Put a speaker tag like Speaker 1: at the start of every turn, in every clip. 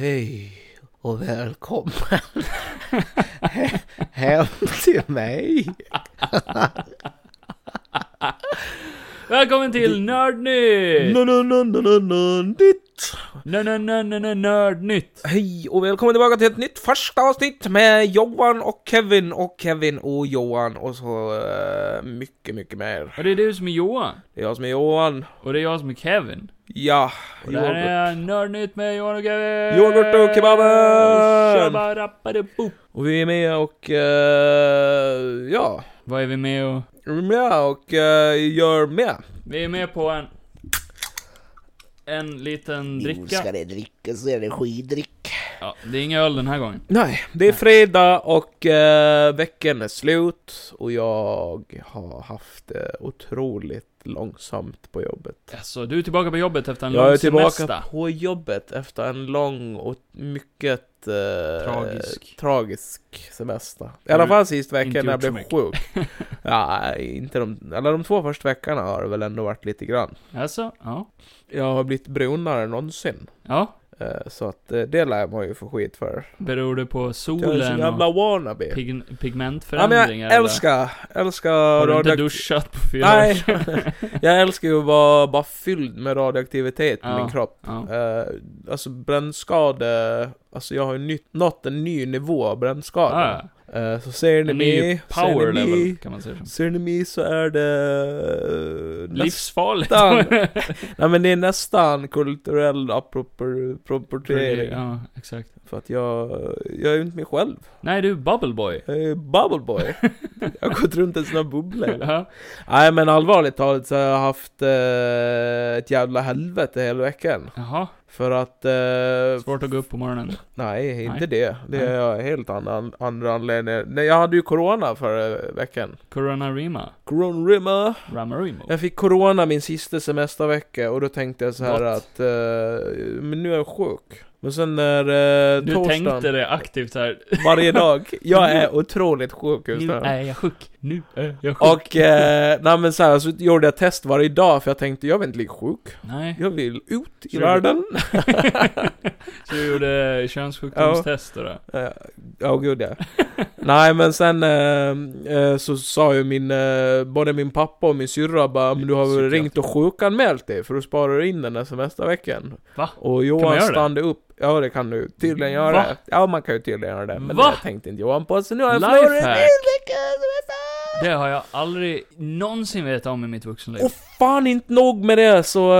Speaker 1: Hej och välkommen he- hem till mig.
Speaker 2: Välkommen till Nördnytt!
Speaker 1: Nun, nun, nun, nun, nun, nun, ditt.
Speaker 2: Nö, nö, nö, nö, nö, Nördnytt!
Speaker 1: Hej och välkommen tillbaka till ett nytt första avsnitt med Johan och Kevin och Kevin och Johan och så eh, mycket, mycket mer.
Speaker 2: Och det är du som är Johan.
Speaker 1: Det är jag som är Johan.
Speaker 2: Och det är jag som är Kevin.
Speaker 1: Ja,
Speaker 2: Och det här är Nördnytt med Johan och Kevin!
Speaker 1: Yoghurt och kebaben!
Speaker 2: Kör bara rappadeboop.
Speaker 1: Och vi är med och eh, ja,
Speaker 2: Vad är vi med och...
Speaker 1: vi är med och eh, gör med.
Speaker 2: Vi är med på en... En liten dricka.
Speaker 1: det drickas energidryck.
Speaker 2: Ja, det är inga öl den här gången.
Speaker 1: Nej, det är fredag och eh, veckan är slut och jag har haft det otroligt långsamt på jobbet.
Speaker 2: Alltså, du är tillbaka på jobbet efter en
Speaker 1: Jag är
Speaker 2: lång
Speaker 1: tillbaka
Speaker 2: semester.
Speaker 1: på jobbet efter en lång och mycket eh,
Speaker 2: Tragisk.
Speaker 1: tragisk semester. I
Speaker 2: Har
Speaker 1: alla
Speaker 2: du
Speaker 1: fall sist veckan
Speaker 2: inte
Speaker 1: när jag
Speaker 2: gjort så
Speaker 1: blev sjuk. ja, inte de, eller de två första veckorna har det väl ändå varit lite grann.
Speaker 2: Alltså, ja.
Speaker 1: Jag har blivit brunare än någonsin.
Speaker 2: Ja,
Speaker 1: Eh, Så att eh, det lär man ju få skit för.
Speaker 2: beror det på
Speaker 1: Jag är så
Speaker 2: solen och
Speaker 1: jävla wannabe.
Speaker 2: pig-
Speaker 1: Ja, men
Speaker 2: pigmentförändringar?
Speaker 1: jag
Speaker 2: eller?
Speaker 1: älskar, älskar
Speaker 2: Har du inte
Speaker 1: radioakt-
Speaker 2: duschat på fyra år?
Speaker 1: Nej, jag älskar ju att vara bara fylld med radioaktivitet i
Speaker 2: Ja.
Speaker 1: min kropp.
Speaker 2: Ja.
Speaker 1: Eh, alltså brännskade, alltså jag har ju nytt, nått en ny nivå av brännskada.
Speaker 2: Ah,
Speaker 1: Eh, så ser ni
Speaker 2: en ny
Speaker 1: mig,
Speaker 2: power
Speaker 1: ser ni
Speaker 2: level
Speaker 1: mig,
Speaker 2: kan man säga som.
Speaker 1: ser ni mig så är det... eh,
Speaker 2: Livsfarligt.
Speaker 1: Nästan, nej men det är nästan kulturell appropriering.
Speaker 2: ja, exakt.
Speaker 1: För att jag, jag är ju inte mig själv.
Speaker 2: Nej du, Bubble Boy.
Speaker 1: Jag är Eh, bubble boy. jag har gått runt i såna bubblor.
Speaker 2: Ja.
Speaker 1: Nej men allvarligt talat så har jag haft eh, ett jävla helvete hela veckan.
Speaker 2: Jaha,
Speaker 1: För att... Eh,
Speaker 2: svårt att gå upp på morgonen.
Speaker 1: nej, inte
Speaker 2: Nej.
Speaker 1: det. Det är jag helt annan, andra anledningar. Nej, jag hade ju corona förra veckan.
Speaker 2: Corona Rima.
Speaker 1: Coronrima.
Speaker 2: Ramarimo.
Speaker 1: Jag fick corona min sista semestervecka och då tänkte jag så här
Speaker 2: Gott.
Speaker 1: att... Eh, men nu är jag sjuk. Men sen när eh,
Speaker 2: Du
Speaker 1: torsdagen,
Speaker 2: tänkte det aktivt här.
Speaker 1: varje dag. Jag är otroligt sjuk just
Speaker 2: Nu
Speaker 1: nu.
Speaker 2: är jag sjuk. Nu är jag sjuk.
Speaker 1: Och, eh, nej men så här, så gjorde jag test varje dag för jag tänkte jag vill inte bli sjuk.
Speaker 2: Nej.
Speaker 1: Jag vill ut i
Speaker 2: Kör.
Speaker 1: världen.
Speaker 2: Så du gjorde könssjukdomstest och det.
Speaker 1: Eh, Ja, gud ja. Nej, men sen eh, eh, så sa ju min, eh, både min pappa och min syrra bara, men du har väl
Speaker 2: Psykiater.
Speaker 1: ringt och sjukanmält dig för du sparar in den här semesterveckan.
Speaker 2: Va?
Speaker 1: Och
Speaker 2: man
Speaker 1: Johan
Speaker 2: göra det?
Speaker 1: stannade upp. Ja, det kan du tydligen göra.
Speaker 2: Va?
Speaker 1: Ja, man kan ju tydligen göra det. Men
Speaker 2: Va?
Speaker 1: det tänkte inte Johan på, så nu har jag
Speaker 2: Lifehack.
Speaker 1: förlorat en vecka semester!
Speaker 2: Det har jag aldrig någonsin vetat om i mitt vuxenliv.
Speaker 1: Och fan inte nog med det så,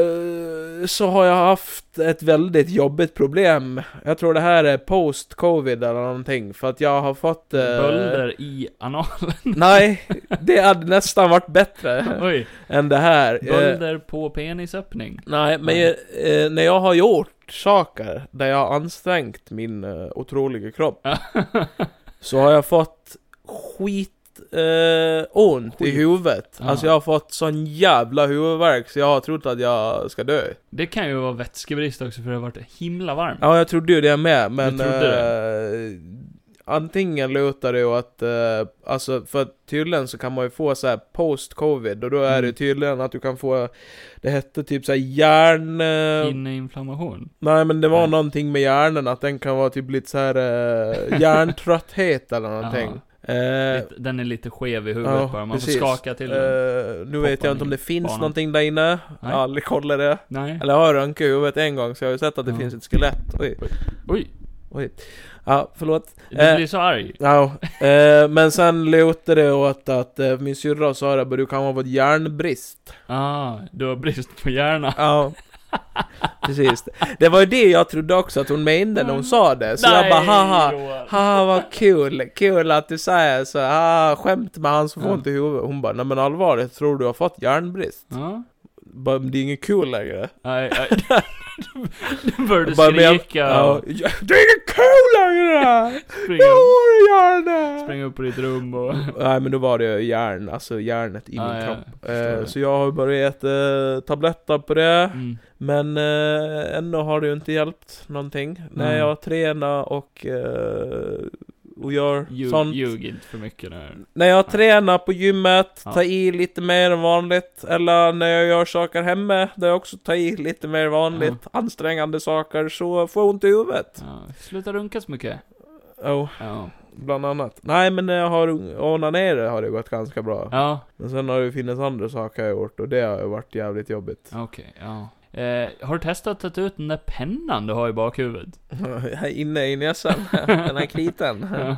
Speaker 1: eh, så har jag haft ett väldigt jobbigt problem. Jag tror det här är post-covid eller någonting för att jag har fått... eh,
Speaker 2: Bölder i analen.
Speaker 1: Nej, det hade nästan varit bättre
Speaker 2: Oj.
Speaker 1: än det här. Eh,
Speaker 2: Bölder på penisöppning.
Speaker 1: nej, men
Speaker 2: Nej.
Speaker 1: eh, när jag har gjort saker där jag har ansträngt min eh, otroliga kropp så har jag fått skit eh, ont i
Speaker 2: Skit.
Speaker 1: huvudet.
Speaker 2: Ah.
Speaker 1: Alltså jag har fått sån jävla huvudvärk så jag har trott att jag ska dö.
Speaker 2: Det kan ju vara vätskebrist också för det har varit himla varmt.
Speaker 1: Ja, jag trodde ju det med, men...
Speaker 2: Du trodde
Speaker 1: eh, antingen lutar det åt att... Eh, alltså, för att tydligen så kan man ju få så här post-covid, och då är det
Speaker 2: Mm.
Speaker 1: tydligen att du kan få... Det hette typ så här hjärn... Eh,
Speaker 2: Inneinflammation.
Speaker 1: nej, men det var
Speaker 2: Nej.
Speaker 1: någonting med hjärnan, att den kan vara typ lite så här eh, hjärntrötthet eller någonting. Eh,
Speaker 2: Lite- Den är lite skev i huvudet
Speaker 1: ja,
Speaker 2: bara, man
Speaker 1: precis.
Speaker 2: får skaka till den.
Speaker 1: eh, nu vet
Speaker 2: Poppar
Speaker 1: jag inte om
Speaker 2: ner
Speaker 1: det finns
Speaker 2: banan.
Speaker 1: någonting där inne. Jag har aldrig kollat det.
Speaker 2: Nej.
Speaker 1: Eller jag har röntgat huvudet en gång, så jag har ju sett att det
Speaker 2: Ja.
Speaker 1: finns ett skelett. Oj,
Speaker 2: Oj,
Speaker 1: oj. Ja, förlåt.
Speaker 2: du
Speaker 1: Eh.
Speaker 2: blir så arg.
Speaker 1: Ja, eh, men sen lutar det åt att eh, min syrra sa det, "Men du kan ha fått järnbrist.
Speaker 2: Ah, du har brist på hjärna.
Speaker 1: Ja. Precis. Det var ju det jag trodde också att hon menade
Speaker 2: Mm.
Speaker 1: när hon sa det. Så jag bara haha,
Speaker 2: Johan.
Speaker 1: haha vad kul, kul att du säger så, ah, skämt med han som får
Speaker 2: Ja.
Speaker 1: ont i huvudet. Hon bara, nej men allvarligt, tror du har fått järnbrist?
Speaker 2: Ja.
Speaker 1: Bara, "Men det är inget kul längre.
Speaker 2: Nej, nej. Du började
Speaker 1: Bara, men jag-
Speaker 2: skrika
Speaker 1: Ja.
Speaker 2: och
Speaker 1: Det är inget kul längre!
Speaker 2: springa,
Speaker 1: Nu har du järnet!
Speaker 2: springa upp på ditt rum och...
Speaker 1: Nej men då var det järn, alltså järnet i
Speaker 2: Ja,
Speaker 1: min
Speaker 2: ja,
Speaker 1: kropp.
Speaker 2: jag förstår
Speaker 1: Eh,
Speaker 2: det.
Speaker 1: så jag har börjat äta eh, tabletter på det.
Speaker 2: Mm.
Speaker 1: Men eh, ännu har det ju inte hjälpt någonting. När
Speaker 2: Nej.
Speaker 1: jag tränar och eh, och gör
Speaker 2: Ljug,
Speaker 1: sånt.
Speaker 2: ljug inte för mycket nu.
Speaker 1: När jag tränar på gymmet,
Speaker 2: Ja.
Speaker 1: tar i lite mer än vanligt. Eller när jag gör saker hemma, där jag också tar i lite mer än vanligt. Ansträngande saker, så får jag ont i huvudet.
Speaker 2: Ja. Sluta runka så mycket.
Speaker 1: Oh,
Speaker 2: Ja.
Speaker 1: bland annat. Nej, men när jag har onanerat har det gått ganska bra.
Speaker 2: Ja,
Speaker 1: Men sen har det ju funnits andra saker jag har gjort och det har ju varit jävligt jobbigt.
Speaker 2: okej. ja. Eh, har du testat att ta ut den där pennan du har i bakhuvudet?
Speaker 1: Här inne i näsan, den här kliten.
Speaker 2: Ja.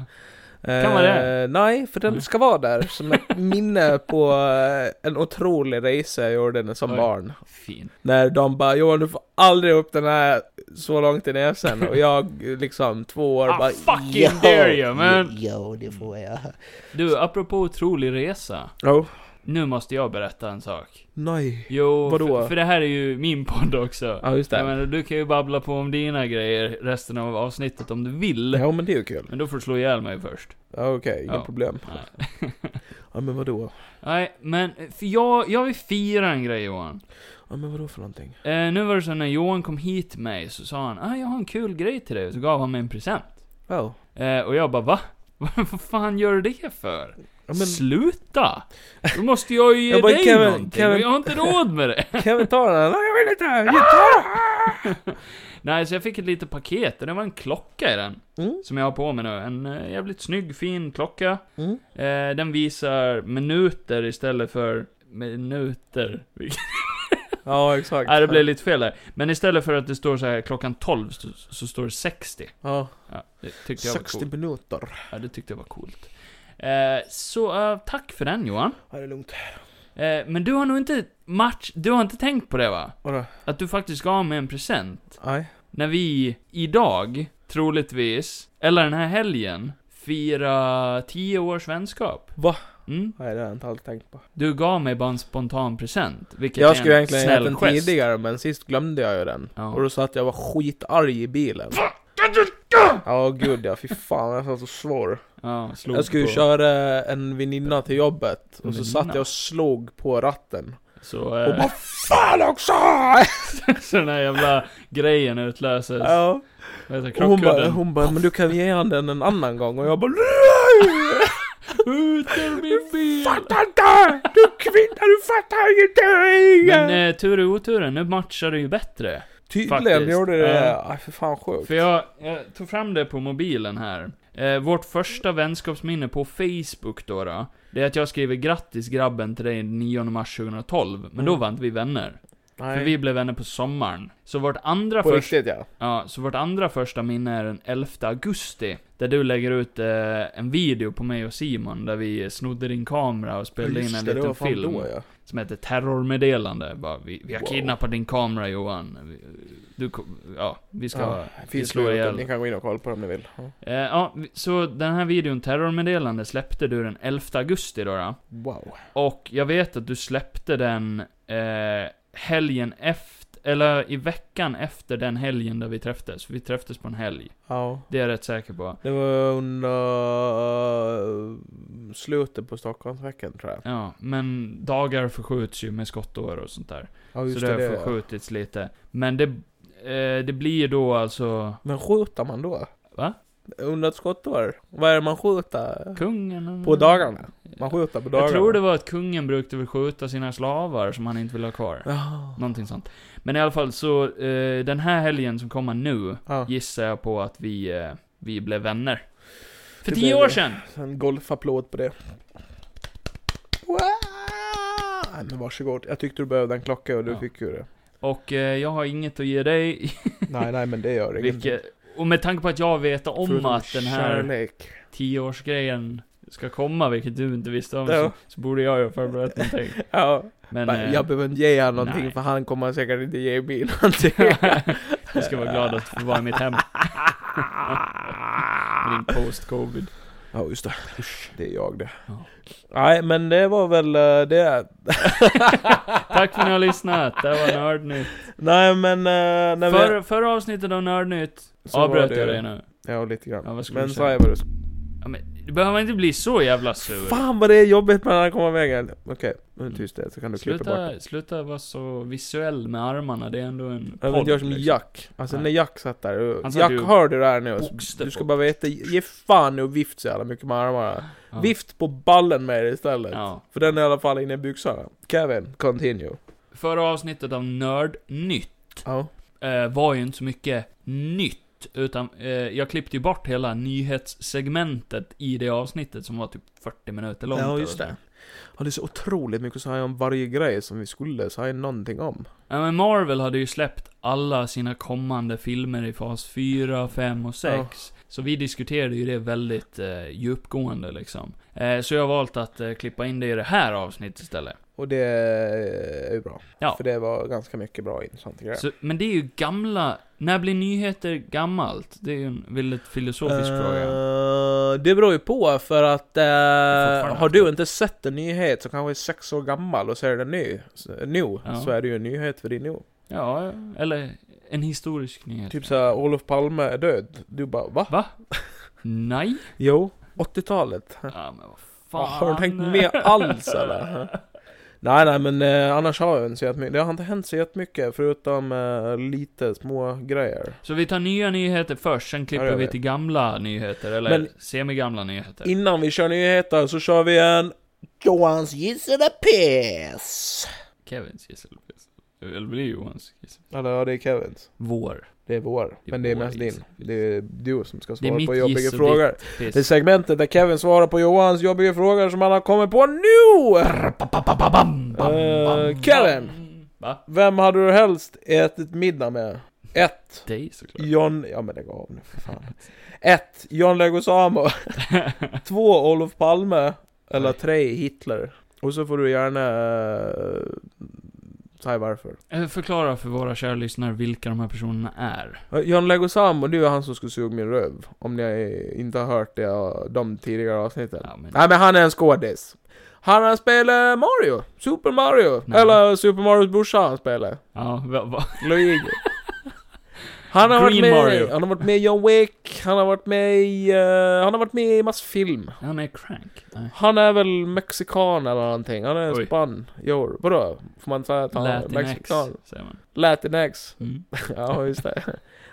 Speaker 2: Kan vara det. Mm.
Speaker 1: Eh, nej, för den ska vara där som ett minne på eh, en otrolig resa jag gjorde när- som
Speaker 2: Oj.
Speaker 1: barn.
Speaker 2: Fint.
Speaker 1: När de bara Johan du får aldrig upp den här så långt i näsan och jag liksom två år
Speaker 2: Ah,
Speaker 1: bara
Speaker 2: fucking
Speaker 1: "Jo,
Speaker 2: dare you, man."
Speaker 1: Jo, det får jag.
Speaker 2: Du, apropå otrolig resa.
Speaker 1: Oh,
Speaker 2: Nu måste jag berätta en sak.
Speaker 1: nej.
Speaker 2: Jo,
Speaker 1: Vadå?
Speaker 2: För, för det här är ju min podd också.
Speaker 1: Ja, just
Speaker 2: Jag
Speaker 1: det.
Speaker 2: menar, du kan ju babbla på om dina grejer resten av avsnittet om du vill.
Speaker 1: Ja men det är ju kul.
Speaker 2: Men då får du slå ihjäl mig först.
Speaker 1: Ja, Okej, inga
Speaker 2: Ja.
Speaker 1: problem.
Speaker 2: Nej.
Speaker 1: Ja men vadå?
Speaker 2: Nej, men för jag, jag vill fira en grej Johan.
Speaker 1: Ja men vadå för någonting?
Speaker 2: Eh, nu var det så när Johan kom hit till mig så sa han ah, jag har en kul grej till dig, så gav han mig en present.
Speaker 1: Oh.
Speaker 2: Eh, och jag bara va? Vad fan gör du det för?
Speaker 1: Ja, men,
Speaker 2: Sluta! Då måste jag ju ge
Speaker 1: Jag bara,
Speaker 2: dig
Speaker 1: Kevin,
Speaker 2: någonting,
Speaker 1: Kevin-
Speaker 2: och jag har inte råd med det.
Speaker 1: kan vi ta den? Nej jag vill inte! Jag tar
Speaker 2: Nej, så jag fick ett litet paket, och det var en klocka i den.
Speaker 1: den! Mm,
Speaker 2: Som jag har på mig nu. En eh, jävligt snygg, fin klocka.
Speaker 1: mm.
Speaker 2: Eh, den visar minuter istället för minuter.
Speaker 1: Ja exakt.
Speaker 2: Nej, det blev lite fel där. Men istället för att det står så här klockan 12 så, så står det 60.
Speaker 1: Ja,
Speaker 2: Ja, det tyckte jag var
Speaker 1: 60
Speaker 2: coolt.
Speaker 1: minuter.
Speaker 2: Ja, det tyckte jag var coolt. Eh, så, eh, tack för den Johan.
Speaker 1: Ja det är lugnt.
Speaker 2: Eh, men du har nog inte match... Du har inte tänkt på det va?
Speaker 1: Vadå?
Speaker 2: Att du faktiskt gav mig en present.
Speaker 1: Nej.
Speaker 2: När vi idag, troligtvis, eller den här helgen, firar 10 års vänskap.
Speaker 1: Va?
Speaker 2: Mm.
Speaker 1: Nej det har jag inte alls tänkt på.
Speaker 2: Du gav mig bara en spontan present, vilket
Speaker 1: Jag
Speaker 2: är
Speaker 1: skulle
Speaker 2: en
Speaker 1: egentligen ha
Speaker 2: snäll
Speaker 1: gett den
Speaker 2: gest.
Speaker 1: tidigare men sist glömde jag ju den.
Speaker 2: Ja.
Speaker 1: Och då satt jag och var skitarg i bilen. Ja gud ja, fy fan jag satt och svor.
Speaker 2: Ja, slog
Speaker 1: Jag skulle
Speaker 2: på.
Speaker 1: ju köra en väninna till jobbet och så
Speaker 2: Väninna?
Speaker 1: satt jag och slog på ratten.
Speaker 2: Så,
Speaker 1: Och
Speaker 2: eh,
Speaker 1: bara FAN också!
Speaker 2: så den här jävla grejen utlöses.
Speaker 1: Ja.
Speaker 2: Vad heter
Speaker 1: Och hon bara,
Speaker 2: krockkudden?
Speaker 1: hon bara, men du kan ge han den en annan gång och jag bara NEJ!
Speaker 2: Ut ur min bil!
Speaker 1: Fattar inte! Du kvinna, du fattar
Speaker 2: Men
Speaker 1: ingenting!
Speaker 2: eh, tur i oturen, nu matchar det ju bättre.
Speaker 1: Tydligen
Speaker 2: faktiskt.
Speaker 1: gjorde det det.
Speaker 2: Ja.
Speaker 1: Aj för fan sjukt.
Speaker 2: För jag, jag tog fram det på mobilen här. Eh, vårt första vänskapsminne på Facebook då, då Det är att jag skriver 'Grattis grabben till dig den 9 mars 2012' Men då
Speaker 1: Mm.
Speaker 2: var inte vi vänner. För
Speaker 1: Nej.
Speaker 2: vi blev vänner på sommaren. Så vårt andra
Speaker 1: På
Speaker 2: första...
Speaker 1: riktigt ja.
Speaker 2: Ja, så vårt andra första minne är den 11 augusti. Där du lägger ut eh, en video på mig och Simon, där vi snodde din kamera och spelade in en
Speaker 1: det, det var
Speaker 2: liten
Speaker 1: fan
Speaker 2: film.
Speaker 1: då ja.
Speaker 2: Som heter Terrormeddelande. Bara, vi, vi har
Speaker 1: Wow.
Speaker 2: kidnappat din kamera Johan. Vi- Du, kom- ja, vi ska...
Speaker 1: Ja,
Speaker 2: vi
Speaker 1: finns
Speaker 2: slår
Speaker 1: på
Speaker 2: ihjäl.
Speaker 1: Youtube, ni kan gå in och kolla på det om ni vill. Ja.
Speaker 2: Eh, ja, vi- så den här videon, Terrormeddelande, släppte du den 11 augusti då. då.
Speaker 1: Wow.
Speaker 2: Och jag vet att du släppte den eh, helgen efter, eller i veckan efter den helgen där vi träffades. Vi träffades på en helg.
Speaker 1: Ja.
Speaker 2: Det är jag rätt säker på.
Speaker 1: Det var under eh, slutet på Stockholmsveckan tror jag.
Speaker 2: Ja, men dagar förskjuts ju med skottår och sånt där.
Speaker 1: Ja,
Speaker 2: så det har förskjutits lite. Men det, eh, det blir då alltså...
Speaker 1: Men skjuter man då?
Speaker 2: Va?
Speaker 1: Under ett skottår? Vad är det man skjuter?
Speaker 2: Kungen...
Speaker 1: På dagarna? Man skjuter på dagarna?
Speaker 2: Jag tror det var att kungen brukade väl skjuta sina slavar som han inte ville ha kvar.
Speaker 1: Ja.
Speaker 2: Någonting sånt. Men i alla fall så, eh, den här helgen som kommer nu,
Speaker 1: Ja.
Speaker 2: gissar jag på att vi, eh, vi blev vänner. För
Speaker 1: Det
Speaker 2: tio
Speaker 1: blev
Speaker 2: år
Speaker 1: vi.
Speaker 2: sedan!
Speaker 1: En golfapplåd på det. Wow! Nej, men varsågod. Jag tyckte du behövde en klocka och du
Speaker 2: Ja.
Speaker 1: fick ju det.
Speaker 2: Och eh, jag har inget att ge dig,
Speaker 1: Nej, nej, men det gör ingenting.
Speaker 2: vilket... Och med tanke på att jag vet om
Speaker 1: Förutom
Speaker 2: att den här
Speaker 1: Kärlek.
Speaker 2: tioårsgrejen ska komma, vilket du inte visste om,
Speaker 1: Ja.
Speaker 2: så, så borde jag ju ha förberett någonting.
Speaker 1: Ja.
Speaker 2: Men...
Speaker 1: Men,
Speaker 2: eh,
Speaker 1: jag behöver inte ge han någonting
Speaker 2: nej.
Speaker 1: för han kommer säkert inte ge mig någonting.
Speaker 2: jag ska vara glad att få vara i mitt hem. Med din post-covid.
Speaker 1: Ja just det. Det är jag det.
Speaker 2: Ja.
Speaker 1: Nej men det var väl eh, det.
Speaker 2: Tack för att ni har lyssnat, det var Nördnytt.
Speaker 1: Nej men... eh, När
Speaker 2: För, Förra avsnittet av Nördnytt
Speaker 1: Så var
Speaker 2: avbröt
Speaker 1: det.
Speaker 2: jag dig nu.
Speaker 1: Ja lite grann.
Speaker 2: Ja, vad skulle
Speaker 1: men
Speaker 2: du
Speaker 1: sa
Speaker 2: säga?
Speaker 1: jag vad du skulle...
Speaker 2: Ja, men, du behöver inte bli så jävla sur.
Speaker 1: Fan vad det är jobbigt med den här kommavägen. Okej. Nu är det tyst där, så kan du klippa bort det.
Speaker 2: Sluta, sluta vara så visuell med armarna, det är ändå en
Speaker 1: Jag vill inte göra som
Speaker 2: liksom.
Speaker 1: Jack. Alltså
Speaker 2: Nej.
Speaker 1: när Jack satt där. och-
Speaker 2: Han satt
Speaker 1: Jack,
Speaker 2: ju-
Speaker 1: hör du det här nu?
Speaker 2: Boxte
Speaker 1: Du ska
Speaker 2: på.
Speaker 1: bara veta, ge fan nu och vift så jävla mycket med armarna.
Speaker 2: Ja.
Speaker 1: Vift på ballen med det istället.
Speaker 2: Ja.
Speaker 1: För den är i alla fall inne i byxorna. Kevin, continue.
Speaker 2: Förra avsnittet av Nörd Nytt
Speaker 1: Ja.
Speaker 2: eh, var ju inte så mycket nytt, utan eh, jag klippte ju bort hela nyhetssegmentet i det avsnittet som var typ 40 minuter långt.
Speaker 1: Ja,
Speaker 2: eller
Speaker 1: just
Speaker 2: så.
Speaker 1: det. Ja, det är så otroligt mycket att säga om varje grej som vi skulle säga någonting om.
Speaker 2: Ja, men Marvel hade ju släppt alla sina kommande filmer i fas 4, 5 och 6. Så vi diskuterade ju det väldigt eh, djupgående liksom. Eh, så jag har valt att eh, klippa in det i det här avsnittet istället.
Speaker 1: Och det är ju bra.
Speaker 2: Ja.
Speaker 1: För det var ganska mycket bra intressanta grejer.
Speaker 2: Så, men det är ju gamla... När blir nyheter gammalt? Det är ju en väldigt filosofisk fråga.
Speaker 1: Eh, det beror ju på för att eh,
Speaker 2: fortfarande
Speaker 1: har du
Speaker 2: aktuellt.
Speaker 1: inte sett en nyhet som kanske är sex år gammal och så är den ny, så, nu,
Speaker 2: Ja.
Speaker 1: så är det ju en nyhet för dig nu.
Speaker 2: Ja, eller en historisk nyhet.
Speaker 1: Typ såhär, Olof Palme är död. Du bara va?
Speaker 2: Va? Nej?
Speaker 1: Jo, 80-talet.
Speaker 2: Ja, men vad
Speaker 1: Ja,
Speaker 2: fan. eh.
Speaker 1: Har du tänkt med alls eller? Nej nej men eh, annars har jag inte så jättemycket, det har inte hänt så jättemycket förutom eh, lite små grejer.
Speaker 2: Så vi tar nya nyheter först, sen klipper
Speaker 1: Ja, det gör
Speaker 2: vi
Speaker 1: vi.
Speaker 2: till gamla nyheter, eller
Speaker 1: Men-
Speaker 2: semigamla nyheter.
Speaker 1: Innan vi kör nyheter så kör vi en Johans gissade piss!
Speaker 2: Kevins gisselpris. Eller blir det Johans gissel.
Speaker 1: Eller ja, det är Kevins.
Speaker 2: Vår.
Speaker 1: Det är vår.
Speaker 2: Det är
Speaker 1: Men det är
Speaker 2: vår
Speaker 1: mest din.
Speaker 2: gissning.
Speaker 1: Det är du som ska
Speaker 2: Det är
Speaker 1: svara
Speaker 2: mitt
Speaker 1: på
Speaker 2: giss och
Speaker 1: jobbiga
Speaker 2: ditt
Speaker 1: frågor.
Speaker 2: piss.
Speaker 1: Det är segmentet där Kevin svarar på Johans jobbiga frågor som han har kommit på nu!
Speaker 2: Ba-ba-ba-bam, bam,
Speaker 1: Eh,
Speaker 2: bam,
Speaker 1: Kevin.
Speaker 2: bam. Va?
Speaker 1: Vem hade du helst ätit middag med? 1.
Speaker 2: Dig såklart.
Speaker 1: John... Ja men lägg av nu för fan. 1. John Leguizamo. 2. Olof Palme. Eller
Speaker 2: Oj.
Speaker 1: 3. Hitler. Och så får du gärna... eh, säga varför.
Speaker 2: Eh, Förklara för våra kära lyssnare vilka de här personerna är.
Speaker 1: Eh, John Leguizamo, det är han som skulle suga min röv. Om ni inte har hört det, eh, de tidigare avsnitten.
Speaker 2: Ja, men,
Speaker 1: Nej men han är en skådis. Han har spelat Mario, Super Mario,
Speaker 2: Nej.
Speaker 1: eller Super Marios brorsa han spelar,
Speaker 2: ja, va, va.
Speaker 1: Luigi. Han har, varit
Speaker 2: Green
Speaker 1: med,
Speaker 2: Mario.
Speaker 1: han har varit med i John Wick, han har varit med i, eh, han har varit med i massa film.
Speaker 2: Han är crank. Nej.
Speaker 1: Han är väl mexikan eller någonting, han är
Speaker 2: Oj.
Speaker 1: span, jo, vadå? Får man säga att han är
Speaker 2: Latinx,
Speaker 1: mexikan?
Speaker 2: säger man.
Speaker 1: Latinx.
Speaker 2: Mm.
Speaker 1: ja, just det.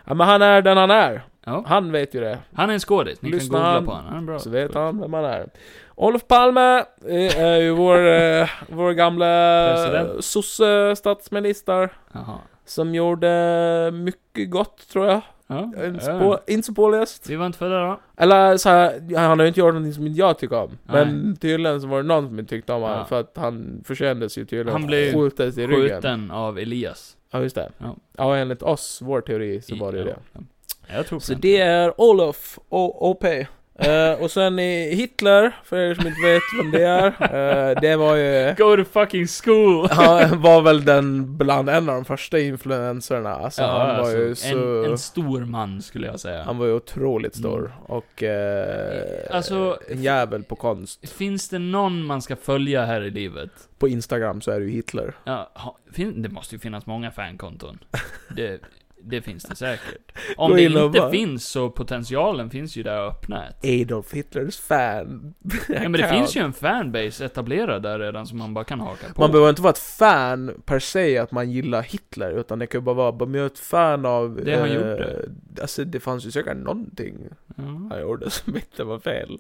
Speaker 1: Ja men han är den han är.
Speaker 2: Ja.
Speaker 1: Han vet ju det.
Speaker 2: Han är en skådis, ni
Speaker 1: Lyssna
Speaker 2: kan googla
Speaker 1: han,
Speaker 2: på honom. Han är en bra.
Speaker 1: Så vet
Speaker 2: skådis.
Speaker 1: han vem han är. Olof Palme eh, är ju vår, eh, vår gamla
Speaker 2: President.
Speaker 1: sosse-statsminister.
Speaker 2: Jaha.
Speaker 1: Som gjorde mycket gott, tror jag.
Speaker 2: Ja,
Speaker 1: Jag är inte
Speaker 2: ja.
Speaker 1: så på- Inte så påläst.
Speaker 2: Vi var inte födda då.
Speaker 1: Eller så här, han har ju inte gjort någonting som inte jag tycker om.
Speaker 2: Nej.
Speaker 1: Men tydligen så var det någon som inte tyckte om honom.
Speaker 2: Ja.
Speaker 1: För att han förtjänades ju tydligen.
Speaker 2: Han blev
Speaker 1: skjutes i ryggen.
Speaker 2: Skjuten av Elias.
Speaker 1: Ja, just det. Ja.
Speaker 2: Ja.
Speaker 1: enligt oss, vår teori, så
Speaker 2: I-
Speaker 1: var det ju
Speaker 2: ja,
Speaker 1: det.
Speaker 2: ja. Jag tror på
Speaker 1: Så
Speaker 2: den.
Speaker 1: det är Olof, O- OP. Eh, och sen i Hitler, för er som inte vet vem det är. eh, det var ju...
Speaker 2: Go to fucking school!
Speaker 1: Han var väl den, bland en av de första influenserna. Alltså, han var ju så...
Speaker 2: en, en stor man skulle jag säga.
Speaker 1: Han var ju otroligt stor.
Speaker 2: Mm.
Speaker 1: Och... Eh,
Speaker 2: Alltså-
Speaker 1: en jävel på konst.
Speaker 2: Finns det någon man ska följa här i livet?
Speaker 1: På Instagram så är det ju Hitler.
Speaker 2: Ja, ha, fin, det måste ju finnas många fankonton. Det, det finns det säkert. Om
Speaker 1: Gå
Speaker 2: det
Speaker 1: in och
Speaker 2: inte
Speaker 1: bara-
Speaker 2: finns så potentialen finns ju där att öppna ett.
Speaker 1: Adolf Hitlers fan.
Speaker 2: Ja, men det finns ju en fanbase etablerad där redan som man bara kan haka på.
Speaker 1: Man behöver inte vara ett fan per se att man gillar Hitler, utan det kan ju bara vara, bara, men jag är ett fan av...
Speaker 2: Det han gjorde.
Speaker 1: Alltså det fanns ju säkert någonting
Speaker 2: ja.
Speaker 1: han gjorde som inte var fel.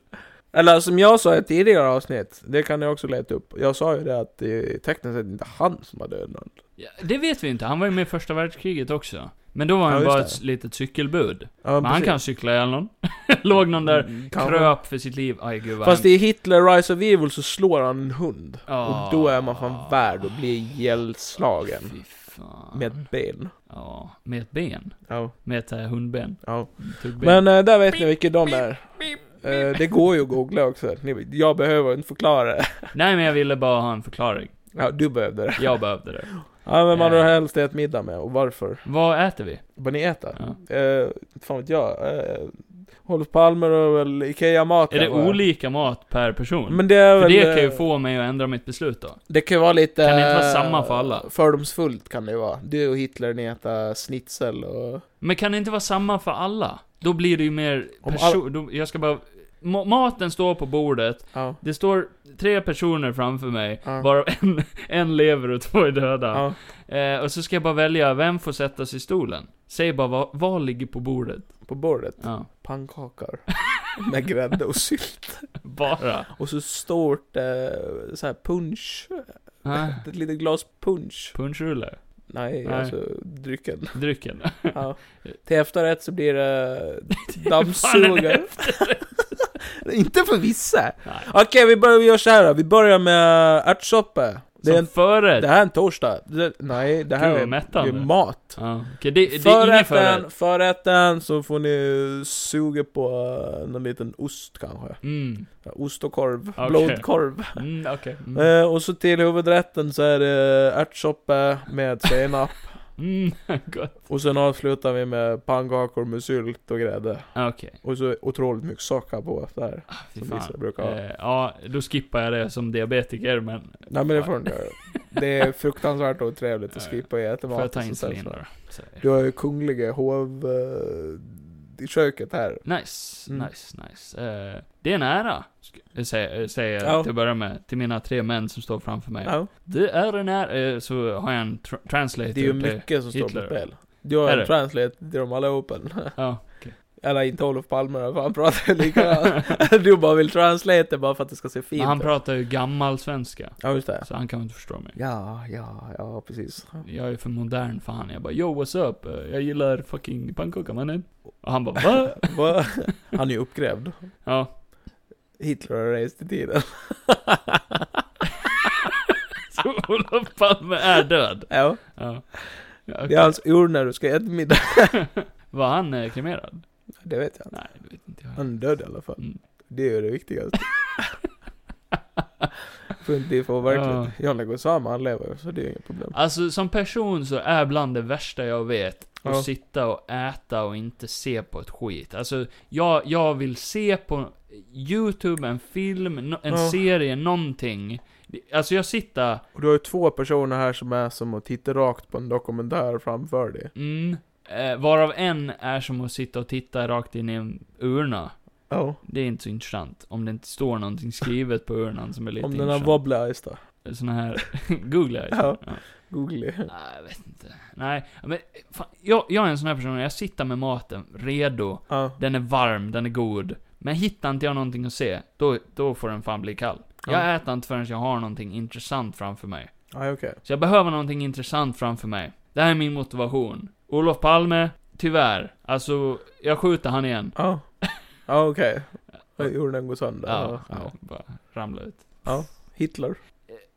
Speaker 1: Eller alltså, som jag sa i ett tidigare avsnitt, det kan jag också leta upp. Jag sa ju det att det är tekniskt sett inte han som har dödat någon.
Speaker 2: Ja, Det vet vi inte, han var ju med i första världskriget också. Men då var
Speaker 1: Ja,
Speaker 2: han
Speaker 1: just
Speaker 2: bara
Speaker 1: det.
Speaker 2: ett litet cykelbud.
Speaker 1: Ja,
Speaker 2: Men han
Speaker 1: precis.
Speaker 2: kan cykla ihjäl någon. Låg någon där,
Speaker 1: Mm, kanske.
Speaker 2: kröp för sitt liv. Aj gud vad
Speaker 1: Fast
Speaker 2: hemskt.
Speaker 1: i Hitler Rise of Evil så slår han en hund.
Speaker 2: Ja.
Speaker 1: Och då är man
Speaker 2: Ah.
Speaker 1: fan värd att bli ihjälslagen.
Speaker 2: Fy fan.
Speaker 1: Med ett ben.
Speaker 2: Ja, med ett ben.
Speaker 1: Ja.
Speaker 2: Med ett äh, hundben.
Speaker 1: Ja.
Speaker 2: Tuggben.
Speaker 1: Men eh, där vet ni vilka de är. Eh, det går ju att googla också. Ni- Jag behöver inte förklara det.
Speaker 2: Nej, men jag ville bara ha en förklaring.
Speaker 1: Ja, du behövde det.
Speaker 2: Jag behövde det.
Speaker 1: Ja, vem hade du
Speaker 2: Eh.
Speaker 1: helst ätit middag med och varför?
Speaker 2: Vad äter vi?
Speaker 1: Vad ni äter?
Speaker 2: Ja.
Speaker 1: Eh, fan vet jag. Eh, Olof Palme och väl Ikea-mat.
Speaker 2: Är det
Speaker 1: kanske.
Speaker 2: olika mat per person?
Speaker 1: Men det är
Speaker 2: För
Speaker 1: väl...
Speaker 2: det kan ju
Speaker 1: eh,
Speaker 2: få mig att ändra mitt beslut då.
Speaker 1: Det kan ju vara lite...
Speaker 2: Kan det inte vara
Speaker 1: eh,
Speaker 2: samma för alla?
Speaker 1: Fördomsfullt kan det ju vara. Du och Hitler, ni äter schnitzel och...
Speaker 2: Men kan det inte vara samma för alla? Då blir det ju mer
Speaker 1: Om
Speaker 2: person... Då, jag ska bara... ma- maten står på bordet,
Speaker 1: Ja.
Speaker 2: det står tre personer framför mig,
Speaker 1: Ja.
Speaker 2: varav en, en lever och två är döda.
Speaker 1: Ja.
Speaker 2: Eh, och så ska jag bara välja, vem får sätta sig i stolen? Säg bara vad, vad ligger på bordet?
Speaker 1: På bordet.
Speaker 2: Ja.
Speaker 1: Pannkakor. Med grädde och sylt.
Speaker 2: Bara.
Speaker 1: Och så stort eh, så här punch.
Speaker 2: Ah,
Speaker 1: Ett litet glas punch.
Speaker 2: punschrulle.
Speaker 1: Nej,
Speaker 2: Nej.
Speaker 1: alltså drycken.
Speaker 2: Drycken.
Speaker 1: Ja. Till efterrätt så blir det
Speaker 2: Fan,
Speaker 1: dammsugare. Inte för vissa.
Speaker 2: Nej.
Speaker 1: Okej, vi börjar vi gör så här då. Vi börjar med ärtsoppa. Det, är
Speaker 2: Som
Speaker 1: en,
Speaker 2: förrätt.
Speaker 1: det här är en torsdag. Det, nej, det här
Speaker 2: Gud, vad
Speaker 1: är, det
Speaker 2: mättande.
Speaker 1: är mat.
Speaker 2: Ja. Okej, det, det är ingen förrätt.
Speaker 1: Förrätten, förrätten, så får ni suga på eh, någon liten ost kanske.
Speaker 2: Mm.
Speaker 1: Ost och korv.
Speaker 2: Okej.
Speaker 1: Blodkorv.
Speaker 2: Mm, okej. Mm.
Speaker 1: Eh, och så till huvudrätten så är det ärtsoppa med senap. Eh.
Speaker 2: Mm, gott.
Speaker 1: och sen avslutar vi med pannkakor med sylt och grädde.
Speaker 2: Okej.
Speaker 1: Och så otroligt mycket socker på där.
Speaker 2: Ah, fy
Speaker 1: Som
Speaker 2: fan.
Speaker 1: vissa brukar ha.
Speaker 2: Eh, ja, då skippar jag det som diabetiker, men...
Speaker 1: Nej men det får ni göra. Det är fruktansvärt otrevligt att skippa och äta mat.
Speaker 2: Får jag ta
Speaker 1: och sånt där.
Speaker 2: insulin då? Så-
Speaker 1: Du har ju kungliga hov... eh, i köket här.
Speaker 2: Nice,
Speaker 1: Mm.
Speaker 2: nice, nice. Eh, det är en ära, sk- eh, sä- eh, säger jag
Speaker 1: Ja.
Speaker 2: till att börja med, till mina tre män som står framför mig.
Speaker 1: Ja.
Speaker 2: Det är en ära, eh, så har jag en tr- translator
Speaker 1: Det är ju
Speaker 2: till-
Speaker 1: mycket som står
Speaker 2: typ, eh, Hitler.
Speaker 1: på spel. Du har
Speaker 2: Är
Speaker 1: en
Speaker 2: det?
Speaker 1: translate till dem allihopa.
Speaker 2: Ja, okej.
Speaker 1: Eller inte Olof Palme då, för han pratar ju likadant. du bara vill translate det bara för att det ska se fint
Speaker 2: Men han
Speaker 1: ut.
Speaker 2: pratar ju gammal svenska,
Speaker 1: Ja, just det.
Speaker 2: så han kan inte förstå mig.
Speaker 1: Ja, ja, ja, precis.
Speaker 2: Jag är för modern för han. Jag bara, yo what's up? Eh, Jag gillar fucking pannkaka mannen. Och han bara, va?
Speaker 1: Va? Han är ju uppgrävd.
Speaker 2: Ja,
Speaker 1: Hitler har rest i tiden.
Speaker 2: så Olof Palme är död.
Speaker 1: Ja,
Speaker 2: Ja. Ja,
Speaker 1: det är hans urna du ska äta middag.
Speaker 2: Var han eh, kremerad?
Speaker 1: Det vet jag inte.
Speaker 2: Nej, det vet inte jag.
Speaker 1: Han är död i alla fall.
Speaker 2: Mm.
Speaker 1: Det är ju det viktigaste. För inte det får verkligt. John Leguizamo han lever, så det är inget problem.
Speaker 2: Alltså, som person så är bland det värsta jag vet att
Speaker 1: Ja.
Speaker 2: sitta och äta och inte se på ett skit. Alltså, jag, jag vill se på YouTube, en film, no- en
Speaker 1: Ja.
Speaker 2: serie, någonting. Alltså, jag sitter...
Speaker 1: Och du har ju två personer här som är som att titta rakt på en dokumentär framför dig.
Speaker 2: Mm, eh, varav en är som att sitta och titta rakt in i en urna.
Speaker 1: Ja.
Speaker 2: Det är inte så intressant. Om det inte står någonting skrivet på urnan som är lite
Speaker 1: Om den har
Speaker 2: intressant.
Speaker 1: wobbly eyes då.
Speaker 2: Såna här... Googla jag.
Speaker 1: Ja. Googly.
Speaker 2: Nej, jag vet inte. Nej, men fan, jag, jag är en sån här person, jag sitter med maten redo.
Speaker 1: Ja.
Speaker 2: Den är varm, den är god. Men hittar inte jag någonting att se, då, då får den fan bli kall.
Speaker 1: Ja.
Speaker 2: Jag äter inte förrän jag har någonting intressant framför mig.
Speaker 1: Ja, okej.
Speaker 2: Så jag behöver någonting intressant framför mig. Det här är min motivation. Olof Palme, tyvärr. Alltså, jag skjuter han igen.
Speaker 1: Ja. Ja, okej. Okay. Urnen går sönder.
Speaker 2: Ja,
Speaker 1: Ja.
Speaker 2: ja, bara ramla ut.
Speaker 1: Hitler.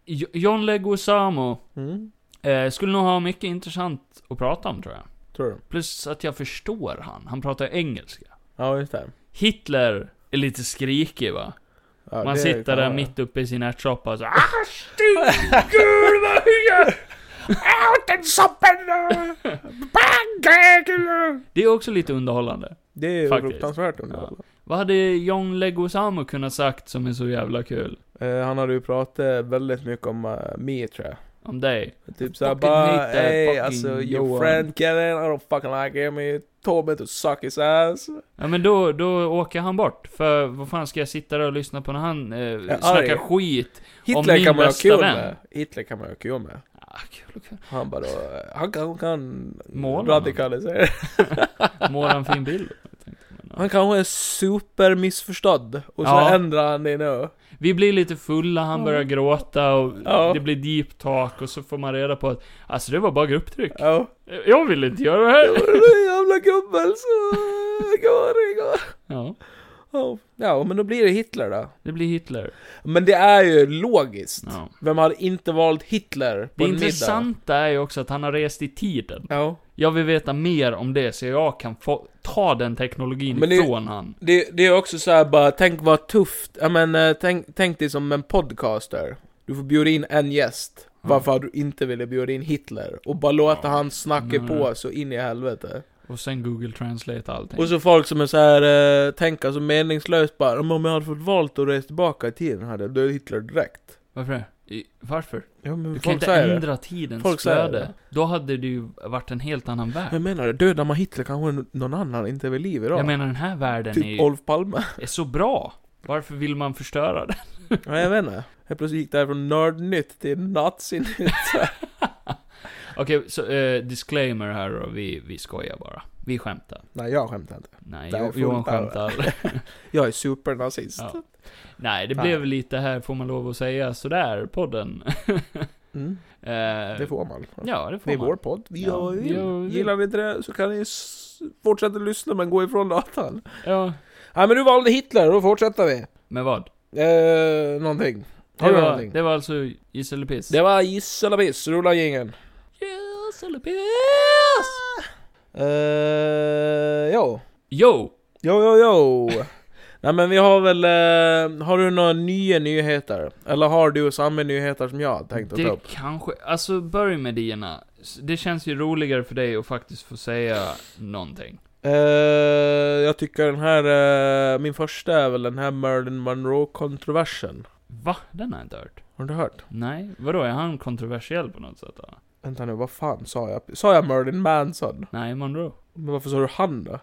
Speaker 2: Jo- John Leguizamo
Speaker 1: Mm.
Speaker 2: eh, skulle nog ha mycket intressant att prata om, tror jag.
Speaker 1: Tror du?
Speaker 2: Plus att jag förstår han. Han pratar ju engelska.
Speaker 1: Ja, just det.
Speaker 2: Hitler är lite skrikig va?
Speaker 1: Ja,
Speaker 2: Man
Speaker 1: det
Speaker 2: sitter
Speaker 1: kan
Speaker 2: där
Speaker 1: vara.
Speaker 2: mitt uppe i sin ärtsoppa och så Ah, stugulva hya!
Speaker 1: Ät en soppa nu! Pannkakor!
Speaker 2: Det är också lite underhållande.
Speaker 1: Det är ju
Speaker 2: Faktiskt.
Speaker 1: fruktansvärt underbart.
Speaker 2: Vad hade John Leguizamo kunnat sagt som är så jävla kul?
Speaker 1: Eh, han hade ju pratat väldigt mycket om uh, me, tror jag.
Speaker 2: Om dig?
Speaker 1: Typ såhär
Speaker 2: Fucking
Speaker 1: bara,
Speaker 2: hate that
Speaker 1: hey
Speaker 2: fucking
Speaker 1: alltså your
Speaker 2: Johan."
Speaker 1: friend Kevin, I don't fucking like him, he told me to suck his ass.
Speaker 2: Ja men då, då åker han bort. För vad fan ska jag sitta där och lyssna på när han eh,
Speaker 1: arg.
Speaker 2: snackar skit?
Speaker 1: Hitler
Speaker 2: min
Speaker 1: kan man ha
Speaker 2: bästa
Speaker 1: kul
Speaker 2: vän.
Speaker 1: med. Hitler kan man ha kul med.
Speaker 2: Ah, kul och kul.
Speaker 1: Han bara då, eh, han kan, han kan
Speaker 2: Måla
Speaker 1: radikalisera.
Speaker 2: Måla en fin bild. Jag tänkte, men, ja.
Speaker 1: Han kanske är super missförstådd och så
Speaker 2: Ja.
Speaker 1: ändrar han det nu.
Speaker 2: Vi blir lite fulla, han börjar gråta och
Speaker 1: Ja.
Speaker 2: det blir deep talk och så får man reda på att Alltså det var bara grupptryck.
Speaker 1: Ja.
Speaker 2: Jag vill inte göra det här.
Speaker 1: Den jävla gubben så går det går.
Speaker 2: Ja,
Speaker 1: Ja. Ja, men då blir det Hitler då.
Speaker 2: det blir Hitler.
Speaker 1: Men det är ju logiskt.
Speaker 2: Ja.
Speaker 1: Vem hade inte valt Hitler på
Speaker 2: Det
Speaker 1: en middag?
Speaker 2: intressanta är ju också att han har rest i tiden.
Speaker 1: Ja.
Speaker 2: Jag vill veta mer om det, så jag kan få ta den teknologin
Speaker 1: Men det-
Speaker 2: ifrån han.
Speaker 1: Det, det är också så här bara, tänk vad tufft. Ja, men, eh, tänk, tänk dig som en podcaster. Du får bjuda in en gäst.
Speaker 2: Ja.
Speaker 1: Varför har du inte velat bjuda in Hitler? Och bara låta
Speaker 2: Ja. Mm.
Speaker 1: han snacka
Speaker 2: Nej.
Speaker 1: på så in i helvete.
Speaker 2: Och sen Google Translate allting.
Speaker 1: Och så folk som är så här eh, tänka så meningslöst bara, "Men om jag hade fått valt att resa tillbaka i tiden hade jag dödat Hitler direkt.
Speaker 2: Varför det? I- Varför?
Speaker 1: Ja, men
Speaker 2: Du kan
Speaker 1: folk
Speaker 2: inte
Speaker 1: säger det.
Speaker 2: ändra tidens
Speaker 1: Folk säger
Speaker 2: flöde.
Speaker 1: det.
Speaker 2: Då hade det ju varit en helt annan värld.
Speaker 1: Jag menar det, dödar man Hitler kanske någon annan inte är vid liv idag.
Speaker 2: Jag menar den här världen är,
Speaker 1: typ
Speaker 2: ju,
Speaker 1: Olof Palme.
Speaker 2: är så bra. Varför vill man förstöra den?
Speaker 1: ja, jag vet inte. Jag plötsligt gick det här från nördnytt till nazinytt.
Speaker 2: Okej, så eh, disclaimer här då. Vi, vi skojar bara. Vi skämtar.
Speaker 1: Nej, jag skämtar inte.
Speaker 2: Nej,
Speaker 1: Det här är
Speaker 2: Jo- Johan
Speaker 1: fullt
Speaker 2: skämtar.
Speaker 1: Jag är supernazist.
Speaker 2: ja. Nej, det
Speaker 1: Fan.
Speaker 2: blev lite här, får man lov att säga, sådär, podden.
Speaker 1: Mm,
Speaker 2: Eh,
Speaker 1: det får man.
Speaker 2: Ja, det får
Speaker 1: Det är
Speaker 2: man.
Speaker 1: vår podd. Vi
Speaker 2: Ja,
Speaker 1: gör vad vi
Speaker 2: vi gör vad vi
Speaker 1: vill.
Speaker 2: vill.
Speaker 1: Gillar ni inte det så kan ni s- fortsätta lyssna men gå ifrån datan.
Speaker 2: Ja,
Speaker 1: Nej men du valde Hitler, då fortsätter vi.
Speaker 2: men vad?
Speaker 1: Eh, någonting. Har
Speaker 2: Det
Speaker 1: du
Speaker 2: var,
Speaker 1: någonting?
Speaker 2: det var alltså Gissa eller piss?
Speaker 1: Det var giss eller piss, rulla jingeln.
Speaker 2: Yes eller piss!
Speaker 1: Eh, jo.
Speaker 2: Yo!
Speaker 1: Jo, jo, jo. Nej men vi har väl, eh, har du några nya nyheter? Eller har du samma nyheter som jag hade tänkt att ta
Speaker 2: Det
Speaker 1: upp?
Speaker 2: kanske, alltså börja med dina. S- Det känns ju roligare för dig att faktiskt få säga någonting.
Speaker 1: Eh, jag tycker den här, eh, min första är väl den här Marilyn Monroe-kontroversen.
Speaker 2: Va? Den har jag inte hört.
Speaker 1: Har du hört?
Speaker 2: Nej, vadå? Är han kontroversiell på något sätt då?
Speaker 1: Vänta nu, vad fan sa jag? Sa jag Marilyn Manson?
Speaker 2: Nej, Monroe.
Speaker 1: Men varför sa du han då?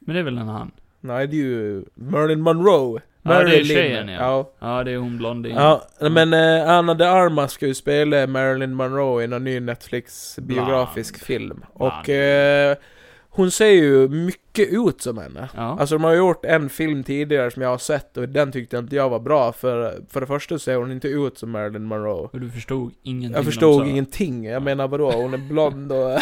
Speaker 2: Men det är väl en han?
Speaker 1: Nej, det är ju Marilyn Monroe.
Speaker 2: Ja, det är
Speaker 1: Marilyn.
Speaker 2: tjejen, ja.
Speaker 1: ja.
Speaker 2: Ja, det är Mm. hon blondin.
Speaker 1: Ja, men eh, Anna de Armas ska ju spela Marilyn Monroe i någon ny Netflix-biografisk
Speaker 2: Bland.
Speaker 1: film.
Speaker 2: Bland.
Speaker 1: Och eh, hon ser ju mycket ut som henne.
Speaker 2: Ja.
Speaker 1: Alltså de har ju gjort en film tidigare som jag har sett och den tyckte inte jag var bra för, för det första ser hon inte ut som Marilyn Monroe.
Speaker 2: Och du förstod ingenting
Speaker 1: Jag
Speaker 2: de
Speaker 1: förstod
Speaker 2: sa.
Speaker 1: ingenting, jag menar vadå, hon är blond och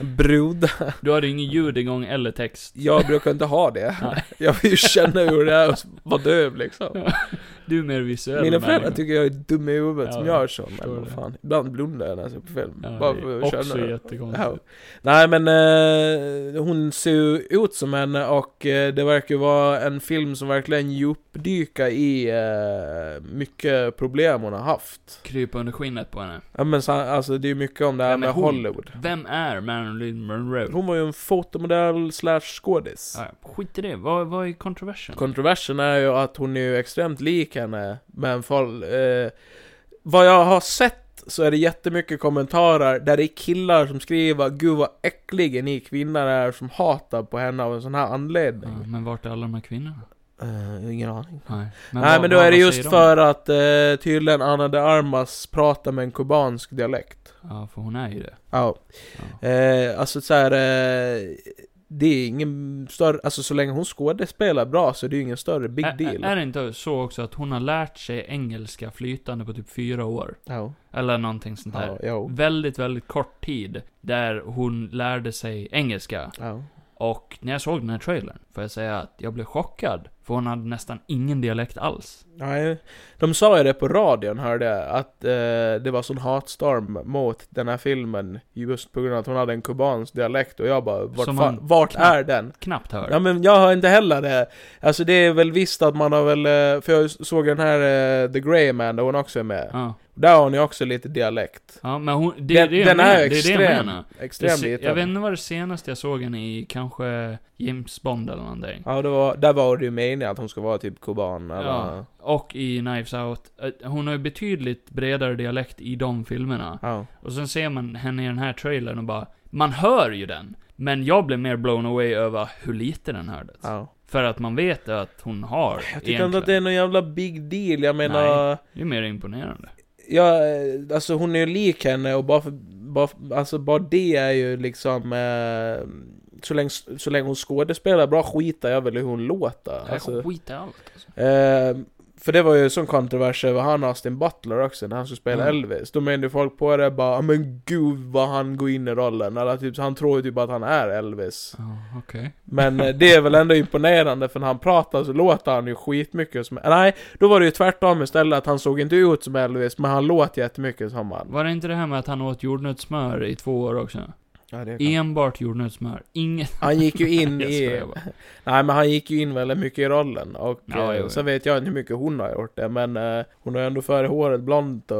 Speaker 1: brud.
Speaker 2: Du hade ingen ljud igång eller text.
Speaker 1: Jag brukar inte ha det.
Speaker 2: Nej.
Speaker 1: Jag vill ju känna hur det är att vara döv liksom.
Speaker 2: Du är mer visuell
Speaker 1: Mina föräldrar
Speaker 2: människa.
Speaker 1: tycker jag är dum i huvudet
Speaker 2: Ja,
Speaker 1: som
Speaker 2: jag
Speaker 1: gör så, men
Speaker 2: förstår
Speaker 1: vad
Speaker 2: det.
Speaker 1: fan. Ibland blundar jag när jag ser på film.
Speaker 2: Ja,
Speaker 1: bara
Speaker 2: det
Speaker 1: för
Speaker 2: är
Speaker 1: att
Speaker 2: också
Speaker 1: känna det.
Speaker 2: jättekonstigt.
Speaker 1: Ja. Nej men, eh, hon ser ju ut som henne och eh, det verkar ju vara en film som verkligen djupdyka i eh, mycket problem hon har haft.
Speaker 2: krypa under skinnet på henne.
Speaker 1: Ja men så, alltså det är ju mycket om det här
Speaker 2: Vem är
Speaker 1: med
Speaker 2: hon?
Speaker 1: Hollywood.
Speaker 2: Vem är Marilyn Monroe?
Speaker 1: Hon var ju en fotomodell slash skådis.
Speaker 2: Ja, ja, skit i det, vad, vad är kontroversen?
Speaker 1: Kontroversen är ju att hon är ju extremt lik henne, men fall, eh, vad jag har sett så är det jättemycket kommentarer där det är killar som skriver 'Gud vad äcklig ni kvinnor är som hatar på henne av en sån här anledning'
Speaker 2: ja, men vart är alla de här kvinnorna?
Speaker 1: Eh, Ingen aning.
Speaker 2: Nej,
Speaker 1: Nej
Speaker 2: vad-
Speaker 1: men då
Speaker 2: vad-
Speaker 1: är det
Speaker 2: vad
Speaker 1: just
Speaker 2: säger de?
Speaker 1: för att eh, tydligen Anna de Armas pratar med en kubansk dialekt.
Speaker 2: Ja, för hon är ju det.
Speaker 1: Ja.
Speaker 2: Ja.
Speaker 1: Eh, alltså så här. Eh, det är ingen större, alltså så länge hon skådespelar bra så är det ju ingen större big
Speaker 2: Ä-
Speaker 1: deal.
Speaker 2: Är, det inte så också att hon har lärt sig engelska flytande på typ fyra år?
Speaker 1: ja,
Speaker 2: Eller någonting sånt
Speaker 1: ja,
Speaker 2: där.
Speaker 1: jo.
Speaker 2: Väldigt, väldigt kort tid. Där hon lärde sig engelska.
Speaker 1: Ja.
Speaker 2: Och när jag såg den här trailern, får jag säga att jag blev chockad. För hon hade nästan ingen dialekt alls.
Speaker 1: Nej, de sa ju det på radion hörde jag, att eh, det var sån hatstorm mot den här filmen just på grund av att hon hade en kubansk dialekt och jag bara vart,
Speaker 2: Som
Speaker 1: fan,
Speaker 2: man
Speaker 1: vart
Speaker 2: knappt-
Speaker 1: är den?
Speaker 2: Knappt hörd.
Speaker 1: Ja men jag har inte heller det. Alltså det är väl visst att man har väl, eh, för jag såg den här eh, The Grey Man där hon också är med.
Speaker 2: Ja.
Speaker 1: Där har hon ju också lite dialekt.
Speaker 2: Ja, men hon, det,
Speaker 1: Den,
Speaker 2: är det jag
Speaker 1: den
Speaker 2: menar,
Speaker 1: är ju
Speaker 2: det
Speaker 1: extrem,
Speaker 2: är det jag menar. Det
Speaker 1: extrem
Speaker 2: se,
Speaker 1: liten.
Speaker 2: jag vet inte vad det senaste jag såg henne i, kanske James Bond eller någonting.
Speaker 1: Ja, det var, där var det ju meningen att hon ska vara typ kuban eller...
Speaker 2: Ja. Och i Knives Out. Eh, Hon har ju betydligt bredare dialekt i de filmerna.
Speaker 1: Ja.
Speaker 2: Och sen ser man henne i den här trailern och bara, man hör ju den. Men jag blev mer blown away över hur lite den hördes.
Speaker 1: ja.
Speaker 2: För att man vet att hon har
Speaker 1: Jag tycker inte att det är någon jävla big deal, jag menar...
Speaker 2: Nej. Det är mer imponerande.
Speaker 1: Ja, eh, alltså hon är ju lik henne och bara, för, bara, för- alltså bara det är ju liksom... Eh, så, länge, så länge hon skådespelar bra skitar jag väl hur hon låter. Alltså,
Speaker 2: Jag skiter i allt alltså.
Speaker 1: eh, för det var ju en sån kontrovers över han och Austin Butler också när han skulle spela
Speaker 2: Mm.
Speaker 1: Elvis. Då menade ju folk på det bara "Ah, men gud vad han går in i rollen. Eller typ, han tror ju typ att han är Elvis.
Speaker 2: Ja, okej.
Speaker 1: Men eh, det är väl ändå imponerande för när han pratar så låter han ju skitmycket som... Nej, då var det ju tvärtom istället att han såg inte ut som Elvis men han låt jättemycket som han.
Speaker 2: Var det inte det här med att han åt jordnötssmör i två år också?
Speaker 1: Ja, det kan-
Speaker 2: Enbart jordnötssmör. Inget...
Speaker 1: Han gick ju in
Speaker 2: Jag
Speaker 1: i...
Speaker 2: skojar bara.
Speaker 1: Nej men han gick ju in väldigt mycket i rollen och
Speaker 2: Ja,
Speaker 1: eh,
Speaker 2: jo, jo.
Speaker 1: sen vet jag inte hur mycket hon har gjort det men eh, hon har ju ändå före håret blont och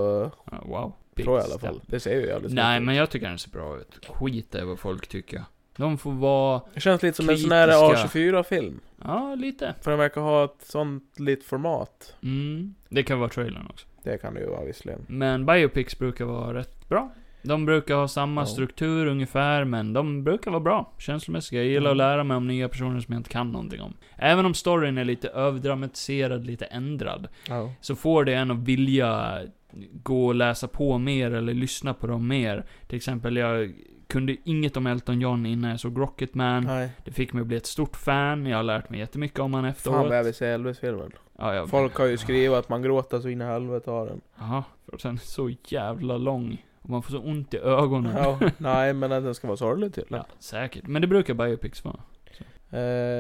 Speaker 2: Ja, Wow. Big
Speaker 1: tror jag i alla
Speaker 2: step.
Speaker 1: fall. Det ser ju jävligt
Speaker 2: Nej,
Speaker 1: snyggt
Speaker 2: men jag tycker den ser bra ut. Skit i vad folk tycker. De får vara...
Speaker 1: ut. Det känns lite som en sån här
Speaker 2: kritiska.
Speaker 1: A24-film.
Speaker 2: Ja, lite.
Speaker 1: För den verkar ha ett sånt litet format.
Speaker 2: Mm. Det kan vara trailern också.
Speaker 1: Det kan det ju vara visserligen.
Speaker 2: Men biopics brukar vara rätt bra. De brukar ha samma
Speaker 1: Ja.
Speaker 2: struktur ungefär, men de brukar vara bra. Känslomässiga. Jag gillar att
Speaker 1: Mm.
Speaker 2: lära mig om nya personer som jag inte kan någonting om. Även om storyn är lite överdramatiserad, lite ändrad,
Speaker 1: Ja.
Speaker 2: så får det en att vilja gå och läsa på mer eller lyssna på dem mer. Till exempel, jag kunde inget om Elton John innan jag såg Rocketman.
Speaker 1: Nej.
Speaker 2: Det fick mig att bli ett stort fan. Jag har lärt mig jättemycket om han
Speaker 1: Fan
Speaker 2: efteråt.
Speaker 1: vad jag vill se Elvis-filmen.
Speaker 2: ja, jag...
Speaker 1: Folk har ju skrivit att man gråter så in i helvete av den.
Speaker 2: Jaha, för att den är så jävla lång. Och man får så ont i ögonen.
Speaker 1: Ja, nej, men att den ska vara sorglig tydligen.
Speaker 2: Ja, säkert. Men det brukar biopics vara.
Speaker 1: Eh,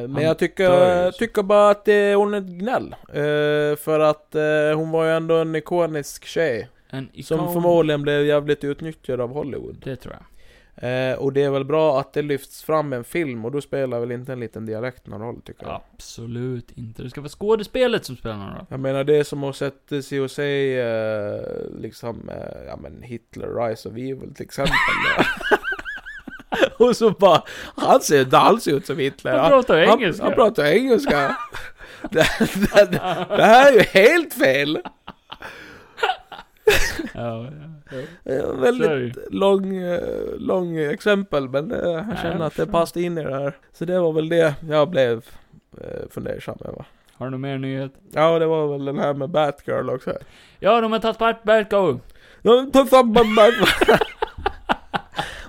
Speaker 1: men jag
Speaker 2: Han dör ju
Speaker 1: tycker,
Speaker 2: så.
Speaker 1: tycker bara att det är onödigt gnäll. Eh, för att eh, hon var ju ändå en ikonisk tjej.
Speaker 2: En ikon.
Speaker 1: Som förmodligen blev jävligt utnyttjad av Hollywood.
Speaker 2: Det tror jag.
Speaker 1: Eh, och det är väl bra att det lyfts fram en film och då spelar väl inte en liten dialekt någon roll tycker jag.
Speaker 2: Absolut inte. Det ska vara skådespelet som spelar någon roll.
Speaker 1: Jag menar det är som att sätta sig och säga eh, liksom, eh, ja men Hitler, Rise of Evil till exempel. och så bara, han ser inte alls ut som Hitler.
Speaker 2: Han pratar
Speaker 1: Han-
Speaker 2: engelska.
Speaker 1: Han pratar engelska. det, det, det här är ju helt fel.
Speaker 2: ja, ja.
Speaker 1: Eh,
Speaker 2: Så är det ju.
Speaker 1: Väldigt lång, eh, lång exempel, men eh, jag
Speaker 2: Nej,
Speaker 1: känner
Speaker 2: jag
Speaker 1: att det
Speaker 2: förstår.
Speaker 1: passade in i det här. Så det var väl det jag blev eh, fundersam över.
Speaker 2: Har du någon mer nyhet?
Speaker 1: Ja, det var väl den här med Batgirl också.
Speaker 2: Ja, de har tagit bort Batgirl.
Speaker 1: De tuffar Batgirl.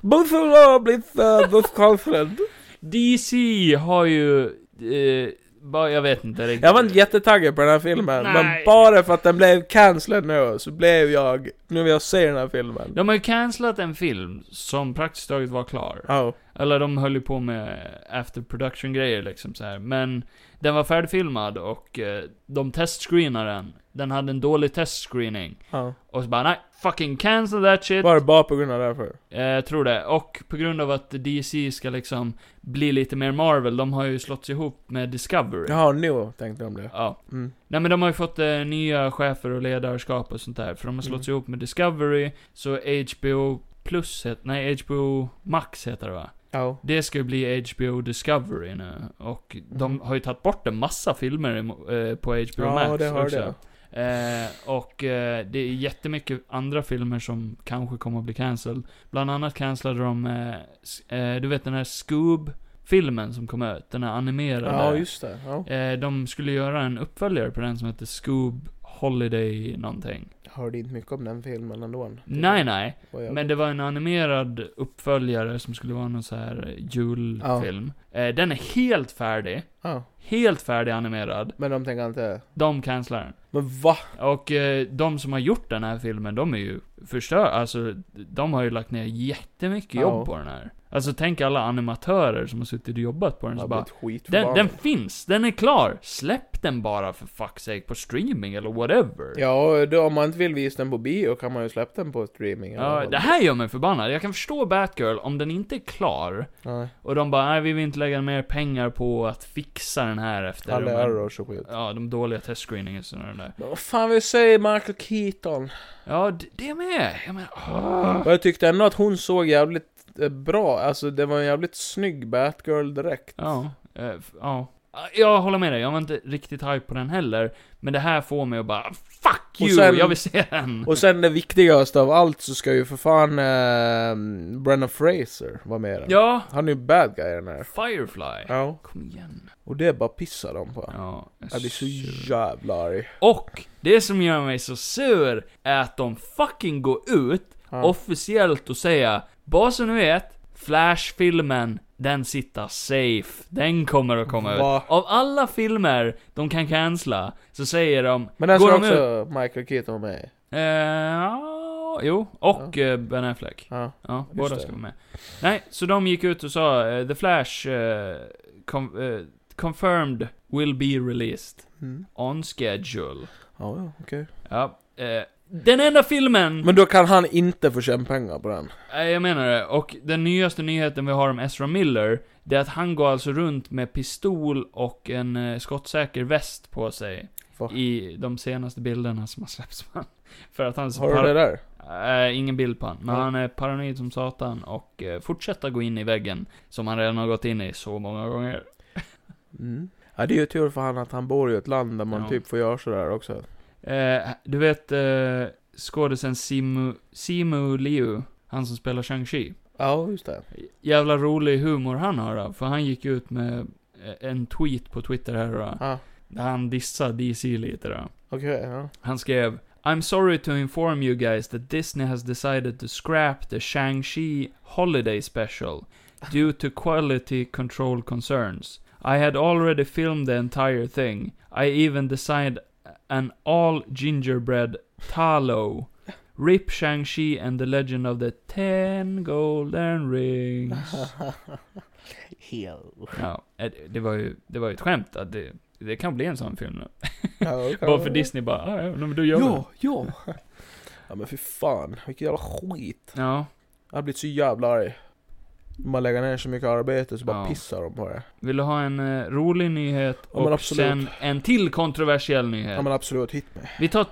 Speaker 1: Buffalo har blivit uh, buskkonsulent.
Speaker 2: DC har ju... Eh, bara, jag vet inte riktigt.
Speaker 1: Jag var inte jättetaggad på den här filmen,
Speaker 2: Nej.
Speaker 1: men bara för att den blev cancelled nu så blev jag, nu vill jag se den här filmen.
Speaker 2: De har ju cancelat en film som praktiskt taget var klar.
Speaker 1: Ja.
Speaker 2: Eller de höll ju på med after production grejer liksom så här. Men den var färdigfilmad och eh, de testscreenade den. Den hade en dålig testscreening.
Speaker 1: ja.
Speaker 2: Och så bara nej, fucking cancel that shit.
Speaker 1: Var det bara på grund av det därför?
Speaker 2: Eh, jag tror det. Och på grund av att DC ska liksom bli lite mer Marvel, de har ju slått ihop med Discovery.
Speaker 1: Jaha, nu tänkte jag om det.
Speaker 2: Ja.
Speaker 1: Mm.
Speaker 2: Nej men de har ju fått eh, nya chefer och ledarskap och sånt där, för de har slått
Speaker 1: Mm.
Speaker 2: ihop med Discovery, så HBO Plus heter, nej HBO Max heter det va?
Speaker 1: Ja.
Speaker 2: Det ska ju bli HBO Discovery nu, och de
Speaker 1: Mhm.
Speaker 2: har ju tagit bort en massa filmer emo- eh, på HBO
Speaker 1: Ja,
Speaker 2: Max
Speaker 1: det hörde
Speaker 2: också.
Speaker 1: jag.
Speaker 2: Eh, och eh, det är jättemycket andra filmer som kanske kommer att bli cancelled. Bland annat cancellade de, eh, s- eh, du vet den här Scoob-filmen som kom ut, den här animerade.
Speaker 1: Ja, just det. Ja.
Speaker 2: eh, de skulle göra en uppföljare på den som heter Scoob Holiday någonting.
Speaker 1: Jag hörde inte mycket om den filmen ändå.
Speaker 2: Nej, nej.
Speaker 1: Vad jag-
Speaker 2: Men det var en animerad uppföljare som skulle vara någon så här julfilm. Eh, den är helt färdig.
Speaker 1: Ja.
Speaker 2: Helt färdig animerad.
Speaker 1: Men de tänker inte...
Speaker 2: De cancelar den.
Speaker 1: Men va?
Speaker 2: Och eh, de som har gjort den här filmen, de är ju förstör, alltså de har ju lagt ner jättemycket jobb
Speaker 1: Ja.
Speaker 2: på den här. Alltså tänk alla animatörer som har suttit och jobbat på den så
Speaker 1: Jag
Speaker 2: bara,
Speaker 1: har blivit skitförbannad.
Speaker 2: den, den finns, den är klar! Släpp den bara för fuck's sake på streaming eller whatever.
Speaker 1: Ja, då, om man inte vill visa den på bio kan man ju släppa den på streaming. eller
Speaker 2: Ja,
Speaker 1: vad.
Speaker 2: det här gör mig förbannad. Jag kan förstå Batgirl om den inte är klar
Speaker 1: Nej.
Speaker 2: och de bara, nej vi vill inte lägga mer pengar på att fixa den här efter.
Speaker 1: Alla
Speaker 2: de här-
Speaker 1: errors och skit.
Speaker 2: Ja, de dåliga testscreeningarna och den där.
Speaker 1: Men vad fan vill säga Michael Keaton?
Speaker 2: Ja, det, det med! Jag menar, ah. åh.
Speaker 1: Och jag tyckte ändå att hon såg jävligt eh, bra. Alltså, det var en jävligt snygg Batgirl direkt.
Speaker 2: Ja, eh, f- ja. Ah, Jag håller med dig, jag var inte riktigt hype på den heller. Men det här får mig att bara
Speaker 1: Och
Speaker 2: 'Fuck you!
Speaker 1: sen-
Speaker 2: jag vill se den!'
Speaker 1: Och sen det viktigaste av allt så ska ju för fan eh, Brenna Fraser vara med i den.
Speaker 2: Ja,
Speaker 1: Han är ju bad guy i den här.
Speaker 2: Firefly.
Speaker 1: Ja.
Speaker 2: Kom igen.
Speaker 1: Och det bara pissar de på.
Speaker 2: Ja, jag är
Speaker 1: Jag blir så
Speaker 2: sur.
Speaker 1: jävla arg.
Speaker 2: Och, det som gör mig så sur är att de fucking går ut
Speaker 1: Ja.
Speaker 2: officiellt och säger 'Bara så ni vet, Flash-filmen, den sitter safe. Den kommer att komma
Speaker 1: Va?
Speaker 2: ut. Av alla filmer de kan cancella, så säger de
Speaker 1: Men den
Speaker 2: Går
Speaker 1: ska
Speaker 2: de
Speaker 1: också Michael Keaton med i.
Speaker 2: Eh, ja, jo, och eh, Ben Affleck.
Speaker 1: Ja.
Speaker 2: Ja,
Speaker 1: Just
Speaker 2: båda
Speaker 1: det.
Speaker 2: ska vara med. Nej, så de gick ut och sa eh, The Flash eh, com- eh, confirmed will be released
Speaker 1: Mm.
Speaker 2: on schedule.
Speaker 1: Ja, ja, okej.
Speaker 2: Ja, eh, den enda filmen,
Speaker 1: Men då kan han inte få tjäna pengar på den.
Speaker 2: eh, jag menar det, och den nyaste nyheten vi har om Ezra Miller, det är att han går alltså runt med pistol och en eh, skottsäker väst på sig
Speaker 1: Va?
Speaker 2: i de senaste bilderna som har släppts på honom. För att han är så
Speaker 1: Har du
Speaker 2: par-
Speaker 1: det där?
Speaker 2: Eh, ingen bild på han, men
Speaker 1: Nej.
Speaker 2: han är paranoid som satan och eh, fortsätter gå in i väggen som han redan har gått in i så många gånger.
Speaker 1: Mm. Ja, det är ju tur för han att han bor i ett land där man
Speaker 2: Ja.
Speaker 1: typ får göra sådär också.
Speaker 2: Eh, du vet eh, skådisen Simu, Simu Liu, han som spelar Shang-Chi.
Speaker 1: Ja, just det.
Speaker 2: Jävla rolig humor han har då, för han gick ut med eh, en tweet på Twitter här då.
Speaker 1: Ah,
Speaker 2: Där han dissade DC lite då.
Speaker 1: Okej, ja.
Speaker 2: Han skrev I'm sorry to inform you guys that Disney has decided to scrap the Shang-Chi holiday special due to quality control concerns. I had already filmed the entire thing. I even designed an all gingerbread talo. Rip Shang-Chi and the Legend of the Ten Golden Rings.
Speaker 1: Heel.
Speaker 2: Ja, eh, det var ju, det var ju ett skämt att det, det kan bli en sån film nu.
Speaker 1: Ja, okej.
Speaker 2: Bara för Disney bara, "Ah, ja, men då gör vi det."
Speaker 1: Ja, ja. Ja men fy fan, vilken jävla skit.
Speaker 2: Ja,
Speaker 1: Jag har blivit så jävla arg. Man lägger ner så mycket arbete så bara
Speaker 2: Ja.
Speaker 1: pissar de på det.
Speaker 2: Vill du ha en eh, rolig nyhet
Speaker 1: Ja, men
Speaker 2: och
Speaker 1: absolut.
Speaker 2: sen en till kontroversiell nyhet?
Speaker 1: Ja men absolut, hit mig.
Speaker 2: Vi tar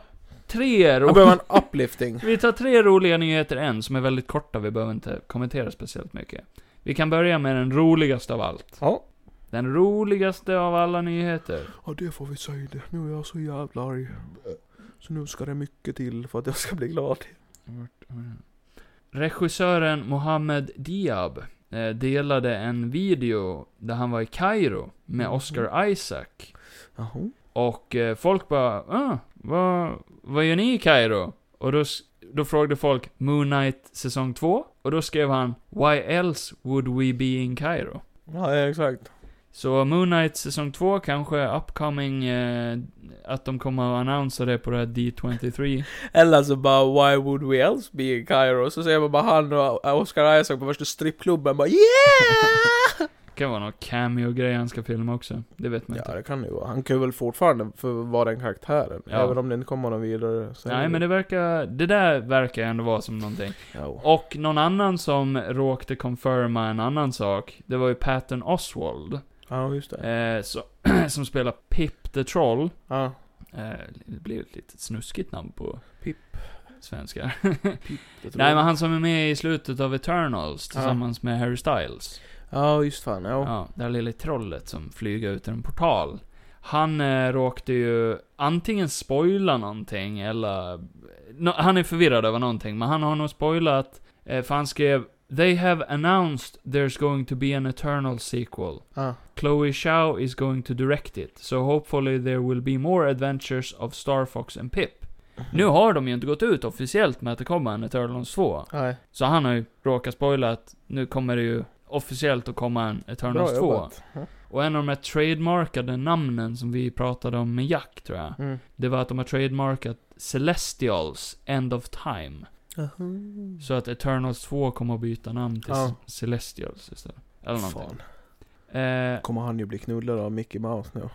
Speaker 2: tre
Speaker 1: Jag
Speaker 2: roliga...
Speaker 1: behöver en uplifting.
Speaker 2: Vi tar tre roliga nyheter än, som är väldigt korta, vi behöver inte kommentera speciellt mycket. Vi kan börja med den roligaste av allt.
Speaker 1: Ja.
Speaker 2: Den roligaste av alla nyheter.
Speaker 1: Ja det får vi säga det. Nu är jag så jävla arg. Så nu ska det mycket till för att jag ska bli glad.
Speaker 2: Regissören Mohammed Diab eh, delade en video där han var i Kairo med Oscar Isaac.
Speaker 1: Jaha.
Speaker 2: Och eh, folk bara ah, vad, vad gör ni i Kairo? Och då, s- då frågade folk Moon Knight säsong 2. Och då skrev han Why else would we be in Kairo?
Speaker 1: Ja exakt.
Speaker 2: Så Moon Knight säsong 2 kanske upcoming, eh, att de kommer att annonsera det på det här D23.
Speaker 1: Eller så bara why would we else be in Cairo? Så ser man bara han och Oscar Isaac på värsta strippklubben bara yeah!
Speaker 2: kan vara någon cameo-grej han ska filma också. Det vet man
Speaker 1: ja
Speaker 2: inte.
Speaker 1: det kan det ju vara. Han kan ju väl fortfarande för vara den karaktären.
Speaker 2: Ja.
Speaker 1: Även om det inte kommer någon vidare. så är
Speaker 2: Nej men det verkar, det där verkar ändå vara som någonting.
Speaker 1: Ja.
Speaker 2: Och någon annan som råkade confirma en annan sak, det var ju Patton Oswald.
Speaker 1: Ja just det.
Speaker 2: Eh, så, som spelar Pip the Troll.
Speaker 1: Ja.
Speaker 2: Eh, det blir ett litet snuskigt namn på
Speaker 1: Pip.
Speaker 2: svenska.
Speaker 1: det tror
Speaker 2: Nej
Speaker 1: jag.
Speaker 2: men han som är med i slutet av Eternals tillsammans med Harry Styles.
Speaker 1: Ja just fan, ja.
Speaker 2: Ja, det här lilla trollet som flyger ut ur en portal. Han eh, råkade ju antingen spoila någonting eller... nå- han är förvirrad över någonting, men han har nog spoilat, eh, för han skrev They have announced there's going to be an eternal sequel.
Speaker 1: ja.
Speaker 2: Chloe Zhao is going to direct it, so hopefully there will be more adventures of Star Fox and Pip. Nu har de ju inte gått ut officiellt med att det kommer en Eternals 2.
Speaker 1: Nej.
Speaker 2: Så han har ju råkat spoila att nu kommer det ju officiellt att komma en Eternals
Speaker 1: Bra
Speaker 2: 2.
Speaker 1: jobbat. Ja.
Speaker 2: Och en av de här trademarkade namnen som vi pratade om med Jack, tror jag.
Speaker 1: Mm.
Speaker 2: Det var att de har trademarkat Celestials End of Time. Så att Eternals 2 kommer att byta namn till
Speaker 1: Ja.
Speaker 2: Ce- Celestials istället. Eller någonting.
Speaker 1: Fan.
Speaker 2: Eh,
Speaker 1: Kommer han ju bli knullad av Mickey Mouse nu.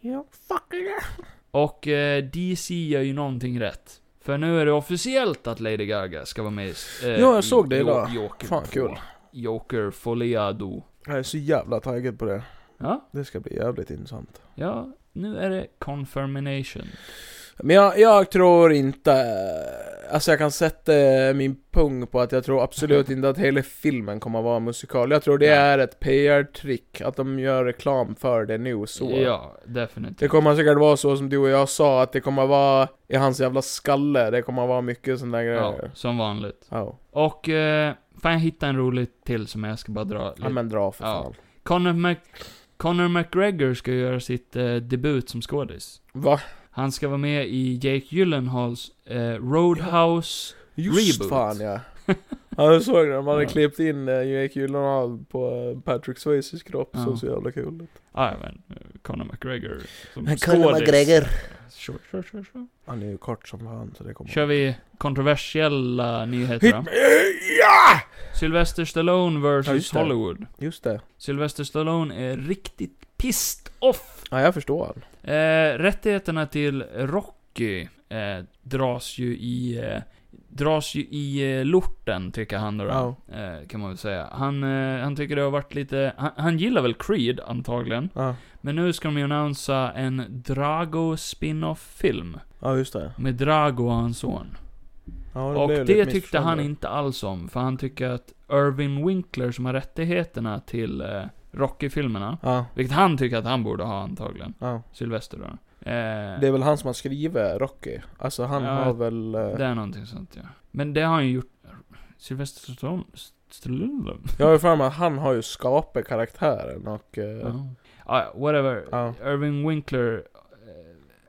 Speaker 1: Ja, fuck it.
Speaker 2: och eh, DC gör ju någonting rätt. För nu är det officiellt att Lady Gaga ska vara med i... Eh,
Speaker 1: Ja, jag
Speaker 2: i
Speaker 1: såg det
Speaker 2: Jo-
Speaker 1: idag.
Speaker 2: Joker
Speaker 1: Fan,
Speaker 2: 2.
Speaker 1: kul.
Speaker 2: Joker Foliado.
Speaker 1: Jag är så jävla taggad på det.
Speaker 2: Ja,
Speaker 1: Det ska bli jävligt intressant.
Speaker 2: Ja, nu är det confirmation.
Speaker 1: Men jag, jag tror inte... Alltså jag kan sätta min pung på att jag tror absolut inte att hela filmen kommer att vara musikal. Jag tror det
Speaker 2: Nej.
Speaker 1: är ett PR-trick, att de gör reklam för det nu så.
Speaker 2: Ja,
Speaker 1: Det
Speaker 2: definitivt.
Speaker 1: kommer säkert vara så som du och jag sa, att det kommer att vara i hans jävla skalle. Det kommer att vara mycket sådana där
Speaker 2: Ja,
Speaker 1: grejer.
Speaker 2: som vanligt.
Speaker 1: Ja.
Speaker 2: Och, eh, fan jag hittade en rolig till som jag ska bara dra
Speaker 1: Ja
Speaker 2: lite.
Speaker 1: men dra för
Speaker 2: Ja.
Speaker 1: fan.
Speaker 2: Conor, Mac Conor McGregor ska göra sitt eh, debut som skådis.
Speaker 1: Va?
Speaker 2: Han ska vara med i Jake Gyllenhaals eh, Roadhouse.
Speaker 1: Just
Speaker 2: Reboot.
Speaker 1: fan ja. Ja jag såg det, de hade
Speaker 2: Ja.
Speaker 1: klippt in eh, Jake Gyllenhaal på eh, Patrick Swayzes kropp,
Speaker 2: Ja.
Speaker 1: såg så jävla kul ut.
Speaker 2: Ah, ja, men eh, Conor McGregor som
Speaker 3: Conor
Speaker 2: skådis.
Speaker 3: McGregor.
Speaker 2: Sure, sure, sure, sure.
Speaker 1: Han är ju kort som han så det kommer...
Speaker 2: Kör vi kontroversiella nyheter
Speaker 1: Hit
Speaker 2: då?
Speaker 1: me! Ja!
Speaker 2: Sylvester Stallone
Speaker 1: Ja,
Speaker 2: vs.
Speaker 1: just det.
Speaker 2: Hollywood.
Speaker 1: Just det.
Speaker 2: Sylvester Stallone är riktigt pissed off.
Speaker 1: Ja jag förstår.
Speaker 2: Eh, rättigheterna till Rocky eh, dras ju i... Eh, dras ju i eh, lorten, tycker han då.
Speaker 1: Ja.
Speaker 2: Eh, kan man väl säga. Han, eh, han tycker det har varit lite... Han, han gillar väl Creed, antagligen.
Speaker 1: Ja.
Speaker 2: Men nu ska de ju annonsa en Drago spin-off-film.
Speaker 1: Ja just det.
Speaker 2: Med Drago och hans son.
Speaker 1: Ja,
Speaker 2: och
Speaker 1: blev
Speaker 2: det
Speaker 1: lite
Speaker 2: tyckte han
Speaker 1: missförstånd.
Speaker 2: inte alls om. För han tycker att Irvin Winkler, som har rättigheterna till eh, Rocky-filmerna,
Speaker 1: Ja.
Speaker 2: vilket han tycker att han borde ha antagligen.
Speaker 1: Ja.
Speaker 2: Sylvester då. Eh,
Speaker 1: Det är väl han som har skrivit Rocky? Alltså han
Speaker 2: Ja,
Speaker 1: har väl... eh,
Speaker 2: Det är någonting sånt ja. Men det har han ju gjort... Sylvester Stallone... Stallone?
Speaker 1: Jag har ju för mig att han har ju skapat karaktären och... eh,
Speaker 2: Ja. Ah, whatever.
Speaker 1: Ja.
Speaker 2: Irving Winkler. eh,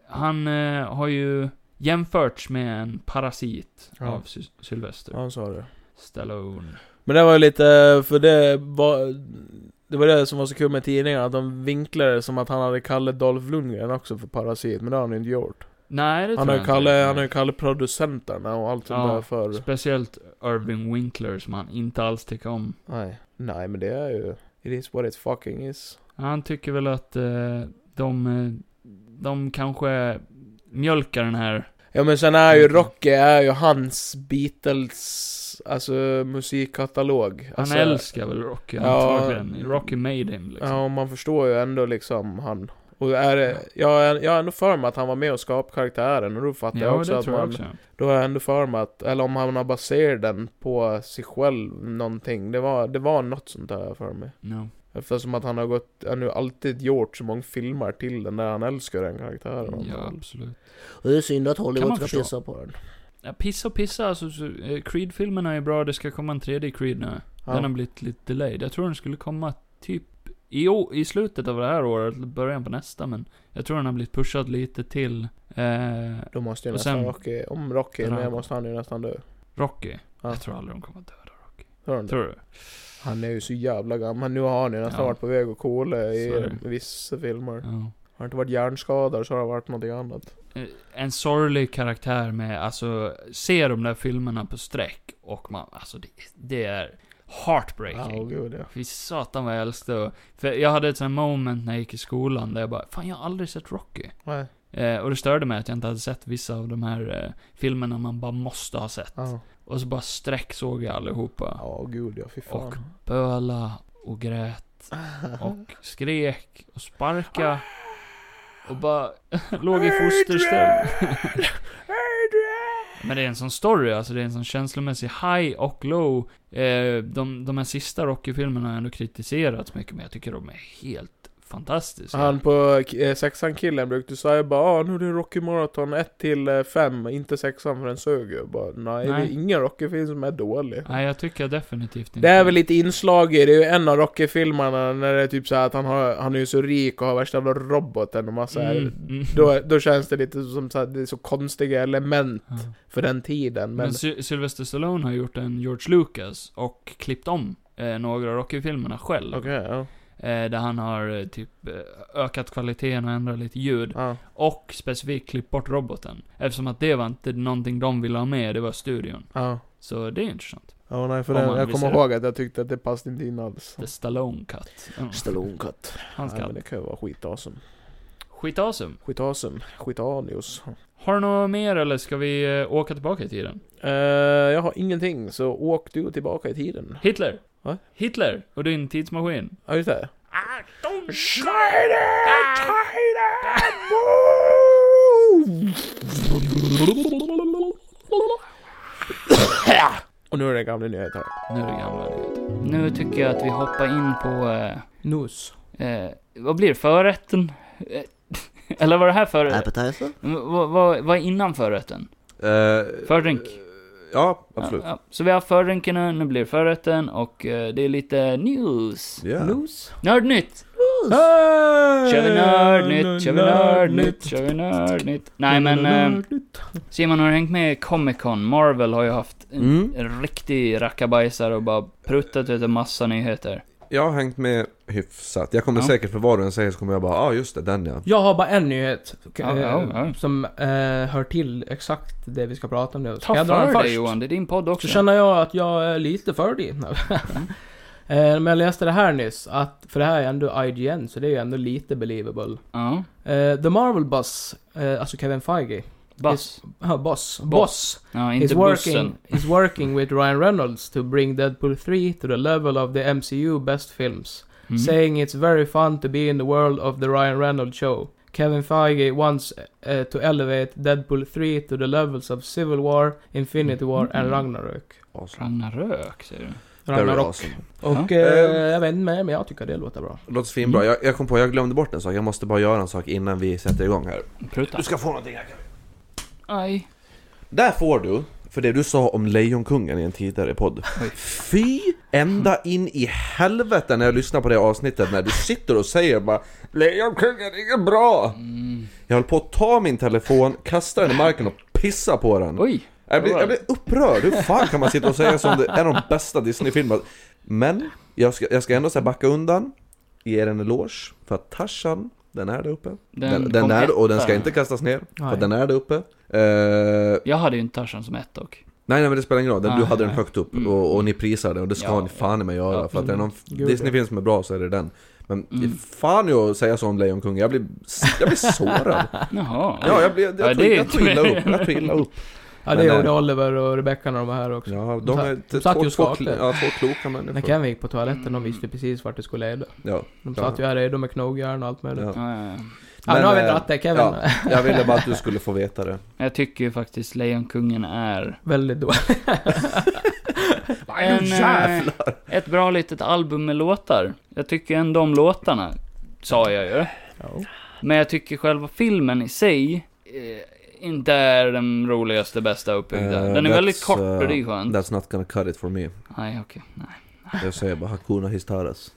Speaker 2: Han eh, har ju jämförts med en parasit
Speaker 1: Ja.
Speaker 2: av Sy- Sylvester
Speaker 1: Han sa det.
Speaker 2: Stallone.
Speaker 1: Men det var ju lite, för det var... Det var det som var så kul med tidningarna, att de vinklade det som att han hade kallat Dolph Lundgren också för parasit, men det har han ju inte gjort.
Speaker 2: Nej, det
Speaker 1: Han har
Speaker 2: tror jag
Speaker 1: ju
Speaker 2: inte.
Speaker 1: kallat, han har ju kallat producenterna och allt sånt
Speaker 2: Ja.
Speaker 1: där för...
Speaker 2: Speciellt Irving Winkler som han inte alls tycker om.
Speaker 1: Nej. Nej men det är ju... It is what it fucking is.
Speaker 2: Han tycker väl att eh, de, eh, de kanske mjölkar den här.
Speaker 1: Ja men sen är ju
Speaker 2: Mm.
Speaker 1: Rocky, är ju hans Beatles, alltså musikkatalog.
Speaker 2: Han
Speaker 1: Alltså,
Speaker 2: älskar väl Rocky
Speaker 1: Ja.
Speaker 2: antagligen. Rocky made him liksom.
Speaker 1: Ja, och man förstår ju ändå liksom han. Och är det, jag, är, jag är ändå för mig att han var med och skapade karaktären och då fattar jag
Speaker 2: Ja,
Speaker 1: också
Speaker 2: det
Speaker 1: att
Speaker 2: tror jag
Speaker 1: man,
Speaker 2: också.
Speaker 1: Då är jag ändå för mig att, eller om han har baserat den på sig själv någonting. Det var, det var något sånt där för mig.
Speaker 2: No.
Speaker 1: Eftersom att han har gått, han har ju alltid gjort så många filmer till den där han älskar den karaktären.
Speaker 2: Ja, absolut.
Speaker 1: Och det är synd att
Speaker 2: Hollywood Kan man ska förstå.
Speaker 1: på den.
Speaker 2: Ja, pissa och pissa, alltså, så, eh, Creed-filmerna är bra, det ska komma en tredje Creed nu. Den har
Speaker 1: Ja.
Speaker 2: blivit lite delayed. Jag tror den skulle komma typ i, å- i slutet av det här året, eller början på nästa, men jag tror den har blivit pushad lite till eh,
Speaker 1: Då måste ju
Speaker 2: Och
Speaker 1: nästan
Speaker 2: sen-
Speaker 1: Rocky, om Rocky är
Speaker 2: Den här-
Speaker 1: med måste han ju nästan dö.
Speaker 2: Rocky.
Speaker 1: Ja.
Speaker 2: Jag tror aldrig de kommer att döda Rocky.
Speaker 1: Hör du inte?
Speaker 2: Tror du?
Speaker 1: Han är ju så jävla gammal, nu har han ju nästan
Speaker 2: Ja.
Speaker 1: varit på väg att kola
Speaker 2: Så är
Speaker 1: i
Speaker 2: det.
Speaker 1: vissa filmer.
Speaker 2: Ja.
Speaker 1: Har det inte varit hjärnskador så har det varit någonting annat.
Speaker 2: Eh, En sorglig karaktär med, alltså, se de där filmerna på sträck och man, alltså det, det är
Speaker 1: Ja,
Speaker 2: heartbreaking.
Speaker 1: åh gud ja.
Speaker 2: Fy satan vad jag älskade att- För jag hade ett sånt här moment när jag gick i skolan där jag bara, fan jag har aldrig sett Rocky.
Speaker 1: Nej,
Speaker 2: Eh, och det störde mig att jag inte hade sett vissa av de här eh, filmerna man bara måste ha sett.
Speaker 1: ja.
Speaker 2: Och så bara sträck såg jag allihopa.
Speaker 1: Ja, gud ja, fy fan.
Speaker 2: Och Böla och grät och skrek och sparka. Och bara låg i fosterställning. Men det är en sån story, alltså det är en sån känslomässig high och low. Eh, de, de här sista Rocky-filmerna har ändå kritiserats mycket, men jag tycker de är helt fantastiska.
Speaker 1: Han på eh, sexan killen brukade säga bara ah, nu är det Rocky Marathon 1 till 5, inte sexan för den sög ju. Bara, nej,
Speaker 2: Nej. Mm.
Speaker 1: det är ingen Rocky-film som är dålig.
Speaker 2: Nej, jag tycker definitivt inte.
Speaker 1: Det är väl lite inslag i, det är ju en av Rocky-filmerna när det är typ så här att han, har, han är ju så rik och har värsta jävla roboten och massa
Speaker 2: Mm, mm.
Speaker 1: då, då känns det lite som så här, det är så konstiga element
Speaker 2: Ja.
Speaker 1: för den tiden.
Speaker 2: Men
Speaker 1: Men,
Speaker 2: Sy- Sylvester Stallone har gjort en George Lucas och klippt om eh, några av Rocky-filmerna själv.
Speaker 1: okej, ja.
Speaker 2: Eh, där han har eh, typ eh, ökat kvaliteten och ändrat lite ljud.
Speaker 1: ja.
Speaker 2: Och specifikt klippt bort roboten. Eftersom att det var inte någonting de ville ha med, det var studion.
Speaker 1: Ja.
Speaker 2: Så det är intressant.
Speaker 1: Ja, nej, för
Speaker 2: Om
Speaker 1: den,
Speaker 2: man
Speaker 1: jag
Speaker 2: vill
Speaker 1: kommer
Speaker 2: se det.
Speaker 1: ihåg att jag tyckte att det passade inte in alls.
Speaker 2: The Stallone Cut. Mm.
Speaker 1: Stallone cut.
Speaker 2: Han
Speaker 1: Nej,
Speaker 2: ska.
Speaker 1: men det kan ju vara skitawesome.
Speaker 2: Skitawesome.
Speaker 1: Skitawesome. Skitanius.
Speaker 2: Har du något mer eller ska vi eh, åka tillbaka i tiden?
Speaker 1: Uh, jag har ingenting, så åk du tillbaka i tiden.
Speaker 2: Hitler!
Speaker 1: Va?
Speaker 2: Hitler och din tidsmaskin.
Speaker 1: Ja, just det. Och nu är det gamla nyheter.
Speaker 2: Nu är det gamla Nu tycker jag att vi hoppar in på,
Speaker 1: Nus.
Speaker 2: eh, vad blir det, förrätten? Eh, Eller var det här förrätten?
Speaker 3: Appetizer?
Speaker 2: Vad, vad, vad är innan förrätten? Fördrink.
Speaker 3: Eh, Ja, absolut.
Speaker 2: Ja, ja. så vi har fördrinken nu, nu blir det förrätten och eh, det är lite news.
Speaker 3: Ja.
Speaker 1: Nus.
Speaker 2: Nördnytt! Kör vi nördnytt, kör vi nördnytt, kör vi nördnytt. Nej men, eh, Simon har du hängt med i Comic Con? Marvel har ju haft en,
Speaker 3: Mm.
Speaker 2: en riktig rackabajsare och bara pruttat ut en massa nyheter.
Speaker 3: Jag har hängt med hyfsat. Jag kommer
Speaker 2: Ja.
Speaker 3: säkert för vad du än säger så kommer jag bara, ja ah, just det, den ja.
Speaker 4: Jag har bara en nyhet eh,
Speaker 2: Ja, ja, ja.
Speaker 4: som eh, hör till exakt det vi ska prata om nu. Ska
Speaker 2: Ta
Speaker 4: jag dra den
Speaker 2: för dig
Speaker 4: först?
Speaker 2: Johan, det är din podd också.
Speaker 4: Så känner jag att jag är lite för dig. Eh, Men jag läste det här nyss, att, för det här är ändå IGN, så det är ju ändå lite believable.
Speaker 2: Ja.
Speaker 4: Eh, The Marvel Boss, eh, alltså Kevin Feige,
Speaker 2: Bass.
Speaker 4: ja, boss, boss,
Speaker 2: Ja,
Speaker 4: is,
Speaker 2: inte
Speaker 4: working,
Speaker 2: bussen.
Speaker 4: is working with Ryan Reynolds to bring Deadpool 3 to the level of the MCU best films.
Speaker 2: Mm.
Speaker 4: saying it's very fun to be in the world of the Ryan Reynolds show. Kevin Feige wants uh, to elevate Deadpool 3 to the levels of Civil War, Infinity War and
Speaker 2: Mhm.
Speaker 4: Ragnarök.
Speaker 3: Awesome.
Speaker 2: Ragnarök, säger du.
Speaker 3: Mm. Very
Speaker 4: Ragnarok.
Speaker 3: awesome.
Speaker 4: Och
Speaker 3: Ja.
Speaker 4: eh,
Speaker 3: Eh,
Speaker 4: jag vet inte mer, men jag tycker det låter bra.
Speaker 3: Låter svinbra. Jag, jag kom på, jag glömde bort en sak. Jag måste bara göra en sak innan vi sätter igång här.
Speaker 2: Pruta.
Speaker 3: Du ska få någonting här.
Speaker 2: Aj.
Speaker 3: Där får du, för det du sa om Lejonkungen i en tidigare podd.
Speaker 2: Oj.
Speaker 3: Fy ända in i helvete när jag lyssnar på det avsnittet när du sitter och säger bara Lejonkungen är inget bra!
Speaker 2: Mm.
Speaker 3: Jag höll på att ta min telefon, kasta den i marken och pissa på den.
Speaker 2: Oj.
Speaker 3: Jag blir, jag blir upprörd, hur fan kan man sitta och säga som det är de bästa Disney-filmerna? Men jag ska, jag ska ändå så här backa undan, ge den en eloge, för att Tarzan, den är där uppe.
Speaker 2: Den,
Speaker 3: Den, den,
Speaker 2: kom
Speaker 3: är och den ska
Speaker 2: etta.
Speaker 3: inte kastas ner, för
Speaker 4: Nej.
Speaker 3: att den är där uppe. Eh,
Speaker 2: Jag hade ju inte Tarzan som ett dock.
Speaker 3: nej, nej men det spelar ingen roll, den, du
Speaker 2: Nej,
Speaker 3: hade den
Speaker 2: nej.
Speaker 3: högt upp
Speaker 2: Mm.
Speaker 3: och, och ni prisar den och det ska
Speaker 2: Ja.
Speaker 3: ni fan i mig göra.
Speaker 2: Ja.
Speaker 3: För att är det någon
Speaker 4: Gud,
Speaker 3: Disney-film som är bra så är det den. Men
Speaker 2: Mm.
Speaker 3: fan ju att säga så om Lejonkungen, jag blir, jag blir sårad.
Speaker 2: Jaha.
Speaker 3: ja, jag blir, jag,
Speaker 2: Ja,
Speaker 3: tog-
Speaker 2: det är
Speaker 3: jag tog illa
Speaker 2: inte-
Speaker 3: upp, jag tog illa upp.
Speaker 4: Ja,
Speaker 3: Men,
Speaker 4: det gjorde
Speaker 3: eh,
Speaker 4: Oliver och Rebecca när de var här också.
Speaker 3: Ja, de är
Speaker 4: satt- de satt
Speaker 3: två,
Speaker 4: ju och
Speaker 3: två,
Speaker 4: skakade.
Speaker 3: kl- ja, två kloka människor.
Speaker 4: När Kevin gick på toaletten, de visste ju precis vart det skulle leda.
Speaker 3: Ja,
Speaker 4: De
Speaker 3: Mm. Ja.
Speaker 4: satt ju här redo med knogjärn och allt möjligt. Ja,
Speaker 3: ja.
Speaker 2: Ja, ja, ja.
Speaker 4: nu har vi
Speaker 3: Men, eh,
Speaker 4: dratt det, Kevin.
Speaker 3: ja. Jag ville bara att du skulle få veta det.
Speaker 2: Jag tycker ju faktiskt Lejonkungen är...
Speaker 4: Väldigt dåligt.
Speaker 2: En, eh, ett bra litet album med låtar. Jag tycker ändå om låtarna, sa jag ju.
Speaker 4: Ja.
Speaker 2: Men jag tycker själva filmen i sig eh, inte är den roligaste, bästa uppbyggda.
Speaker 3: Eh,
Speaker 2: Den är
Speaker 3: that's,
Speaker 2: väldigt kort
Speaker 3: eh,
Speaker 2: och det är
Speaker 4: Mm.
Speaker 2: skönt.
Speaker 3: That's not gonna cut it for me.
Speaker 2: Nej, okej. Nej.
Speaker 3: Jag säger bara Hakuna Histaras.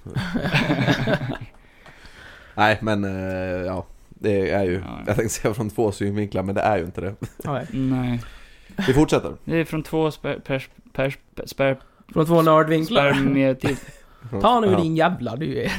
Speaker 3: Nej, men eh, ja. Det är ju,
Speaker 2: Ja, ja.
Speaker 3: jag tänkte säga från två synvinklar, men det är ju inte det.
Speaker 4: Nej.
Speaker 2: Nej.
Speaker 3: Vi fortsätter.
Speaker 2: Det är från två sper... Pers, pers, sper,
Speaker 4: Från två nördvinklar.
Speaker 2: spermietiv...
Speaker 4: Ta nu
Speaker 3: Ja.
Speaker 4: din jävla du är.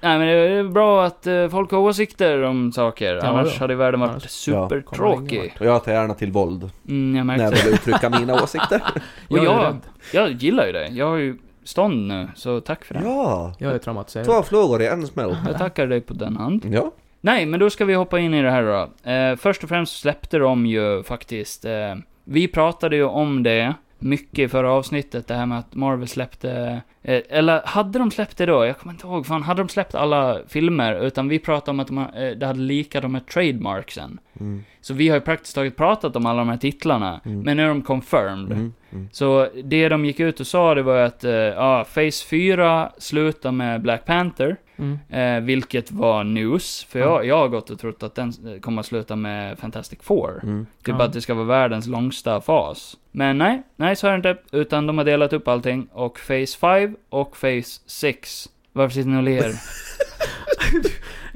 Speaker 2: Nej men det är bra att eh, folk har åsikter om saker,
Speaker 4: Ja,
Speaker 2: annars
Speaker 4: ja.
Speaker 2: hade världen varit
Speaker 4: Annars- Kommer
Speaker 2: supertråkig.
Speaker 4: ingen
Speaker 3: Och jag tar gärna till våld
Speaker 2: Mm, jag
Speaker 3: när jag
Speaker 2: märkte det.
Speaker 3: vill uttrycka mina åsikter.
Speaker 2: Och
Speaker 4: Jag är
Speaker 2: jag,
Speaker 4: rädd.
Speaker 2: jag gillar ju det. Jag har ju stånd nu, så tack för det.
Speaker 3: Ja!
Speaker 4: Jag är traumatiserad.
Speaker 3: Två flugor i en smäll.
Speaker 2: Jag tackar dig på den hand.
Speaker 3: Ja.
Speaker 2: Nej, men då ska vi hoppa in i det här då. Eh, först och främst släppte de ju faktiskt, eh, vi pratade ju om det mycket i förra avsnittet, det här med att Marvel släppte, eh, eller hade de släppt det då? Jag kommer inte ihåg, fan, hade de släppt alla filmer? Utan vi pratade om att de, eh, det hade lika de här trademarksen.
Speaker 3: Mm.
Speaker 2: Så vi har ju praktiskt taget pratat om alla de här titlarna,
Speaker 3: Mm.
Speaker 2: men nu är de confirmed.
Speaker 3: Mm. Mm.
Speaker 2: Så det de gick ut och sa det var ju att, eh, ja, Phase 4 slutar med Black Panther.
Speaker 4: Mm.
Speaker 2: Eh, vilket var news, för
Speaker 4: Mm.
Speaker 2: jag, jag har gått och trott att den eh, kommer att sluta med Fantastic Four.
Speaker 3: Mm.
Speaker 2: Typ
Speaker 4: Ja.
Speaker 2: att det ska vara världens längsta fas. Men nej, nej så är det inte. Utan de har delat upp allting och Phase 5 och Phase 6. Varför sitter ni och ler?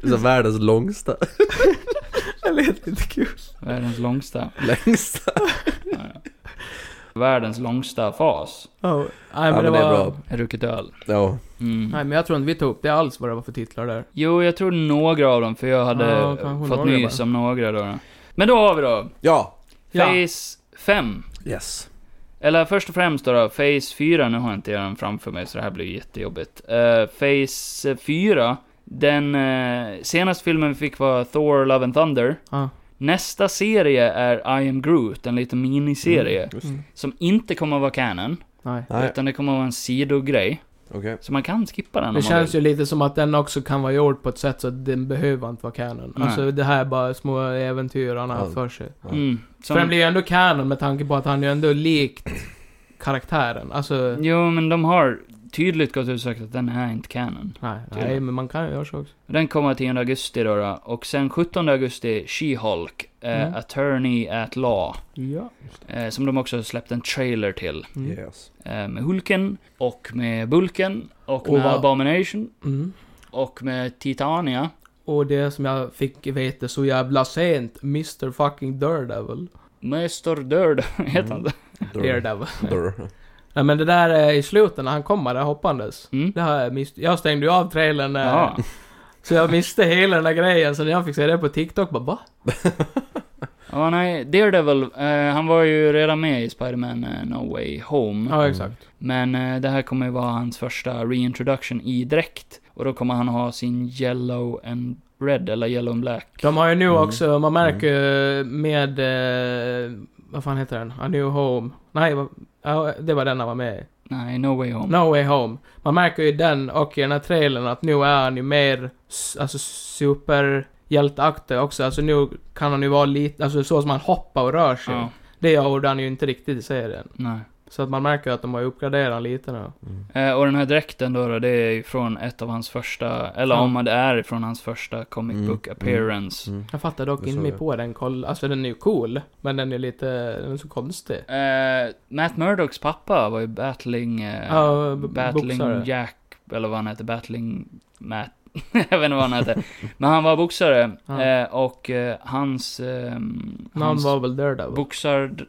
Speaker 3: Så världens långsta,
Speaker 4: Det lät inte kul.
Speaker 2: världens längsta.
Speaker 3: längsta.
Speaker 2: Ja, ja. Världens längsta fas.
Speaker 4: Ja. Nej, men
Speaker 3: men
Speaker 4: det
Speaker 3: det är
Speaker 4: var...
Speaker 3: bra.
Speaker 2: Rucket öl.
Speaker 3: Ja.
Speaker 2: Mm.
Speaker 4: Nej, men jag tror inte vi tog upp det alls vad det var för titlar där.
Speaker 2: Jo, jag tror några av dem, för jag hade
Speaker 4: Ja, kanske
Speaker 2: fått
Speaker 4: några
Speaker 2: nys om några då. Men då har vi då.
Speaker 3: Ja.
Speaker 4: Ja.
Speaker 2: Phase 5.
Speaker 3: Yes.
Speaker 2: Eller först och främst då, då Phase 4, nu har jag inte den framför mig så det här blir jättejobbigt. Uh, phase 4, den eh, senaste filmen vi fick var Thor Love and Thunder.
Speaker 4: Ja.
Speaker 2: Nästa serie är I am Groot, en liten miniserie.
Speaker 3: Just.
Speaker 4: Mm.
Speaker 2: Som inte kommer att vara canon,
Speaker 4: Nej.
Speaker 3: Nej,
Speaker 2: utan det kommer att vara en sidogrej.
Speaker 3: okej.
Speaker 2: Så man kan skippa den
Speaker 4: Det
Speaker 2: om man
Speaker 4: känns
Speaker 2: vill.
Speaker 4: ju lite som att den också kan vara gjord på ett sätt så att den behöver inte vara canon.
Speaker 2: Nej.
Speaker 4: Alltså det här är bara små äventyr han har
Speaker 3: Ja.
Speaker 4: för sig.
Speaker 2: Mm, som,
Speaker 4: För den blir ju ändå canon med tanke på att han ju ändå är likt karaktären. Alltså...
Speaker 2: Jo, men de har tydligt gått ut och sagt att den här är inte canon.
Speaker 4: Nej, nej,
Speaker 2: Tydligen.
Speaker 4: men man kan ju göra så också.
Speaker 2: Den kommer 10 augusti då, då och sen 17 augusti, She-Hulk, eh,
Speaker 4: Mm.
Speaker 2: Attorney at Law.
Speaker 4: Ja.
Speaker 2: Eh, som de också har släppt en trailer till.
Speaker 4: Mm.
Speaker 3: Yes.
Speaker 2: Eh, med Hulken, och med Bulken, och
Speaker 4: Och
Speaker 2: med
Speaker 4: vad-
Speaker 2: Abomination,
Speaker 4: Mm.
Speaker 2: och med Titania.
Speaker 4: Och det som jag fick veta så jävla sent, Mr fucking Daredevil.
Speaker 2: Mr. Dörd, heter
Speaker 4: Mm.
Speaker 2: han det?
Speaker 4: Daredevil.
Speaker 3: Dörr.
Speaker 4: Nej men det där eh, i slutet när han kommer där hoppandes.
Speaker 2: Mm.
Speaker 4: Det har jag miss- Jag stängde ju av trailern eh,
Speaker 2: Ja.
Speaker 4: Så jag miste hela den där grejen, så när jag fick se det på TikTok bara va?
Speaker 2: ja, nej, Daredevil, eh, han var ju redan med i Spider-Man eh, No Way Home.
Speaker 3: Mm.
Speaker 4: Ja exakt.
Speaker 2: Men eh, det här kommer ju vara hans första reintroduction i dräkt. Och då kommer han ha sin yellow and red, eller yellow and black.
Speaker 4: De har ju nu
Speaker 3: Mm.
Speaker 4: också, man märker ju med... Eh, vad fan heter den? A New Home. Nej, vad- ja, det var den han var med i.
Speaker 2: Nej, No Way Home.
Speaker 4: No Way Home. Man märker ju i den och i den här trailern att nu är han ju mer s- alltså, superhjälteaktig också. Alltså nu kan han ju vara lite, alltså så som han hoppar och rör sig.
Speaker 2: Ja,
Speaker 4: Det gjorde han ju inte riktigt i serien.
Speaker 2: nej.
Speaker 4: Så att man märker att de har uppgraderat lite nu.
Speaker 3: Mm.
Speaker 2: Eh, och den här dräkten då, då, det är ju från ett av hans första, eller
Speaker 4: Ja.
Speaker 2: om det är från hans första comic
Speaker 3: Mm,
Speaker 2: book
Speaker 3: mm.
Speaker 2: appearance.
Speaker 3: Mm.
Speaker 4: Jag fattar dock
Speaker 3: Det
Speaker 4: inte
Speaker 3: såg
Speaker 4: mig
Speaker 3: jag.
Speaker 4: på den koll. Alltså den är ju cool, men den är lite, den är så konstig.
Speaker 2: Eh, Matt Murdocks pappa var ju battling... Eh,
Speaker 4: Ja, b-
Speaker 2: battling
Speaker 4: boxare.
Speaker 2: Jack, eller vad han hette, battling Matt. jag vet inte vad han hette. Men han var boxare.
Speaker 4: Ja.
Speaker 2: Eh, och eh, hans... ehm,
Speaker 4: Någon
Speaker 2: hans
Speaker 4: var väl Daredevil?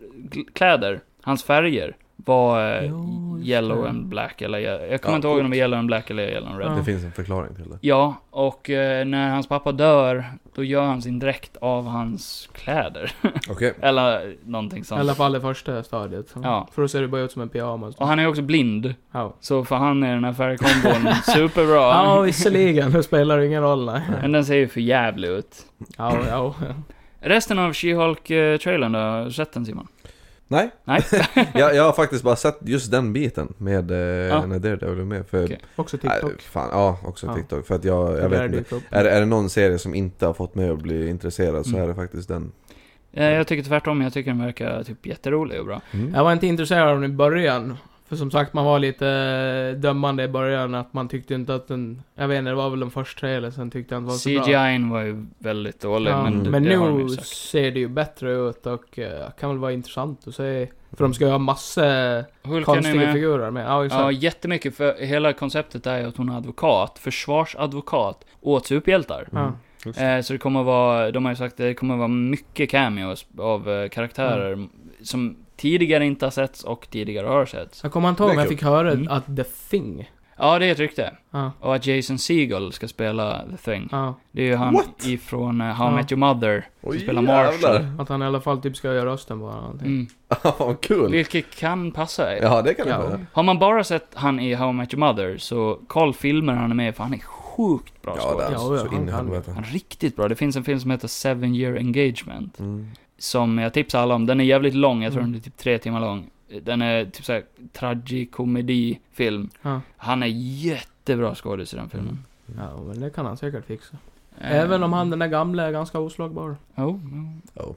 Speaker 2: boxarkläder, hans färger, var eh,
Speaker 4: Jo, just
Speaker 2: yellow
Speaker 4: det.
Speaker 2: and black, eller jag, jag kommer
Speaker 3: Ja,
Speaker 2: inte ihåg om
Speaker 3: coolt.
Speaker 2: det var yellow and black eller yellow and red.
Speaker 4: Ja.
Speaker 3: Det finns en förklaring till det.
Speaker 2: Ja, och eh, när hans pappa dör, då gör han sin dräkt av hans kläder.
Speaker 3: Okej.
Speaker 2: Eller någonting
Speaker 4: I
Speaker 2: sånt.
Speaker 4: alla fall i första stadiet.
Speaker 2: Ja.
Speaker 4: För då ser det bara ut som en pyjamas.
Speaker 2: Och han är också blind,
Speaker 4: Ja,
Speaker 2: så för han är den här färgkombon superbra.
Speaker 4: ja visserligen. Det spelar ingen roll, nej.
Speaker 2: Men den ser ju för jävlig ut.
Speaker 4: Ja, ja.
Speaker 2: Resten av She-Hulk-trailern då, har du sett den Simon?
Speaker 3: Nej.
Speaker 2: Nej.
Speaker 3: jag, jag har faktiskt bara sett just den biten med eh, när Daredevil är med. För,
Speaker 2: Okej.
Speaker 4: Också TikTok.
Speaker 3: nej, fan, ja, också
Speaker 4: Ja.
Speaker 3: TikTok. För att jag, jag
Speaker 4: Det där
Speaker 3: vet inte.
Speaker 4: dyker upp.
Speaker 3: Är, det- är det någon serie som inte har fått mig att bli intresserad så
Speaker 2: Mm.
Speaker 3: är det faktiskt den.
Speaker 2: Eh, jag tycker tvärtom, jag tycker den verkar typ jätterolig och bra.
Speaker 3: Mm.
Speaker 4: Jag var inte intresserad av den i början. För som sagt, man var lite eh, dömande i början. Att man tyckte inte att den... Jag vet inte, det var väl den första trailern, sen tyckte jag inte den var så bra.
Speaker 2: CGI var ju väldigt dålig,
Speaker 4: Ja,
Speaker 2: men, det,
Speaker 4: men
Speaker 2: det har de ju
Speaker 4: nu
Speaker 2: sagt.
Speaker 4: ser det ju bättre ut och eh, kan väl vara intressant att se. För
Speaker 3: Mm.
Speaker 4: de ska ju ha massa
Speaker 2: Hulken är
Speaker 4: konstiga
Speaker 2: med.
Speaker 4: figurer med. Ja, exakt.
Speaker 2: Ja, jättemycket, för hela konceptet är ju att hon är advokat, försvarsadvokat, åt superhjältar.
Speaker 4: Ja.
Speaker 2: Eh, så det kommer vara, de har ju sagt att det kommer vara mycket cameos av eh, karaktärer
Speaker 4: Mm.
Speaker 2: som tidigare inte har setts och tidigare har setts.
Speaker 4: Jag kommer inte ihåg
Speaker 3: Det är
Speaker 4: om jag
Speaker 3: kul.
Speaker 4: fick höra
Speaker 2: Mm.
Speaker 4: att The Thing...
Speaker 2: Ja, det är ett rykte.
Speaker 4: Ja,
Speaker 2: Och att Jason Segel ska spela The Thing.
Speaker 4: ja.
Speaker 2: Det är ju han
Speaker 3: What?
Speaker 2: ifrån eh, How I
Speaker 4: Ja.
Speaker 2: Met Your Mother.
Speaker 3: Oj,
Speaker 2: spelar Marshall.
Speaker 3: jävlar.
Speaker 4: Att han i alla fall typ ska göra rösten på honom, någonting.
Speaker 2: Mm.
Speaker 3: Ja, vad kul.
Speaker 2: Vilket kan passa.
Speaker 3: Ja, det kan jag
Speaker 4: Ja.
Speaker 3: göra.
Speaker 2: Har man bara sett han i How I Met Your Mother, så koll filmer han är med i, för han är sjukt bra
Speaker 3: Ja, det är
Speaker 2: skådespelare.
Speaker 4: Ja, ja,
Speaker 3: så
Speaker 4: han
Speaker 3: in i
Speaker 4: kan ju.
Speaker 3: helvete.
Speaker 2: Han är riktigt bra. Det finns en film som heter Seven Year Engagement.
Speaker 3: Mm.
Speaker 2: som jag tipsar alla om. Den är jävligt lång, jag tror
Speaker 4: Mm.
Speaker 2: den är typ tre timmar lång. Den är typ såhär tragikomedifilm.
Speaker 4: Ja.
Speaker 2: Han är jättebra skådis i den filmen.
Speaker 4: Ja, men det kan han säkert fixa.
Speaker 2: Eh,
Speaker 4: Mm. Även om han den där gamla är ganska oslagbar.
Speaker 2: Jo, jo.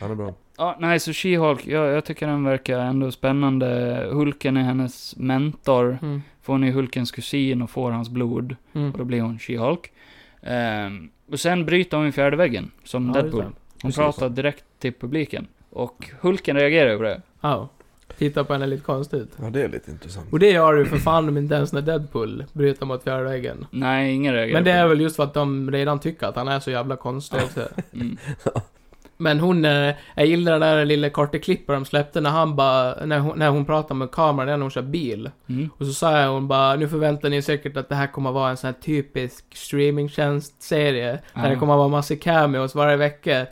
Speaker 3: Han är bra.
Speaker 2: Eh, oh, Ja, nej, så She-Hulk, jag, jag tycker den verkar ändå spännande. Hulken är hennes mentor.
Speaker 4: Mm.
Speaker 2: För hon är Hulkens kusin och får hans blod.
Speaker 4: Mm.
Speaker 2: Och då blir hon She-Hulk. Ehm, och sen bryter hon ju fjärde väggen, som
Speaker 4: Ja,
Speaker 2: Deadpool.
Speaker 4: just det.
Speaker 2: Hon
Speaker 3: Just det.
Speaker 2: pratar direkt till publiken. Och Hulken reagerar ju på det.
Speaker 4: Ja. Titta på henne lite konstigt.
Speaker 3: Ja, det är lite intressant.
Speaker 4: Och det gör du för fan om inte ens när Deadpool bryter mot fjärde väggen.
Speaker 2: Nej, ingen reagerar
Speaker 4: Men det
Speaker 2: på
Speaker 4: är väl just för att de redan tycker att han är så jävla konstig också.
Speaker 2: Mm.
Speaker 4: Men hon, eh, jag gillar den där lilla korta klippet de släppte när han bara, när hon, när hon pratar med kameran när hon kör bil.
Speaker 2: Mm.
Speaker 4: Och så sa jag hon bara, nu förväntar ni er säkert att det här kommer vara en sån här typisk streamingtjänst-serie. Där det
Speaker 2: Ah.
Speaker 4: kommer vara massa cameos varje vecka.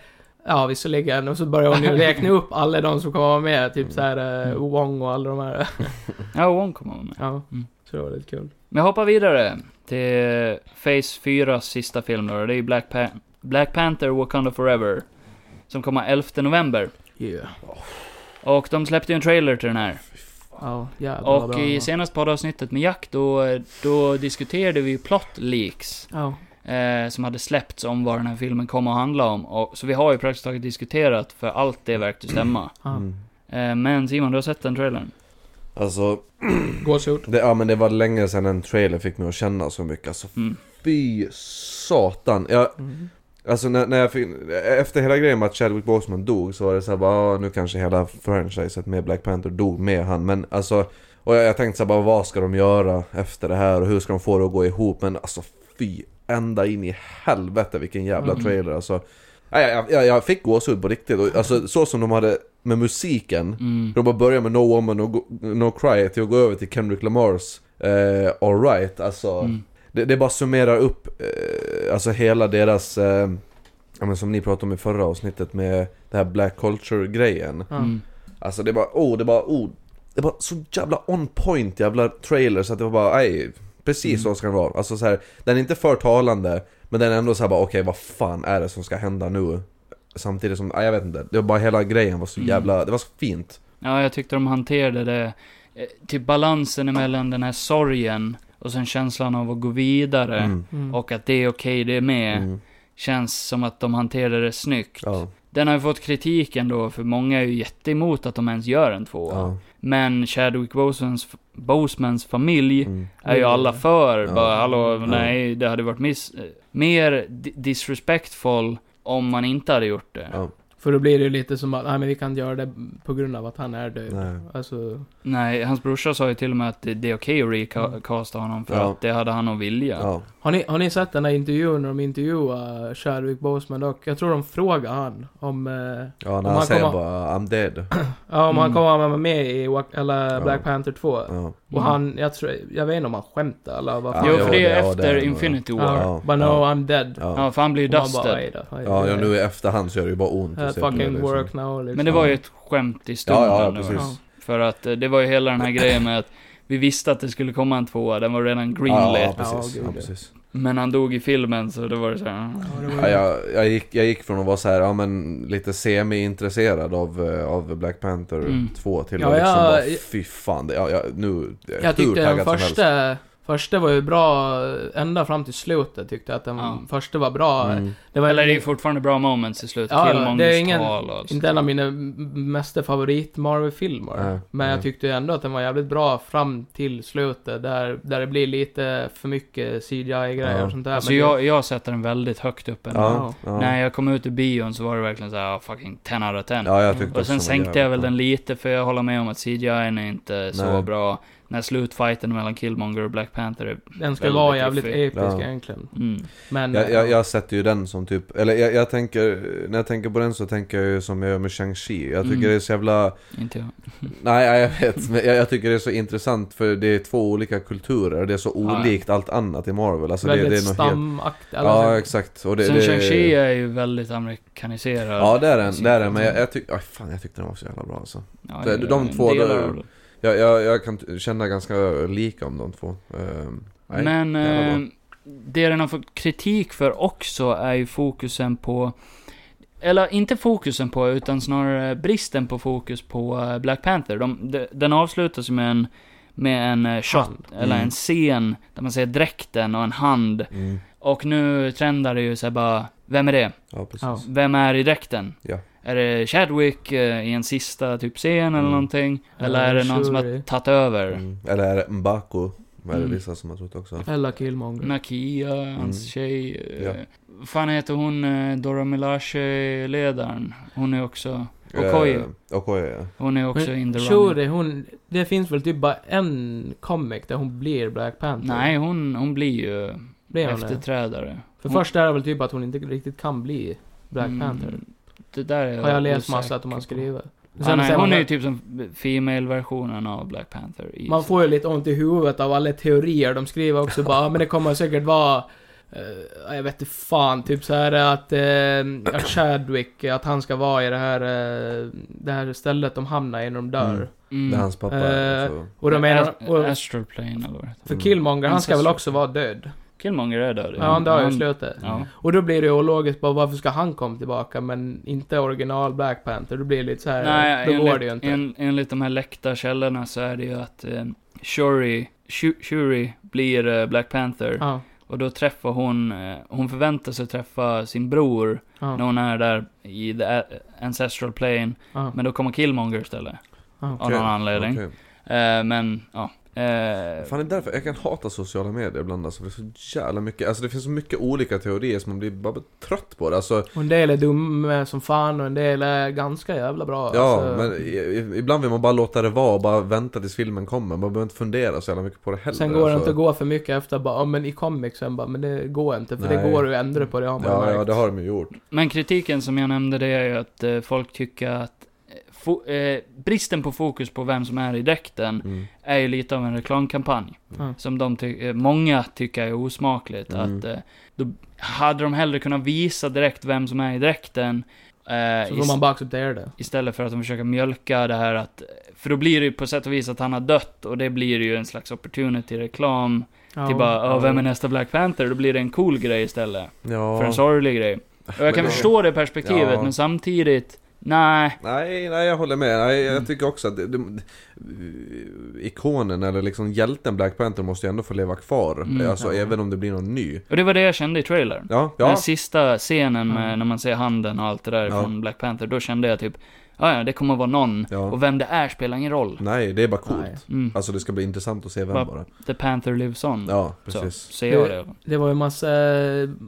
Speaker 4: Ja, visserligen. Och så börjar hon ju räkna upp alla de som kommer vara med. Typ så här eh, Wong och alla de här.
Speaker 2: Mm. Ja, Wong kommer vara med.
Speaker 4: Ja.
Speaker 2: Mm.
Speaker 4: Så det var lite kul.
Speaker 2: Men jag hoppar vidare till Phase 4 sista film då. Det är ju Black, Pan- Black Panther Wakanda Forever. Som kommer 11 november.
Speaker 4: Yeah.
Speaker 2: Och de släppte ju en trailer till den här.
Speaker 4: Ja, jävlar vad
Speaker 2: Och
Speaker 4: bra
Speaker 2: i
Speaker 4: han var.
Speaker 2: senaste poddavsnittet med Jack, då, då diskuterade vi ju plot leaks.
Speaker 4: Ja.
Speaker 2: Eh, som hade släppts om vad den här filmen kommer att handla om. Och, så vi har ju praktiskt taget diskuterat, för allt det verkar ju stämma.
Speaker 4: ja.
Speaker 3: Mm.
Speaker 2: Eh, men Simon, du har sett den trailern?
Speaker 3: Alltså,
Speaker 4: Gåshud.
Speaker 3: det, ja men det var länge sedan en trailer fick mig att känna så mycket. Alltså
Speaker 2: Mm.
Speaker 3: fy satan. Jag,
Speaker 4: Mm.
Speaker 3: alltså när, när jag fick, efter hela grejen med att Chadwick Boseman dog så var det såhär bara, ah, nu kanske hela franchiset med Black Panther dog med han. Men alltså, och jag, jag tänkte såhär bara, vad ska de göra efter det här och hur ska de få det att gå ihop? Men alltså fy, ända in i helvete vilken jävla
Speaker 2: Mm.
Speaker 3: trailer alltså. Nej, Jag, jag, jag fick gåshud på riktigt, och, alltså så som de hade med musiken.
Speaker 2: Mm.
Speaker 3: De bara börjar med No Woman, No, Go- no Cry till att gå över till Kendrick Lamars eh, Alright, alltså.
Speaker 2: Mm.
Speaker 3: Det, det bara summerar upp eh, alltså hela deras, eh, ja, men som ni pratade om i förra avsnittet med det här Black Culture-grejen.
Speaker 4: Ja.
Speaker 2: Mm.
Speaker 3: Alltså det bara, oh, det bara, oh. Det var så jävla on point jävla trailers att det var bara, nej.
Speaker 2: Mm.
Speaker 3: Precis så ska den vara. Alltså så här, den är inte förtalande, men den är ändå så här bara, okej vad fan är det som ska hända nu? Samtidigt som, nej jag vet inte. Det var bara hela grejen var så
Speaker 2: Mm.
Speaker 3: jävla, det var så fint.
Speaker 2: Ja, jag tyckte de hanterade det. eh, Typ balansen emellan den här sorgen och sen känslan av att gå vidare.
Speaker 3: Mm.
Speaker 4: Mm.
Speaker 2: Och att det är okej, det är med.
Speaker 3: Mm.
Speaker 2: känns som att de hanterade det snyggt.
Speaker 3: Ja.
Speaker 2: Den har ju fått kritik ändå, för många är ju jätteemot att de ens gör en tvåa.
Speaker 3: ja.
Speaker 2: Men Chadwick Bosmans, Bosmans familj
Speaker 3: Mm.
Speaker 2: är ju alla för.
Speaker 3: Ja.
Speaker 2: Bara hallå, nej, det hade varit miss... eh, Mer di- disrespectful om man inte hade gjort det.
Speaker 3: Ja.
Speaker 4: För då blir det ju lite som att, nej men vi kan inte göra det på grund av att han är död.
Speaker 3: Nej.
Speaker 4: Alltså,
Speaker 2: Nej, hans brorsa sa ju till och med att det, det är okej att recasta honom för
Speaker 3: Ja.
Speaker 2: att det hade han att vilja.
Speaker 3: Ja.
Speaker 4: har ni, har ni sett den här intervjun när de intervjuar Chadwick Boseman dock? Jag tror de frågar han om, eh,
Speaker 3: Ja, när
Speaker 4: han
Speaker 3: han säger
Speaker 4: kommer-
Speaker 3: bara 'I'm dead'
Speaker 4: ja, om han
Speaker 2: Mm.
Speaker 4: kommer vara med i Wa- eller
Speaker 3: Ja.
Speaker 4: Black Panther 2.
Speaker 3: ja.
Speaker 4: Och han, jag tror, jag vet inte om han skämtar eller vad
Speaker 3: Ja,
Speaker 2: Mm. Jo,
Speaker 3: ja,
Speaker 2: för det är
Speaker 3: ja,
Speaker 2: efter
Speaker 3: det är-
Speaker 2: Infinity War. Ja,
Speaker 4: Ja,
Speaker 3: Ja,
Speaker 4: but no,
Speaker 3: ja.
Speaker 4: I'm dead.
Speaker 3: Ja.
Speaker 2: för han blir ju
Speaker 4: Och man bara,
Speaker 2: dusted.
Speaker 4: "Ej då, ej då,
Speaker 3: Ja,
Speaker 4: ej
Speaker 3: ja,
Speaker 4: då."
Speaker 3: nu i efterhand så gör det ju bara ont
Speaker 4: Uh,
Speaker 3: att se på det,
Speaker 4: fucking
Speaker 3: liksom.
Speaker 4: work now liksom.
Speaker 2: Men det var ju ett skämt i stunden.
Speaker 3: Ja, ja,
Speaker 2: det var-
Speaker 3: precis.
Speaker 4: Ja.
Speaker 2: För att eh, det var ju hela den här grejen med att vi visste att det skulle komma en tvåa, den var redan greenlit.
Speaker 3: Ja, ja, precis.
Speaker 4: Ja,
Speaker 3: Ja,
Speaker 4: gud, ja.
Speaker 3: precis.
Speaker 2: Men han dog i filmen, så då var det så här. mm.
Speaker 4: Ja, det
Speaker 3: Ja,
Speaker 4: var ju-
Speaker 3: jag, jag, gick, jag gick från att vara så här, ja men lite semi-intresserad av, eh, av Black Panther
Speaker 2: Mm.
Speaker 3: 2 till
Speaker 4: Ja,
Speaker 3: att liksom
Speaker 4: jag-
Speaker 3: bara, fy fan, det- ja, jag, nu,
Speaker 4: Jag tyckte
Speaker 3: hur
Speaker 4: den
Speaker 3: taggad som helst.
Speaker 4: första, första var ju bra, ända fram till slutet tyckte jag att den
Speaker 2: Ja.
Speaker 4: första var bra.
Speaker 3: Mm.
Speaker 4: Det var
Speaker 2: "Ah." Eller det är ju fortfarande bra moments i slutet.
Speaker 4: Ja,
Speaker 2: Killmongers
Speaker 4: det är ingen-
Speaker 2: tal och
Speaker 4: inte en av mina m- mesta favorit Marvel-filmer.
Speaker 3: Nej,
Speaker 4: Men
Speaker 3: nej.
Speaker 4: jag tyckte ändå att den var jävligt bra fram till slutet, där, där det blir lite för mycket CGI-grejer
Speaker 3: Ja.
Speaker 4: och sånt där.
Speaker 2: Alltså
Speaker 4: men det-
Speaker 2: jag, jag sätter den väldigt högt upp ändå.
Speaker 3: Ja, ja.
Speaker 2: När jag kom ut ur bion så var det verkligen så här, ah, fucking 10 out of 10.
Speaker 3: ja, jag tyckte
Speaker 2: Och sen
Speaker 3: också
Speaker 2: sänkte jag väl den lite, för jag håller med om att CGI är inte så
Speaker 3: Nej.
Speaker 2: bra. När slutfighten mellan Killmonger och Black Panther är...
Speaker 4: den ska
Speaker 2: väldigt
Speaker 4: vara jävligt
Speaker 2: iffy.
Speaker 4: episk
Speaker 3: Ja.
Speaker 4: egentligen.
Speaker 2: Mm.
Speaker 4: Men...
Speaker 3: Jag, jag, jag sätter ju den som typ, eller jag, jag tänker, när jag tänker på den så tänker jag ju som jag gör med Shang-Chi. Jag tycker
Speaker 2: Mm.
Speaker 3: det är så jävla,
Speaker 2: Inte jag.
Speaker 3: Nej, ja, jag vet. Men jag, jag tycker det är så intressant för det är två olika kulturer och det är så
Speaker 2: ja.
Speaker 3: olikt allt annat i Marvel. Alltså det, det är
Speaker 4: väldigt
Speaker 3: något helt...
Speaker 4: stamaktigt.
Speaker 3: Ja, exakt. Och det,
Speaker 2: Sen
Speaker 3: det...
Speaker 2: Shang-Chi är ju väldigt amerikaniserad.
Speaker 3: Ja, det är den. Det är den. Men jag, jag tycker... Aj, fan, jag tyckte den var så jävla bra alltså.
Speaker 2: Ja,
Speaker 3: det-
Speaker 2: är
Speaker 3: de
Speaker 2: en
Speaker 3: två
Speaker 2: del
Speaker 3: där-
Speaker 2: av det.
Speaker 3: Jag, jag, jag kan t- känna ganska lika om de två. Ehm, nej.
Speaker 2: Men
Speaker 3: jävla
Speaker 2: eh,
Speaker 3: bra.
Speaker 2: det den har fått kritik för också är ju fokusen på... Eller inte fokusen på, utan snarare bristen på fokus på eh, Black Panther. De, de, den avslutas ju med en, med en eh, shot,
Speaker 4: Hand.
Speaker 2: eller
Speaker 3: Mm.
Speaker 2: en scen, där man ser dräkten och en hand.
Speaker 3: Mm.
Speaker 2: Och nu trendar det ju såhär bara, vem är det?
Speaker 3: Ja, precis.
Speaker 4: Ja.
Speaker 2: Vem är i dräkten?
Speaker 3: Ja.
Speaker 2: Är det Chadwick eh, i en sista typ scen eller
Speaker 3: Mm.
Speaker 2: någonting? Eller
Speaker 4: Ja,
Speaker 2: är det någon som
Speaker 4: Shuri.
Speaker 2: har tagit över?
Speaker 3: Mm. Eller är det Mbaku? Är det
Speaker 2: Mm.
Speaker 3: vissa som har trott också?
Speaker 4: Eller Killmonger.
Speaker 2: Nakia, hans
Speaker 3: Mm.
Speaker 2: tjej. eh,
Speaker 3: Ja.
Speaker 2: Vad fan heter hon? eh, Dora Milaje-ledaren. Hon är också... Okoye.
Speaker 3: Eh, Okoye, ja.
Speaker 2: Hon är också
Speaker 4: Men
Speaker 2: in the running.
Speaker 4: Shuri, hon... Det finns väl typ bara en comic där hon blir Black Panther?
Speaker 2: Nej, hon, hon blir ju
Speaker 4: blir hon det?
Speaker 2: efterträdare.
Speaker 4: För
Speaker 2: hon,
Speaker 4: först är det väl typ att hon inte riktigt kan bli Black
Speaker 2: Mm,
Speaker 4: Panther.
Speaker 2: Det där är
Speaker 4: Har jag läst
Speaker 2: osäker
Speaker 4: massa att de har
Speaker 2: på.
Speaker 4: skrivit.
Speaker 2: ja, nej,
Speaker 4: sen
Speaker 2: hon
Speaker 4: man-
Speaker 2: är ju typ som female-versionen av Black Panther. i
Speaker 4: Man
Speaker 2: sig.
Speaker 4: får ju lite ont i huvudet av alla teorier de skriver också bara, "Ja, men det kommer säkert vara... eh, jag vet inte fan, typ så här att, eh, att Chadwick, att han ska vara i det här, eh, det här stället de hamnar i när de dör.
Speaker 3: Mm.
Speaker 2: Mm.
Speaker 3: Det är hans pappa.
Speaker 4: Eh,
Speaker 3: så-
Speaker 4: Och de menar,
Speaker 2: Ast-
Speaker 4: och,
Speaker 2: Astral Plane eller vad det heter.
Speaker 4: för Killmonger, han ska väl också vara död?
Speaker 2: Killmonger är död.
Speaker 4: Ja, han dör i slutet.
Speaker 2: Mm. Ja.
Speaker 4: Och då blir det ju logiskt bara, varför ska han komma tillbaka men inte original Black Panther? Då blir det lite så här,
Speaker 2: Nej,
Speaker 4: då
Speaker 2: enligt,
Speaker 4: går det ju inte.
Speaker 2: En, enligt de här läckta källorna så är det ju att eh, Shuri, Shu- Shuri blir eh, Black Panther.
Speaker 4: ja,
Speaker 2: Och då träffar hon, eh, hon förväntar sig träffa sin bror
Speaker 4: ja,
Speaker 2: när hon är där i the A- ancestral plane.
Speaker 4: ja.
Speaker 2: Men då kommer Killmonger istället.
Speaker 4: Ja.
Speaker 2: Av
Speaker 3: Ah, Okej,
Speaker 2: någon anledning.
Speaker 3: okej.
Speaker 2: Eh, men, ja. Eh,
Speaker 3: Fan det är därför jag kan hata sociala medier ibland alltså, för det är så jävla mycket, alltså det finns så mycket olika teorier som man blir bara trött på det alltså,
Speaker 4: Och en del är dumma som fan och en del är ganska jävla bra.
Speaker 3: Ja,
Speaker 4: alltså.
Speaker 3: men i, i, ibland vill man bara låta det vara och bara vänta tills filmen kommer, man behöver inte fundera så jävla mycket på det heller
Speaker 4: Sen går det
Speaker 3: alltså.
Speaker 4: inte att gå för mycket efter bara, ja men i comicsen bara, men det går inte för
Speaker 3: Nej.
Speaker 4: det går att ändra på Mm. det har man
Speaker 3: Ja,
Speaker 4: märkt.
Speaker 3: ja det har de ju gjort.
Speaker 2: men kritiken som jag nämnde det är ju att eh, folk tycker att eh, fo- eh, bristen på fokus på vem som är i dräkten
Speaker 3: Mm.
Speaker 2: är ju lite av en reklamkampanj.
Speaker 4: Mm.
Speaker 2: Som de ty- eh, många tycker är osmakligt.
Speaker 3: Mm.
Speaker 2: Att, eh, då hade de hellre kunnat visa direkt vem som är i dräkten. Eh,
Speaker 4: Så
Speaker 2: ist-
Speaker 4: får man bara acceptera det.
Speaker 2: istället för att de försöker mjölka det här att... eh, För då blir det ju på sätt och vis att han har dött och det blir ju en slags opportunity-reklam.
Speaker 4: Ja.
Speaker 2: till bara,
Speaker 4: Ja.
Speaker 2: "Åh, vem är nästa Black Panther? Då blir det en cool grej istället.
Speaker 3: Ja.
Speaker 2: För en sorglig grej. Och jag kan
Speaker 3: Men det-
Speaker 2: förstå det perspektivet,
Speaker 3: Ja.
Speaker 2: men samtidigt... Nej.
Speaker 3: Nej, nej jag håller med. Nej,
Speaker 4: Mm.
Speaker 3: jag tycker också att det, det, ikonen eller liksom hjälten Black Panther måste ju ändå få leva kvar.
Speaker 2: Mm.
Speaker 3: alltså
Speaker 2: Ja.
Speaker 3: även om det blir någon ny.
Speaker 2: Och det var det jag kände i trailern.
Speaker 3: Ja,
Speaker 2: Den
Speaker 3: ja.
Speaker 2: sista scenen med,
Speaker 4: Mm.
Speaker 2: när man ser handen och allt det där
Speaker 3: Ja.
Speaker 2: från Black Panther, då kände jag typ, "Ja, ja, det kommer vara någon.
Speaker 3: Ja.
Speaker 2: Och vem det är spelar ingen roll.
Speaker 3: Nej, det är bara coolt.
Speaker 4: Nej.
Speaker 2: Mm.
Speaker 3: Alltså det ska bli intressant att se vem
Speaker 2: Va-
Speaker 3: bara.
Speaker 2: The Panther lives on.
Speaker 3: Ja,
Speaker 2: så
Speaker 3: precis.
Speaker 2: ser jag det.
Speaker 4: Det var ju massa...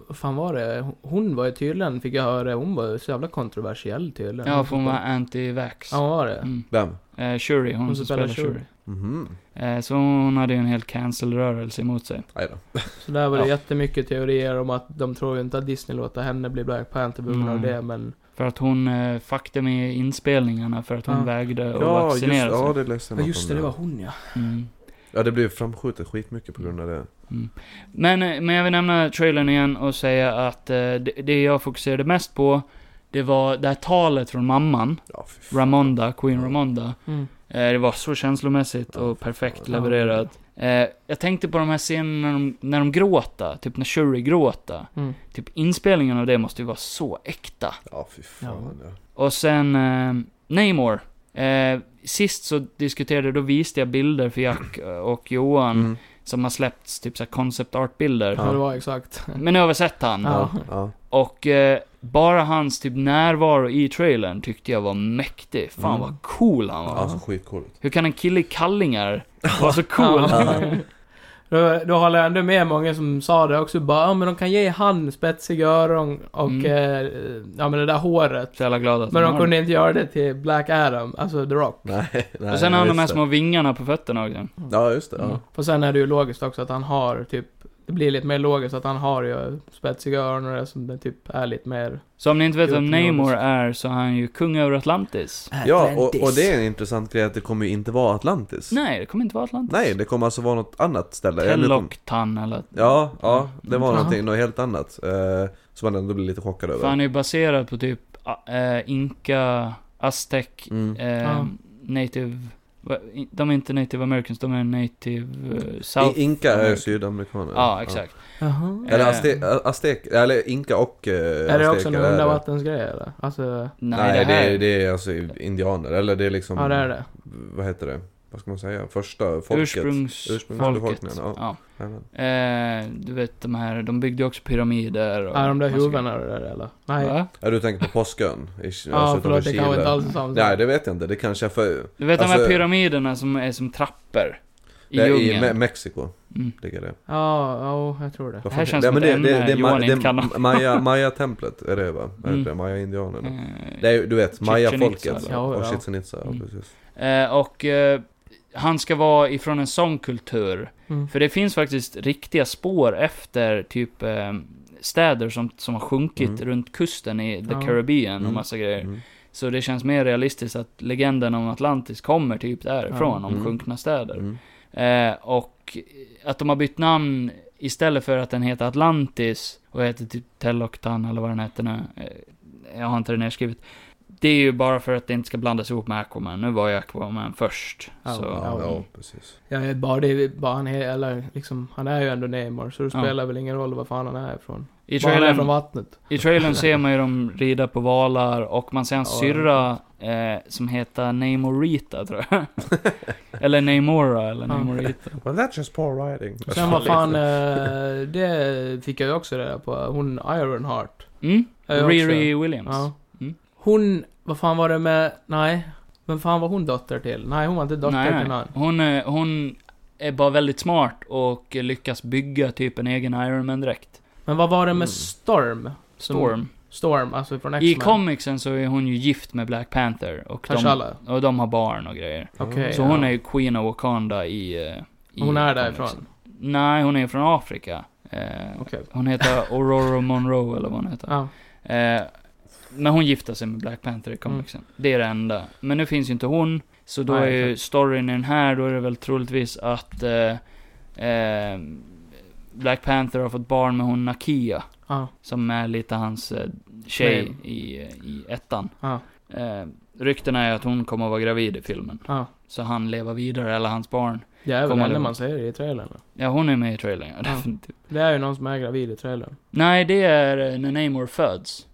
Speaker 4: Vad fan var det? Hon var ju tydligen, fick jag höra, hon var ju så jävla kontroversiell tydligen.
Speaker 2: Ja, för hon var anti-vax.
Speaker 4: Ja, hon var det.
Speaker 2: Mm.
Speaker 3: Vem?
Speaker 2: Eh, Shuri, hon, som spelar Shuri.
Speaker 3: Mhm.
Speaker 2: Eh, så hon hade ju en hel cancel-rörelse emot sig.
Speaker 3: Nej då.
Speaker 4: Så där var det
Speaker 2: Ja.
Speaker 4: jättemycket teorier om att de tror ju inte att Disney låter henne bli Black Panther på grund av
Speaker 3: Mm.
Speaker 2: Nej.
Speaker 4: det, men...
Speaker 2: För att hon eh, fuckade med inspelningarna för att hon
Speaker 4: Ja.
Speaker 2: vägde att
Speaker 3: Ja, just,
Speaker 2: vaccinera sig.
Speaker 3: ja, det läste jag
Speaker 4: Ja
Speaker 3: något
Speaker 4: just
Speaker 3: om
Speaker 4: det, det var hon ja.
Speaker 2: Mm.
Speaker 3: Ja, det blev framskjutet skitmycket på grund av det.
Speaker 2: Men, eh, men jag vill nämna trailern igen och säga att eh, det, det jag fokuserade mest på, det var det här talet från mamman,
Speaker 3: Ja, fy fan.
Speaker 2: Ramonda, Queen
Speaker 3: Ja.
Speaker 2: Ramonda.
Speaker 4: Mm.
Speaker 2: Eh, det var så känslomässigt och perfekt levererat. Eh, jag tänkte på de här scenerna när de, när de gråta, typ när Shuri gråta.
Speaker 4: Mm.
Speaker 2: Typ inspelningen av det måste ju vara så äkta.
Speaker 3: Ja, fy fan. Ja.
Speaker 2: Och sen eh, Namor. Eh, sist så diskuterade, då visade jag bilder för Jack eh, och Johan
Speaker 3: Mm.
Speaker 2: som har släppts, typ såhär concept art-bilder.
Speaker 4: Ja. Det var exakt.
Speaker 2: Men nu har vi sett han.
Speaker 3: Ja.
Speaker 4: Ja.
Speaker 3: Ja.
Speaker 2: Och eh, bara hans typ närvaro i trailern tyckte jag var mäktig. Fan
Speaker 3: Mm.
Speaker 2: vad cool han var.
Speaker 3: Alltså skitcoolt.
Speaker 2: Hur kan en kille i kallingar vara så cool?
Speaker 4: Ja. Då, då håller jag ändå med många som sa det också, bara ja, men de kan ge han spetsiga öron och
Speaker 2: Mm.
Speaker 4: eh, ja men det där håret.
Speaker 2: Så jävla
Speaker 3: Alltså,
Speaker 2: glad alltså. att
Speaker 4: Men
Speaker 2: han
Speaker 4: de
Speaker 2: har
Speaker 4: kunde inte göra det till Black Adam, alltså The Rock.
Speaker 3: Nej,
Speaker 2: det.
Speaker 3: nej.
Speaker 2: Och sen har han de
Speaker 3: just
Speaker 2: här
Speaker 3: det.
Speaker 2: små vingarna på fötterna också.
Speaker 3: Ja, just det.
Speaker 2: Mm.
Speaker 3: Ja.
Speaker 4: Och sen är det ju logiskt också att han har typ, det blir lite mer logiskt att han har ju spetsiga öron och det som det typ är lite mer...
Speaker 2: Så om ni inte vet
Speaker 4: Jo,
Speaker 2: vem
Speaker 4: det är
Speaker 2: Namor är så är han ju kung över Atlantis.
Speaker 3: Ja, och, och det är en intressant grej att det kommer ju inte vara Atlantis.
Speaker 2: Nej, det kommer inte vara Atlantis.
Speaker 3: Nej, det kommer alltså vara något annat ställe. Eller kom-
Speaker 2: Telloctan eller...
Speaker 3: Ja, ja, det var
Speaker 4: Jaha.
Speaker 3: någonting, något helt annat. Eh, som man ändå blir lite chockad
Speaker 2: För han
Speaker 3: över.
Speaker 2: är ju baserad på typ a- eh, Inka, Aztec,
Speaker 3: Mm.
Speaker 2: eh,
Speaker 4: Ja.
Speaker 2: Native... va- i- De är inte Native Americans, de är Native eh, South...
Speaker 3: I- Inka är
Speaker 2: America.
Speaker 3: sydamerikaner.
Speaker 2: ja, exakt.
Speaker 4: Jaha.
Speaker 3: Eller
Speaker 2: Eh,
Speaker 3: aztek, aztek, eller inka och eh,
Speaker 4: Är det också
Speaker 3: azteker,
Speaker 4: någon
Speaker 3: är det-
Speaker 4: undervattensgrej eller? Alltså,
Speaker 2: Nej,
Speaker 3: Nej, det,
Speaker 2: här...
Speaker 3: är, det är alltså indianer. Eller det är liksom...
Speaker 4: ja det är det.
Speaker 3: Vad heter det? Vad ska man säga? Första folket.
Speaker 2: Ursprungsfolket.
Speaker 3: Ursprungsbefolkningen, ja.
Speaker 2: Ja.
Speaker 3: Jajamän.
Speaker 2: Eh, du vet de här, de byggde ju också pyramider och...
Speaker 4: Är de där huvudena och det där eller? Nej.
Speaker 2: Va?
Speaker 3: Ja, du tänker på Påskön? I, alltså
Speaker 4: Ja,
Speaker 3: utanför
Speaker 4: förlåt, det kanske
Speaker 3: Chile.
Speaker 4: inte alls är samma
Speaker 3: Nej,
Speaker 4: sak.
Speaker 3: det vet jag inte. Det kanske är för...
Speaker 2: Du vet de här
Speaker 3: Alltså-
Speaker 2: pyramiderna som är som trappor? I
Speaker 3: det är I
Speaker 2: djungeln?
Speaker 3: Me- Mexiko
Speaker 2: Mm.
Speaker 3: ligger det.
Speaker 4: Ja, ja, jag tror det.
Speaker 3: Vad
Speaker 2: här
Speaker 3: fan-
Speaker 2: känns
Speaker 3: Nej,
Speaker 2: som
Speaker 3: men
Speaker 2: ett ämne Johan
Speaker 3: ma-
Speaker 2: inte kan ha.
Speaker 3: det- Maya, Maya-templet är det va? Är
Speaker 2: Mm.
Speaker 3: det Maya-indianerna?
Speaker 2: Eh,
Speaker 3: Mm. Det är ju, du vet,
Speaker 2: Chichen
Speaker 3: Maya-folket.
Speaker 2: Itza,
Speaker 4: eller? Ja,
Speaker 3: och
Speaker 4: ja.
Speaker 3: Chichen Itza, ja
Speaker 2: Mm.
Speaker 3: precis.
Speaker 2: Eh, och eh, han ska vara ifrån en sån kultur.
Speaker 4: Mm.
Speaker 2: För det finns faktiskt riktiga spår efter typ eh, städer som, som har sjunkit
Speaker 3: Mm.
Speaker 2: runt kusten i the
Speaker 4: Ja.
Speaker 2: Caribbean
Speaker 3: Mm.
Speaker 2: och massa grejer.
Speaker 3: Mm.
Speaker 2: Så det känns mer realistiskt att legenden om Atlantis kommer typ därifrån,
Speaker 3: Ja.
Speaker 2: om
Speaker 3: Mm.
Speaker 2: sjunkna städer.
Speaker 3: Mm.
Speaker 2: Eh, och att de har bytt namn istället för att den heter Atlantis och heter typ Telloctan eller vad den heter nu. Eh, jag har inte det nerskrivet. Det är ju bara för att det inte ska blandas ihop med Aquaman. Nu var ju Aquaman först.
Speaker 4: Ja.
Speaker 2: så.
Speaker 3: Ja,
Speaker 4: Ja.
Speaker 3: ja, precis.
Speaker 4: Ja, det är bara det är bara han är, eller liksom, han är ju ändå Neymar så det
Speaker 2: Ja.
Speaker 4: spelar väl ingen roll var fan han är ifrån.
Speaker 2: I,
Speaker 4: Bara han är från
Speaker 2: trailern,
Speaker 4: vattnet.
Speaker 2: I trailern ser man ju dem rida på valar och man ser hans
Speaker 4: Ja,
Speaker 2: syrra eh, som heter Namorita tror jag. eller Namora eller
Speaker 4: Ja.
Speaker 2: Namorita.
Speaker 3: Well that's just poor writing.
Speaker 4: Sen vad fan, eh, det fick jag ju också reda på. Hon Ironheart.
Speaker 2: Mm?
Speaker 4: är ju
Speaker 2: Riri Williams.
Speaker 4: Ja.
Speaker 2: Mm.
Speaker 4: Hon, vad fan var det med, nej. Vem fan var hon dotter till? Nej, hon var inte dotter
Speaker 2: Nej,
Speaker 4: till
Speaker 2: nej.
Speaker 4: någon.
Speaker 2: Hon, är, hon är bara väldigt smart och lyckas bygga typ en egen Iron Man-dräkt.
Speaker 4: Men vad var det med
Speaker 3: Mm.
Speaker 4: Storm? Som-
Speaker 2: Storm.
Speaker 4: Storm, alltså från
Speaker 2: I
Speaker 4: X-Men.
Speaker 2: comicsen så är hon ju gift med Black Panther. Och de,
Speaker 4: T'Challa.
Speaker 2: och de har barn och grejer.
Speaker 4: Okej,
Speaker 2: Så
Speaker 4: ja.
Speaker 2: hon är ju Queen of Wakanda i... eh, i
Speaker 4: Hon
Speaker 2: comicsen.
Speaker 4: är därifrån.
Speaker 2: Nej, hon är från Afrika. Eh,
Speaker 4: Okej.
Speaker 2: Hon heter Aurora Monroe eller vad hon heter.
Speaker 4: Ja.
Speaker 2: Eh, men hon gifter sig med Black Panther
Speaker 4: Mm.
Speaker 2: i comicsen. Det är det enda. Men nu finns ju inte hon. Så då
Speaker 4: Nej,
Speaker 2: är ju
Speaker 4: exakt.
Speaker 2: storyn i den här, då är det väl troligtvis att eh, eh, Black Panther har fått barn med hon Nakia.
Speaker 4: Ja.
Speaker 2: Som är lite hans eh, tjej
Speaker 4: Nej.
Speaker 2: i, i ettan.
Speaker 4: Ja.
Speaker 2: Eh, ryktena är att hon kommer att vara gravid i filmen.
Speaker 4: Ja.
Speaker 2: Så han lever vidare, eller hans barn.
Speaker 4: Det är väl
Speaker 2: Kommer
Speaker 4: det enda
Speaker 2: det-
Speaker 4: man säger i trailern.
Speaker 2: Ja, hon är med i trailern, ja,
Speaker 4: Ja.
Speaker 2: definitivt.
Speaker 4: Det är ju någon som är gravid i trailern.
Speaker 2: Nej, det är eh, när Namor föds.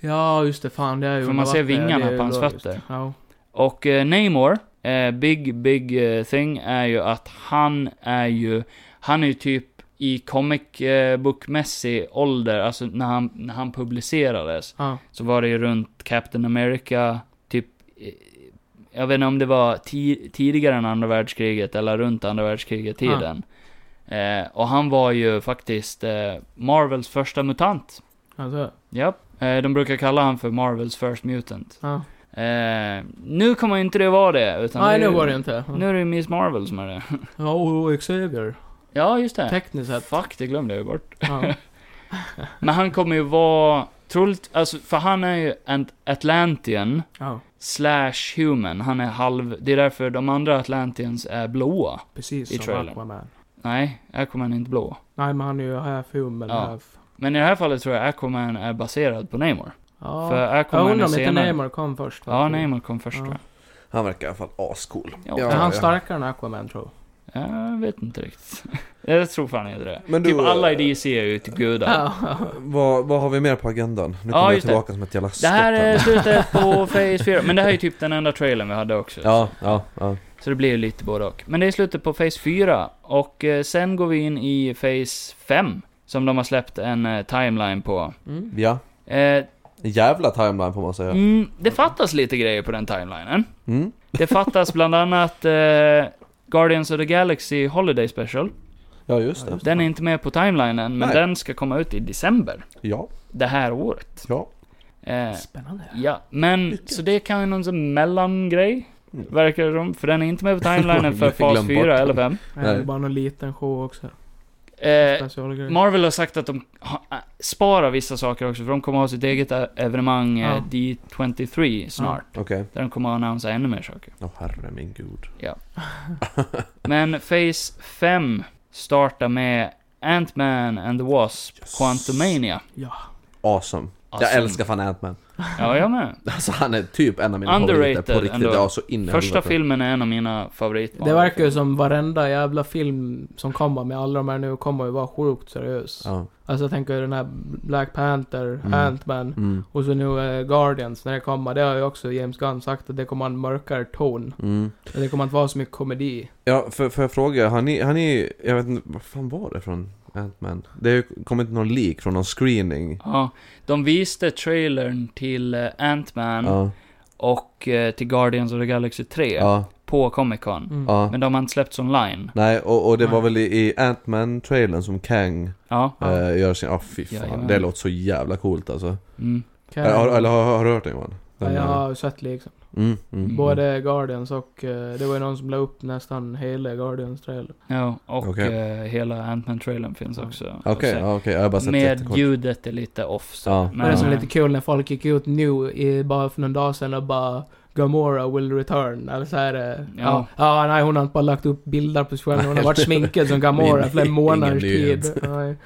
Speaker 4: Ja, just det. Fan, det är ju
Speaker 2: För man
Speaker 4: under
Speaker 2: ser
Speaker 4: vattnet, ja,
Speaker 2: vingarna
Speaker 4: det är
Speaker 2: på hans
Speaker 4: logiskt.
Speaker 2: fötter.
Speaker 4: Ja.
Speaker 2: Och eh, Namor, eh, big, big eh, thing, är ju att han är ju, han är ju typ i comic eh, book-mässig ålder, alltså när han, när han publicerades,
Speaker 4: Ja.
Speaker 2: så var det ju runt Captain America, typ, eh, jag vet inte om det var ti- tidigare än andra världskriget eller runt andra världskriget-tiden. Eh, och han var ju faktiskt eh, Marvels första mutant.
Speaker 4: Alltså,
Speaker 2: Japp. Eh, de brukar kalla han för Marvels first mutant.
Speaker 4: ja.
Speaker 2: Eh, nu kommer inte det vara det, utan
Speaker 4: Nej,
Speaker 2: är
Speaker 4: nu
Speaker 2: ju-
Speaker 4: var det inte.
Speaker 2: Nu är det ju Miss Marvel som är det.
Speaker 4: Ja, och Xavier.
Speaker 2: Ja, just det.
Speaker 4: Tekniskt sett.
Speaker 2: Fuck, det glömde jag ju bort.
Speaker 4: Ja.
Speaker 2: Men han kommer ju vara, troligt, alltså, för han är ju en Atlantian
Speaker 4: ja,
Speaker 2: slash human. Han är halv, det är därför de andra Atlantians är blåa.
Speaker 4: precis
Speaker 2: I
Speaker 4: som
Speaker 2: trailern.
Speaker 4: Aquaman.
Speaker 2: Nej, Aquaman är inte blå.
Speaker 4: Nej, men han är ju half human,
Speaker 2: Ja.
Speaker 4: half...
Speaker 2: Men i det här fallet tror jag Aquaman är baserad på Namor.
Speaker 4: Ja.
Speaker 2: För
Speaker 4: jag
Speaker 2: Aquaman
Speaker 4: undrar
Speaker 2: är
Speaker 4: om inte
Speaker 2: senare.
Speaker 4: Namor kom först.
Speaker 2: Ja,
Speaker 4: faktiskt.
Speaker 2: Namor kom först
Speaker 4: Ja.
Speaker 2: tror jag.
Speaker 3: Han verkar i alla fall ascool.
Speaker 2: Ja.
Speaker 4: Är han
Speaker 3: ja.
Speaker 4: starkare än Aquaman, tror
Speaker 2: Jag vet inte riktigt. jag tror fan inte det.
Speaker 3: Men
Speaker 2: typ
Speaker 3: du,
Speaker 2: alla i
Speaker 3: eh,
Speaker 2: DC är ju till gudar.
Speaker 4: Ja.
Speaker 3: Vad, vad har vi mer på agendan? Nu kommer jag
Speaker 2: just det.
Speaker 3: tillbaka som ett jävla skott
Speaker 2: Det här är
Speaker 3: här.
Speaker 2: slutet på Phase 4, men det här är ju typ den enda trailern vi hade också.
Speaker 3: Ja, ja, ja.
Speaker 2: Så det blir ju lite både och. Men det är slutet på Phase 4, och eh, sen går vi in i Phase 5, som de har släppt en eh, timeline på.
Speaker 4: Mm.
Speaker 3: ja.
Speaker 2: Eh,
Speaker 3: En jävla timeline får man säga.
Speaker 2: mm, det fattas lite grejer på den timelinen.
Speaker 3: Mm.
Speaker 2: Det fattas bland annat eh, Guardians of the Galaxy Holiday Special.
Speaker 3: Ja, just det.
Speaker 2: Den är inte med på timelinen, men
Speaker 3: Nej.
Speaker 2: den ska komma ut i december
Speaker 3: Ja,
Speaker 2: det här året.
Speaker 3: ja.
Speaker 2: Eh,
Speaker 4: Spännande.
Speaker 2: Ja, men så det kan ju någon sån mellangrej. Verkar det som. För den är inte med på timelinen för
Speaker 3: Mm. Jag
Speaker 2: fas
Speaker 3: glömde
Speaker 2: 4
Speaker 3: bort
Speaker 2: eller 5.
Speaker 4: Nej. Det är
Speaker 3: Nej.
Speaker 4: bara någon liten show också. Alltså,
Speaker 2: Eh,
Speaker 4: Specialgrej.
Speaker 2: Marvel har sagt att de ha, äh, sparar vissa saker också, för de kommer ha sitt eget ä- evenemang eh,
Speaker 4: Ja.
Speaker 2: D23 snart.
Speaker 3: Okej.
Speaker 2: Där de kommer att annonsera ännu mer saker.
Speaker 3: Åh herre min gud.
Speaker 2: Men Phase 5 startar med Ant-Man and the Wasp, Quantumania.
Speaker 3: Awesome. Jag
Speaker 2: Awesome.
Speaker 3: älskar fan Ant-Man.
Speaker 2: Ja, jag med.
Speaker 3: Alltså han är typ en av mina
Speaker 2: Underrated
Speaker 3: favoriter på riktigt.
Speaker 2: ändå.
Speaker 3: Ja, så in i
Speaker 2: Första
Speaker 3: helvete.
Speaker 2: filmen är en av mina favoriter.
Speaker 4: Det verkar ju som varenda jävla film som kommer med alla de här nu kommer ju vara sjukt seriös.
Speaker 3: Ja.
Speaker 4: Alltså jag tänker den här Black Panther,
Speaker 3: Mm.
Speaker 4: Ant-Man
Speaker 3: Mm.
Speaker 4: och så nu eh, Guardians när det kommer. Det har ju också James Gunn sagt att det kommer ha en mörkare ton.
Speaker 3: Mm.
Speaker 4: Det kommer inte vara så mycket komedi.
Speaker 3: Ja, för, för jag fråga, han är, han är, jag vet inte, vad fan var det från Ant-Man? Det har ju kommit någon leak från någon screening.
Speaker 2: Ja, de viste trailern till eh, Ant-Man
Speaker 3: Ja,
Speaker 2: och eh, till Guardians of the Galaxy 3
Speaker 3: ja,
Speaker 2: på Comic Con.
Speaker 4: Mm.
Speaker 3: ja.
Speaker 2: Men de har inte släppts online.
Speaker 3: Nej, och, och det var
Speaker 4: Nej.
Speaker 3: väl i, i Ant-Man-trailern som Kang
Speaker 2: Ja.
Speaker 4: Ja.
Speaker 3: eh, gör sin, ah fy fan.
Speaker 2: Jajamän.
Speaker 3: Det låter så jävla coolt alltså.
Speaker 2: Mm.
Speaker 4: Kan-
Speaker 3: Eller, har, eller har, har du hört det Johan?
Speaker 4: ja,
Speaker 3: Den,
Speaker 4: jag
Speaker 3: eh,
Speaker 4: har ju sett liksom.
Speaker 3: mm, mm, mm.
Speaker 4: Både Guardians och... eh, det var ju någon som la upp nästan hela Guardians-trailern.
Speaker 2: ja och
Speaker 3: Okej.
Speaker 2: eh, hela Ant-Man-trailern finns också.
Speaker 3: Okej, ja, okej, jag har bara sett
Speaker 2: Med
Speaker 3: jättekort.
Speaker 2: ljudet är lite off. Så. eh,
Speaker 3: Ja.
Speaker 4: Men det som är lite kul när folk gick ut nu, i, bara för någon dag sedan och bara Gamora will return, eller så här, eh,
Speaker 2: Ja.
Speaker 4: ja. ja. nej, hon har inte bara lagt upp bilder på sig själv, hon har varit sminkad som Gamora
Speaker 3: Ingen-
Speaker 4: för en månaders
Speaker 3: ingen nyhet.
Speaker 4: tid. Nej.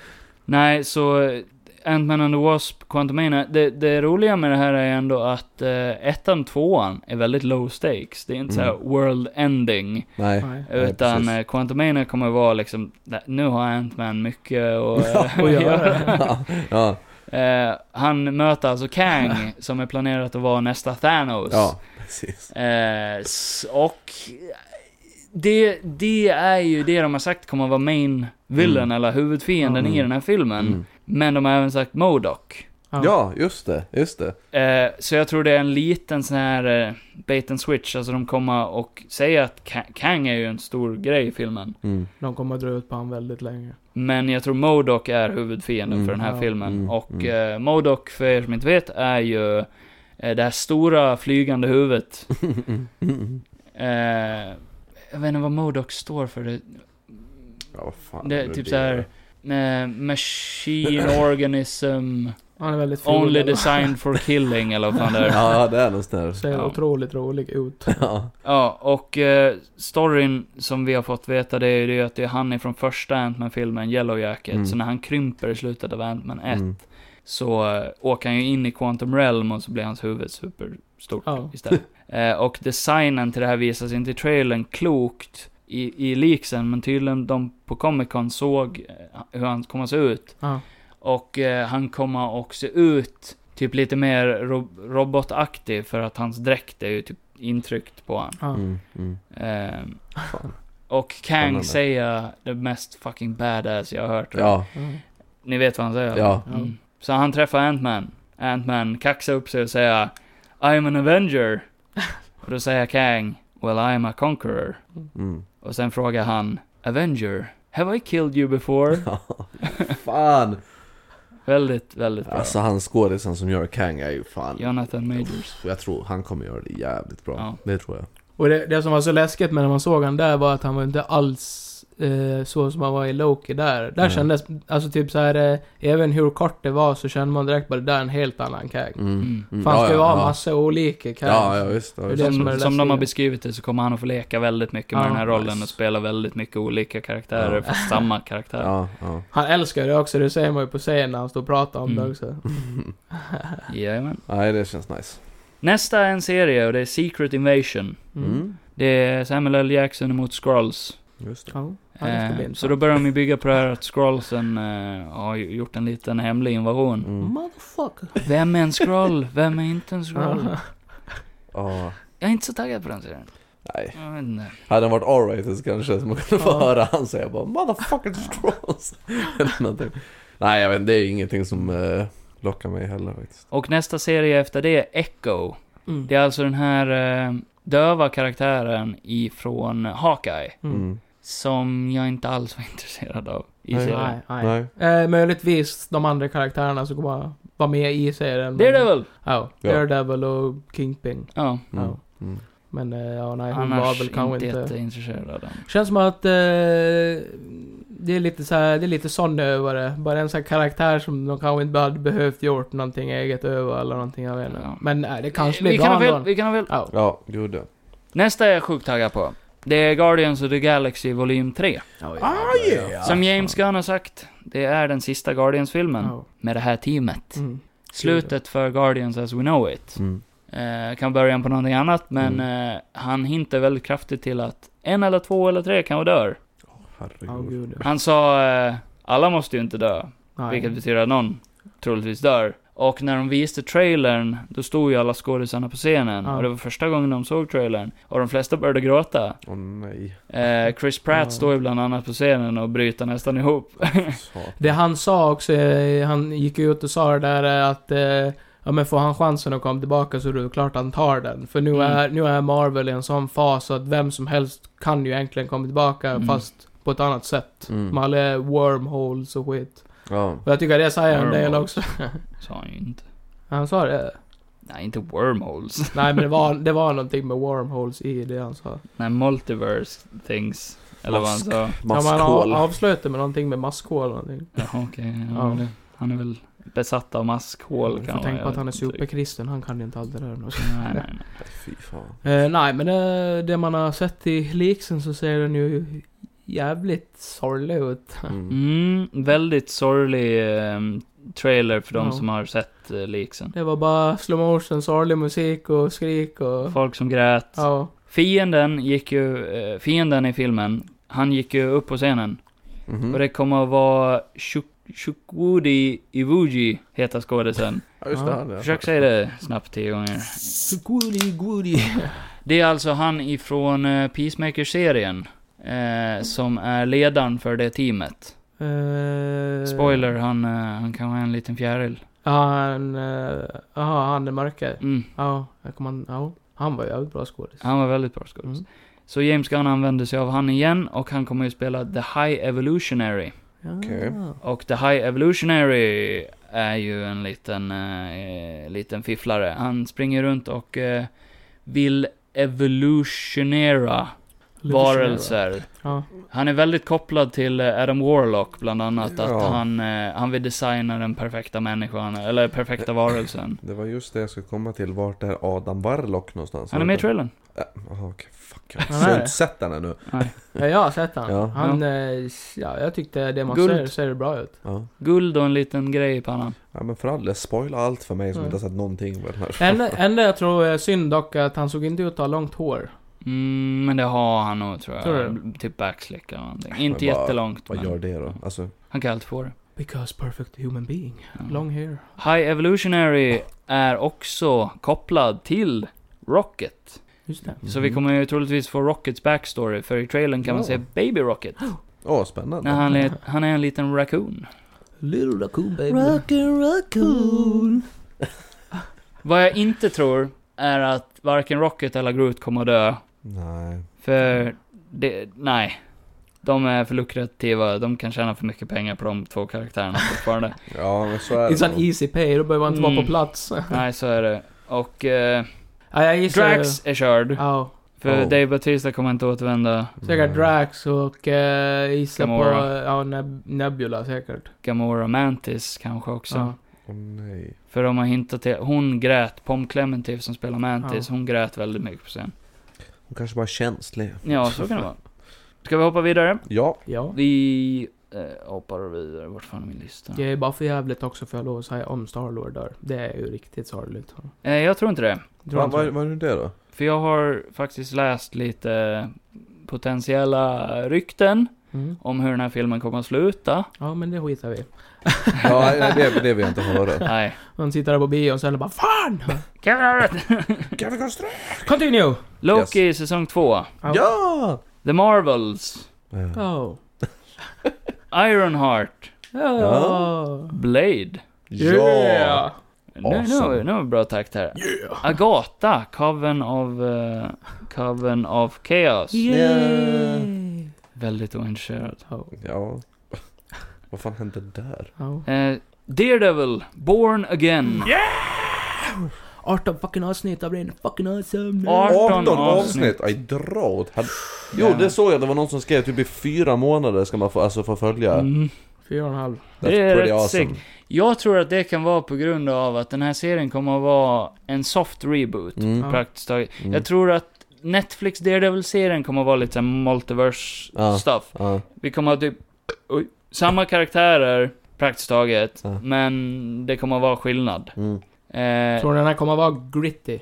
Speaker 2: Nej, så eh, Ant-Man and the Wasp, Quantumania. Det, det roliga med det här är ändå att eh, ettan, tvåan är väldigt low stakes. Det är inte så
Speaker 3: Mm.
Speaker 2: här world ending.
Speaker 3: Nej.
Speaker 4: Nej.
Speaker 3: Nej,
Speaker 2: Utan
Speaker 3: precis.
Speaker 2: Nej, Quantumania kommer vara liksom, "Nä, nu har Ant-Man mycket och,
Speaker 4: att göra.
Speaker 2: göra.
Speaker 3: ja,
Speaker 2: Eh, han möter alltså Kang, som är planerat att vara nästa Thanos.
Speaker 3: ja, precis.
Speaker 2: Eh, s- och eh, det, det är ju det de har sagt kommer vara main villain,
Speaker 3: Mm.
Speaker 2: eller huvudfienden
Speaker 4: Mm.
Speaker 2: i den här filmen.
Speaker 3: Mm.
Speaker 2: Men de har även sagt Modok.
Speaker 3: Ja, just det, just det.
Speaker 2: Eh, så jag tror det är en liten sån här eh, bait and switch, alltså de kommer och säga att Ka- Kang är ju en stor grej i filmen.
Speaker 3: Mm.
Speaker 4: De kommer att dra ut på honom väldigt länge.
Speaker 2: Men jag tror Modok är huvudfienden
Speaker 3: Mm.
Speaker 2: för den här
Speaker 4: Ja.
Speaker 2: filmen.
Speaker 3: Mm,
Speaker 2: Och
Speaker 3: mm.
Speaker 2: eh, Modok, för er som inte vet, är ju eh, det här stora flygande huvudet. Eh, jag vet inte vad Modok står för. Det,
Speaker 3: Ja, vad fan
Speaker 2: det
Speaker 3: nu
Speaker 2: är typ så här eh, Machine Organism
Speaker 4: Han är väldigt ful.
Speaker 2: Only
Speaker 4: eller-
Speaker 2: Designed for Killing eller vad fan det är.
Speaker 3: Ja, det är något sånt
Speaker 4: Ser
Speaker 2: Ja.
Speaker 4: otroligt rolig ut.
Speaker 3: där. Ja.
Speaker 2: Ja, och eh, storyn som vi har fått veta det är ju det att det är han ifrån första Ant-Man-filmen, Yellow Jacket.
Speaker 3: Mm.
Speaker 2: Så när han krymper i slutet av Ant-Man 1
Speaker 3: Mm.
Speaker 2: så eh, åker han ju in i Quantum Realm och så blir hans huvud superstort
Speaker 4: Ja.
Speaker 2: istället. Eh, och designen till det här visas inte i trailern klokt i, i leaksen, men tydligen de på Comic Con såg eh, hur han kommer se ut.
Speaker 4: Ja.
Speaker 2: Och eh, han kommer också se ut typ lite mer ro- robotaktig för att hans dräkt är ju typ intryckt på han.
Speaker 4: Ja.
Speaker 3: Mm, mm.
Speaker 2: Ehm,
Speaker 3: Fan.
Speaker 2: och Kang
Speaker 3: Spännande.
Speaker 2: säger det mest fucking badass jag har hört.
Speaker 3: Ja,
Speaker 4: Mm.
Speaker 2: Ni vet vad han säger?
Speaker 3: Ja.
Speaker 2: Mm. Så han träffar Ant-Man. Ant-Man kaxar upp sig och säger I'm an Avenger. och då säger Kang Well I'm a Conqueror.
Speaker 3: mm.
Speaker 2: Och sen frågar han Avenger, have I killed you before?
Speaker 3: Ja. Fan!
Speaker 2: väldigt, väldigt bra.
Speaker 3: Alltså han skådisen som gör Kang är ju fan...
Speaker 2: Jonathan Majors.
Speaker 3: Jag tror han kommer göra det jävligt bra.
Speaker 2: Ja.
Speaker 3: Det tror jag.
Speaker 4: Och det, det som var så läskigt med när man såg han där var att han var inte alls eh, så som han var i Loki där. Där
Speaker 3: Nej.
Speaker 4: kändes, alltså typ så här, eh, även hur kort det var så kände man direkt bara det där är en helt annan Kang.
Speaker 2: Mm.
Speaker 3: Mm.
Speaker 4: Fan, ska ju vara
Speaker 3: ja.
Speaker 4: massa olika Kang.
Speaker 3: Ja, ja visst. Ja,
Speaker 4: Det är
Speaker 3: visst.
Speaker 4: det som är
Speaker 2: Som,
Speaker 4: det
Speaker 2: som de har
Speaker 4: läskiga.
Speaker 2: beskrivit det så kommer han att få leka väldigt mycket med
Speaker 4: Ja,
Speaker 2: den här rollen
Speaker 4: nice.
Speaker 2: och spela väldigt mycket olika karaktärer,
Speaker 3: Ja.
Speaker 2: fast samma karaktär.
Speaker 3: Ja, ja.
Speaker 4: Han älskar det också, det ser man ju på scenen när han står och pratar om
Speaker 2: Mm.
Speaker 4: det också.
Speaker 2: Jajamän.
Speaker 3: Nej, det känns nice.
Speaker 2: Nästa är en serie och det är Secret Invasion.
Speaker 4: Mm.
Speaker 3: Mm.
Speaker 2: Det är Samuel L. Jackson mot Skrulls.
Speaker 3: Just det.
Speaker 4: Ja, ja, det ska bli
Speaker 2: Eh, så
Speaker 4: intressant.
Speaker 2: då börjar de ju bygga på det här att Skrullsen eh, har ju gjort en liten hemlig invasion.
Speaker 3: Mm.
Speaker 4: Motherfucker.
Speaker 2: Vem är en Skrull? Vem är inte en Skrull?
Speaker 4: Ja.
Speaker 3: Ja.
Speaker 2: Jag är inte så taggad på den serien.
Speaker 3: Nej.
Speaker 2: Jag vet inte.
Speaker 3: Hade den varit R-rated så kanske som man kunde få
Speaker 4: Ja.
Speaker 3: höra han säga bara 'Motherfucking straws' eller någonting. Nej jag vet inte, det är ingenting som eh, lockar mig heller faktiskt.
Speaker 2: Och nästa serie efter det är Echo.
Speaker 4: Mm.
Speaker 2: Det är alltså den här eh, döva karaktären ifrån Hawkeye.
Speaker 4: Mm.
Speaker 3: Mm.
Speaker 2: Som jag inte alls var intresserad av i
Speaker 3: Nej.
Speaker 2: serien.
Speaker 4: Nej, nej.
Speaker 3: Nej.
Speaker 4: Eh, möjligtvis de andra karaktärerna som kommer vara med i serien. men-
Speaker 2: Daredevil!
Speaker 4: Ja,
Speaker 3: Ja.
Speaker 4: Daredevil och Kingpin.
Speaker 2: Ja.
Speaker 3: Mm.
Speaker 4: Ja.
Speaker 3: Mm.
Speaker 4: Men eh, ja, nej, hon var
Speaker 2: Annars
Speaker 4: väl kanske
Speaker 2: inte
Speaker 4: inte...
Speaker 2: jätteintresserad av den.
Speaker 4: Känns som att eh, det är lite så här, det är lite sån över det. Bara en sån här karaktär som de kanske inte hade behövt gjort någonting eget över eller någonting, jag vet inte.
Speaker 2: Ja.
Speaker 4: Men nej, det kanske
Speaker 2: vi
Speaker 4: blir
Speaker 2: kan ha
Speaker 4: bra
Speaker 2: väl,
Speaker 4: ändå.
Speaker 2: vi kan ha väl.
Speaker 4: Ja.
Speaker 3: Ja, gud ja.
Speaker 2: Nästa är jag sjukt taggad på. Det är Guardians of the Galaxy volym 3.
Speaker 4: Ah, yeah!
Speaker 2: Som James Gunn har sagt, det är den sista Guardians-filmen
Speaker 4: Ja.
Speaker 2: med det här teamet.
Speaker 4: Mm.
Speaker 2: Slutet för Guardians as we know it.
Speaker 3: Mm.
Speaker 2: Eh, kan börja på någonting annat, men
Speaker 4: Mm.
Speaker 2: eh, han hintar väldigt kraftigt till att en eller två eller tre kanske dör.
Speaker 4: Ja,
Speaker 3: Herregud.
Speaker 4: gud.
Speaker 2: Han sa eh, alla måste ju inte dö,
Speaker 4: Nej.
Speaker 2: vilket betyder att någon troligtvis dör. Och när de viste trailern, då stod ju alla skådisarna på scenen.
Speaker 4: Ja.
Speaker 2: Och det var första gången de såg trailern. Och de flesta började gråta.
Speaker 3: Åh nej.
Speaker 2: Eh, Chris Pratt
Speaker 4: Ja.
Speaker 2: står ju bland annat på scenen och bryter nästan ihop.
Speaker 3: Satan.
Speaker 4: Det han sa också, eh, han gick ut och sa det där eh, att eh, Ja men får han chansen att komma tillbaka så är det klart han tar den. För nu,
Speaker 2: Mm.
Speaker 4: är, nu är Marvel i en sån fas att vem som helst kan ju egentligen komma tillbaka
Speaker 2: Mm.
Speaker 4: fast på ett annat sätt.
Speaker 3: Mm.
Speaker 4: Med alla wormholes och skit.
Speaker 3: Ja.
Speaker 4: Och jag tycker det säger en del
Speaker 2: Wormholes.
Speaker 4: också.
Speaker 2: Sa han ju inte.
Speaker 4: Han sa det.
Speaker 2: Nej, inte wormholes.
Speaker 4: Nej men det var, det var någonting med wormholes i det han sa.
Speaker 2: Nej, multiverse things. Eller vad han
Speaker 3: Mask.
Speaker 2: sa.
Speaker 4: Ja, men
Speaker 3: Maskhål.
Speaker 4: han avslöjade med någonting med maskhål eller någonting.
Speaker 2: Jaha, okej.
Speaker 4: Ja.
Speaker 2: Ja. men det- Han är väl besatt av maskhål
Speaker 4: Jag får tänka på att han är
Speaker 2: super.
Speaker 4: superkristen, han kan ju inte allt det där.
Speaker 2: typ. Nej, nej, nej.
Speaker 3: Fy fan.
Speaker 4: Eh, nej, men det, det man har sett i leaksen så ser den ju jävligt sorglig ut.
Speaker 3: Mm.
Speaker 2: Mm, väldigt sorglig ehm, trailer för de
Speaker 4: Ja.
Speaker 2: som har sett uh, leaksen.
Speaker 4: Det var bara slow motion, sorglig musik och skrik och...
Speaker 2: Folk som grät.
Speaker 4: Ja.
Speaker 2: Fienden gick ju, eh, fienden i filmen, han gick ju upp på scenen.
Speaker 4: Mm.
Speaker 3: Mhm.
Speaker 2: Och det kommer att vara Shuk- Shukwudi Iwuji, heter skådisen.
Speaker 3: Ja, just det,
Speaker 4: Ja.
Speaker 3: han är.
Speaker 2: Försök säga det snabbt tio gånger.
Speaker 4: Goody, goody.
Speaker 2: Det är alltså han ifrån eh, Peacemaker-serien. Eh, som är ledaren för det teamet.
Speaker 4: Eh,
Speaker 2: Spoiler, han, eh, han kan vara en liten fjäril.
Speaker 4: Ja, han... eh, Jaha, han är mörke.
Speaker 2: Mm,
Speaker 4: Ja, jag kommer... Ja. Han var ju jävligt bra skådis.
Speaker 2: han var väldigt bra skådis.
Speaker 4: Mm.
Speaker 2: Så James Gunn använder sig av han igen och han kommer ju spela The High Evolutionary.
Speaker 4: Ja.
Speaker 3: Okej.
Speaker 2: Och The High Evolutionary är ju en liten, eh, liten fifflare. Han springer runt och eh, vill evolutionera
Speaker 4: Lite sådär, va?
Speaker 2: varelser.
Speaker 4: Ja.
Speaker 2: Han är väldigt kopplad till eh, Adam Warlock bland annat. Att
Speaker 3: Ja.
Speaker 2: han, eh, han vill designa den perfekta människan, eller perfekta varelsen.
Speaker 3: Det var just det jag skulle komma till. Vart är Adam Warlock någonstans?
Speaker 2: Han är med i trailern.
Speaker 3: Ja, Jaha okej, fuck. Jag
Speaker 4: Han är
Speaker 3: har
Speaker 4: det.
Speaker 3: inte sett den ännu.
Speaker 2: Nej.
Speaker 4: ja, jag har sett han.
Speaker 3: Ja.
Speaker 4: Han... eh, Ja, jag tyckte det man
Speaker 2: Guld.
Speaker 4: ser ser bra ut.
Speaker 3: Ja.
Speaker 2: Guld och en liten grej i pannan.
Speaker 3: ja men för all del, spoila allt för mig som
Speaker 4: Mm.
Speaker 3: inte har sett någonting på den här.
Speaker 4: Enda, enda jag tror är synd dock är att han såg inte ut att ha långt hår.
Speaker 2: Mm, men det har han nog tror jag.
Speaker 4: Tror du?
Speaker 2: Typ backslick eller någonting. Inte
Speaker 3: Men vad-
Speaker 2: jättelångt
Speaker 3: Vad
Speaker 2: men
Speaker 3: gör det då? Alltså,
Speaker 2: han kan alltid få det.
Speaker 4: Because perfect human being. Long hair.
Speaker 2: High Evolutionary är också kopplad till Rocket.
Speaker 4: Just det.
Speaker 2: Så
Speaker 3: mm.
Speaker 2: vi kommer ju troligtvis få Rockets backstory, för i trailern kan man
Speaker 4: Ja.
Speaker 2: se Baby Rocket.
Speaker 3: Åh, spännande.
Speaker 2: När han är, han är en liten raccoon.
Speaker 4: Little raccoon baby.
Speaker 3: Raccoon.
Speaker 2: Vad jag inte tror är att varken Rocket eller Groot kommer att dö.
Speaker 3: Nej.
Speaker 2: För det, nej. De är för lukrativa, de kan tjäna för mycket pengar på de två karaktärerna fortfarande.
Speaker 3: Ja, men så är
Speaker 4: It's
Speaker 3: det
Speaker 4: an
Speaker 3: nog.
Speaker 4: easy pay, då behöver man inte vara
Speaker 2: Mm.
Speaker 4: på plats.
Speaker 2: nej, så är det. Och eh,
Speaker 4: Ja, jag gissar...
Speaker 2: Drax är körd.
Speaker 4: Ja.
Speaker 2: För
Speaker 3: Oh.
Speaker 2: Dave Batista kommer inte återvända.
Speaker 4: Säkert
Speaker 3: Nej.
Speaker 4: Drax och uh, gissa på
Speaker 2: Gamora.
Speaker 4: ja, Neb- Nebula säkert.
Speaker 2: Gamora Mantis kanske också.
Speaker 4: Ja.
Speaker 3: Åh nej.
Speaker 2: För de har hintat till, hon grät, Pom Clementif som spelar Mantis, hon grät väldigt mycket på scen.
Speaker 3: Hon kanske bara är känslig.
Speaker 2: Ja, så kan det vara. Ska vi hoppa vidare?
Speaker 3: Ja.
Speaker 4: ja.
Speaker 2: Vi eh, hoppar vidare, vart fan är min lista?
Speaker 4: Det är bara för jävligt också för jag lov att säga om Starlord där. Det är ju riktigt sorgligt.
Speaker 2: Eh, jag tror inte det.
Speaker 4: Tror
Speaker 3: Vad
Speaker 4: inte
Speaker 3: va, va är det då?
Speaker 2: För jag har faktiskt läst lite potentiella rykten
Speaker 4: Mm.
Speaker 2: om hur den här filmen kommer att sluta.
Speaker 4: Ja men det skitar vi i.
Speaker 3: Ja, nej, det, det vill jag inte höra.
Speaker 2: Nej.
Speaker 4: Man sitter där på bio och så är det bara FAN!
Speaker 2: Kevin Arnett!
Speaker 3: Kan vi konstruera?
Speaker 4: Continue!
Speaker 2: Loki säsong 2.
Speaker 3: Ja!
Speaker 2: The Marvels.
Speaker 4: Oh.
Speaker 2: Ironheart.
Speaker 4: Ja.
Speaker 2: Blade.
Speaker 3: Ja!
Speaker 2: Nu, nu,
Speaker 3: Awesome.
Speaker 2: nu är det bra takt här. Agatha, Coven of... eh, Coven of Chaos.
Speaker 4: Yay!
Speaker 2: Väldigt ointresserad.
Speaker 4: Oh.
Speaker 3: Ja. Vad fan hände där?
Speaker 4: Oh.
Speaker 2: Eh, Daredevil, Born Again.
Speaker 4: 18 fucking avsnitt, jag blir fucking awesome!
Speaker 2: 18
Speaker 3: 18
Speaker 2: avsnitt.
Speaker 3: avsnitt! Aj, dra åt hel- Jo, det såg jag. Det var någon som skrev typ i fyra månader ska man få, alltså, få följa.
Speaker 2: Mm.
Speaker 4: Fyra och en halv.
Speaker 2: Det är rätt sick. Jag tror att det kan vara på grund av att den här serien kommer att vara en soft reboot.
Speaker 3: Mm.
Speaker 4: Ja.
Speaker 2: Praktiskt taget.
Speaker 3: Mm.
Speaker 2: Jag tror att Netflix Daredevil-serien kommer att vara lite såhär multiverse
Speaker 3: Ja.
Speaker 2: stuff.
Speaker 3: Ja.
Speaker 2: Vi kommer att ha typ oj, samma karaktärer praktiskt taget,
Speaker 3: Ja.
Speaker 2: men det kommer att vara skillnad.
Speaker 3: Mm.
Speaker 2: Eh,
Speaker 4: Tror ni den här kommer vara gritty?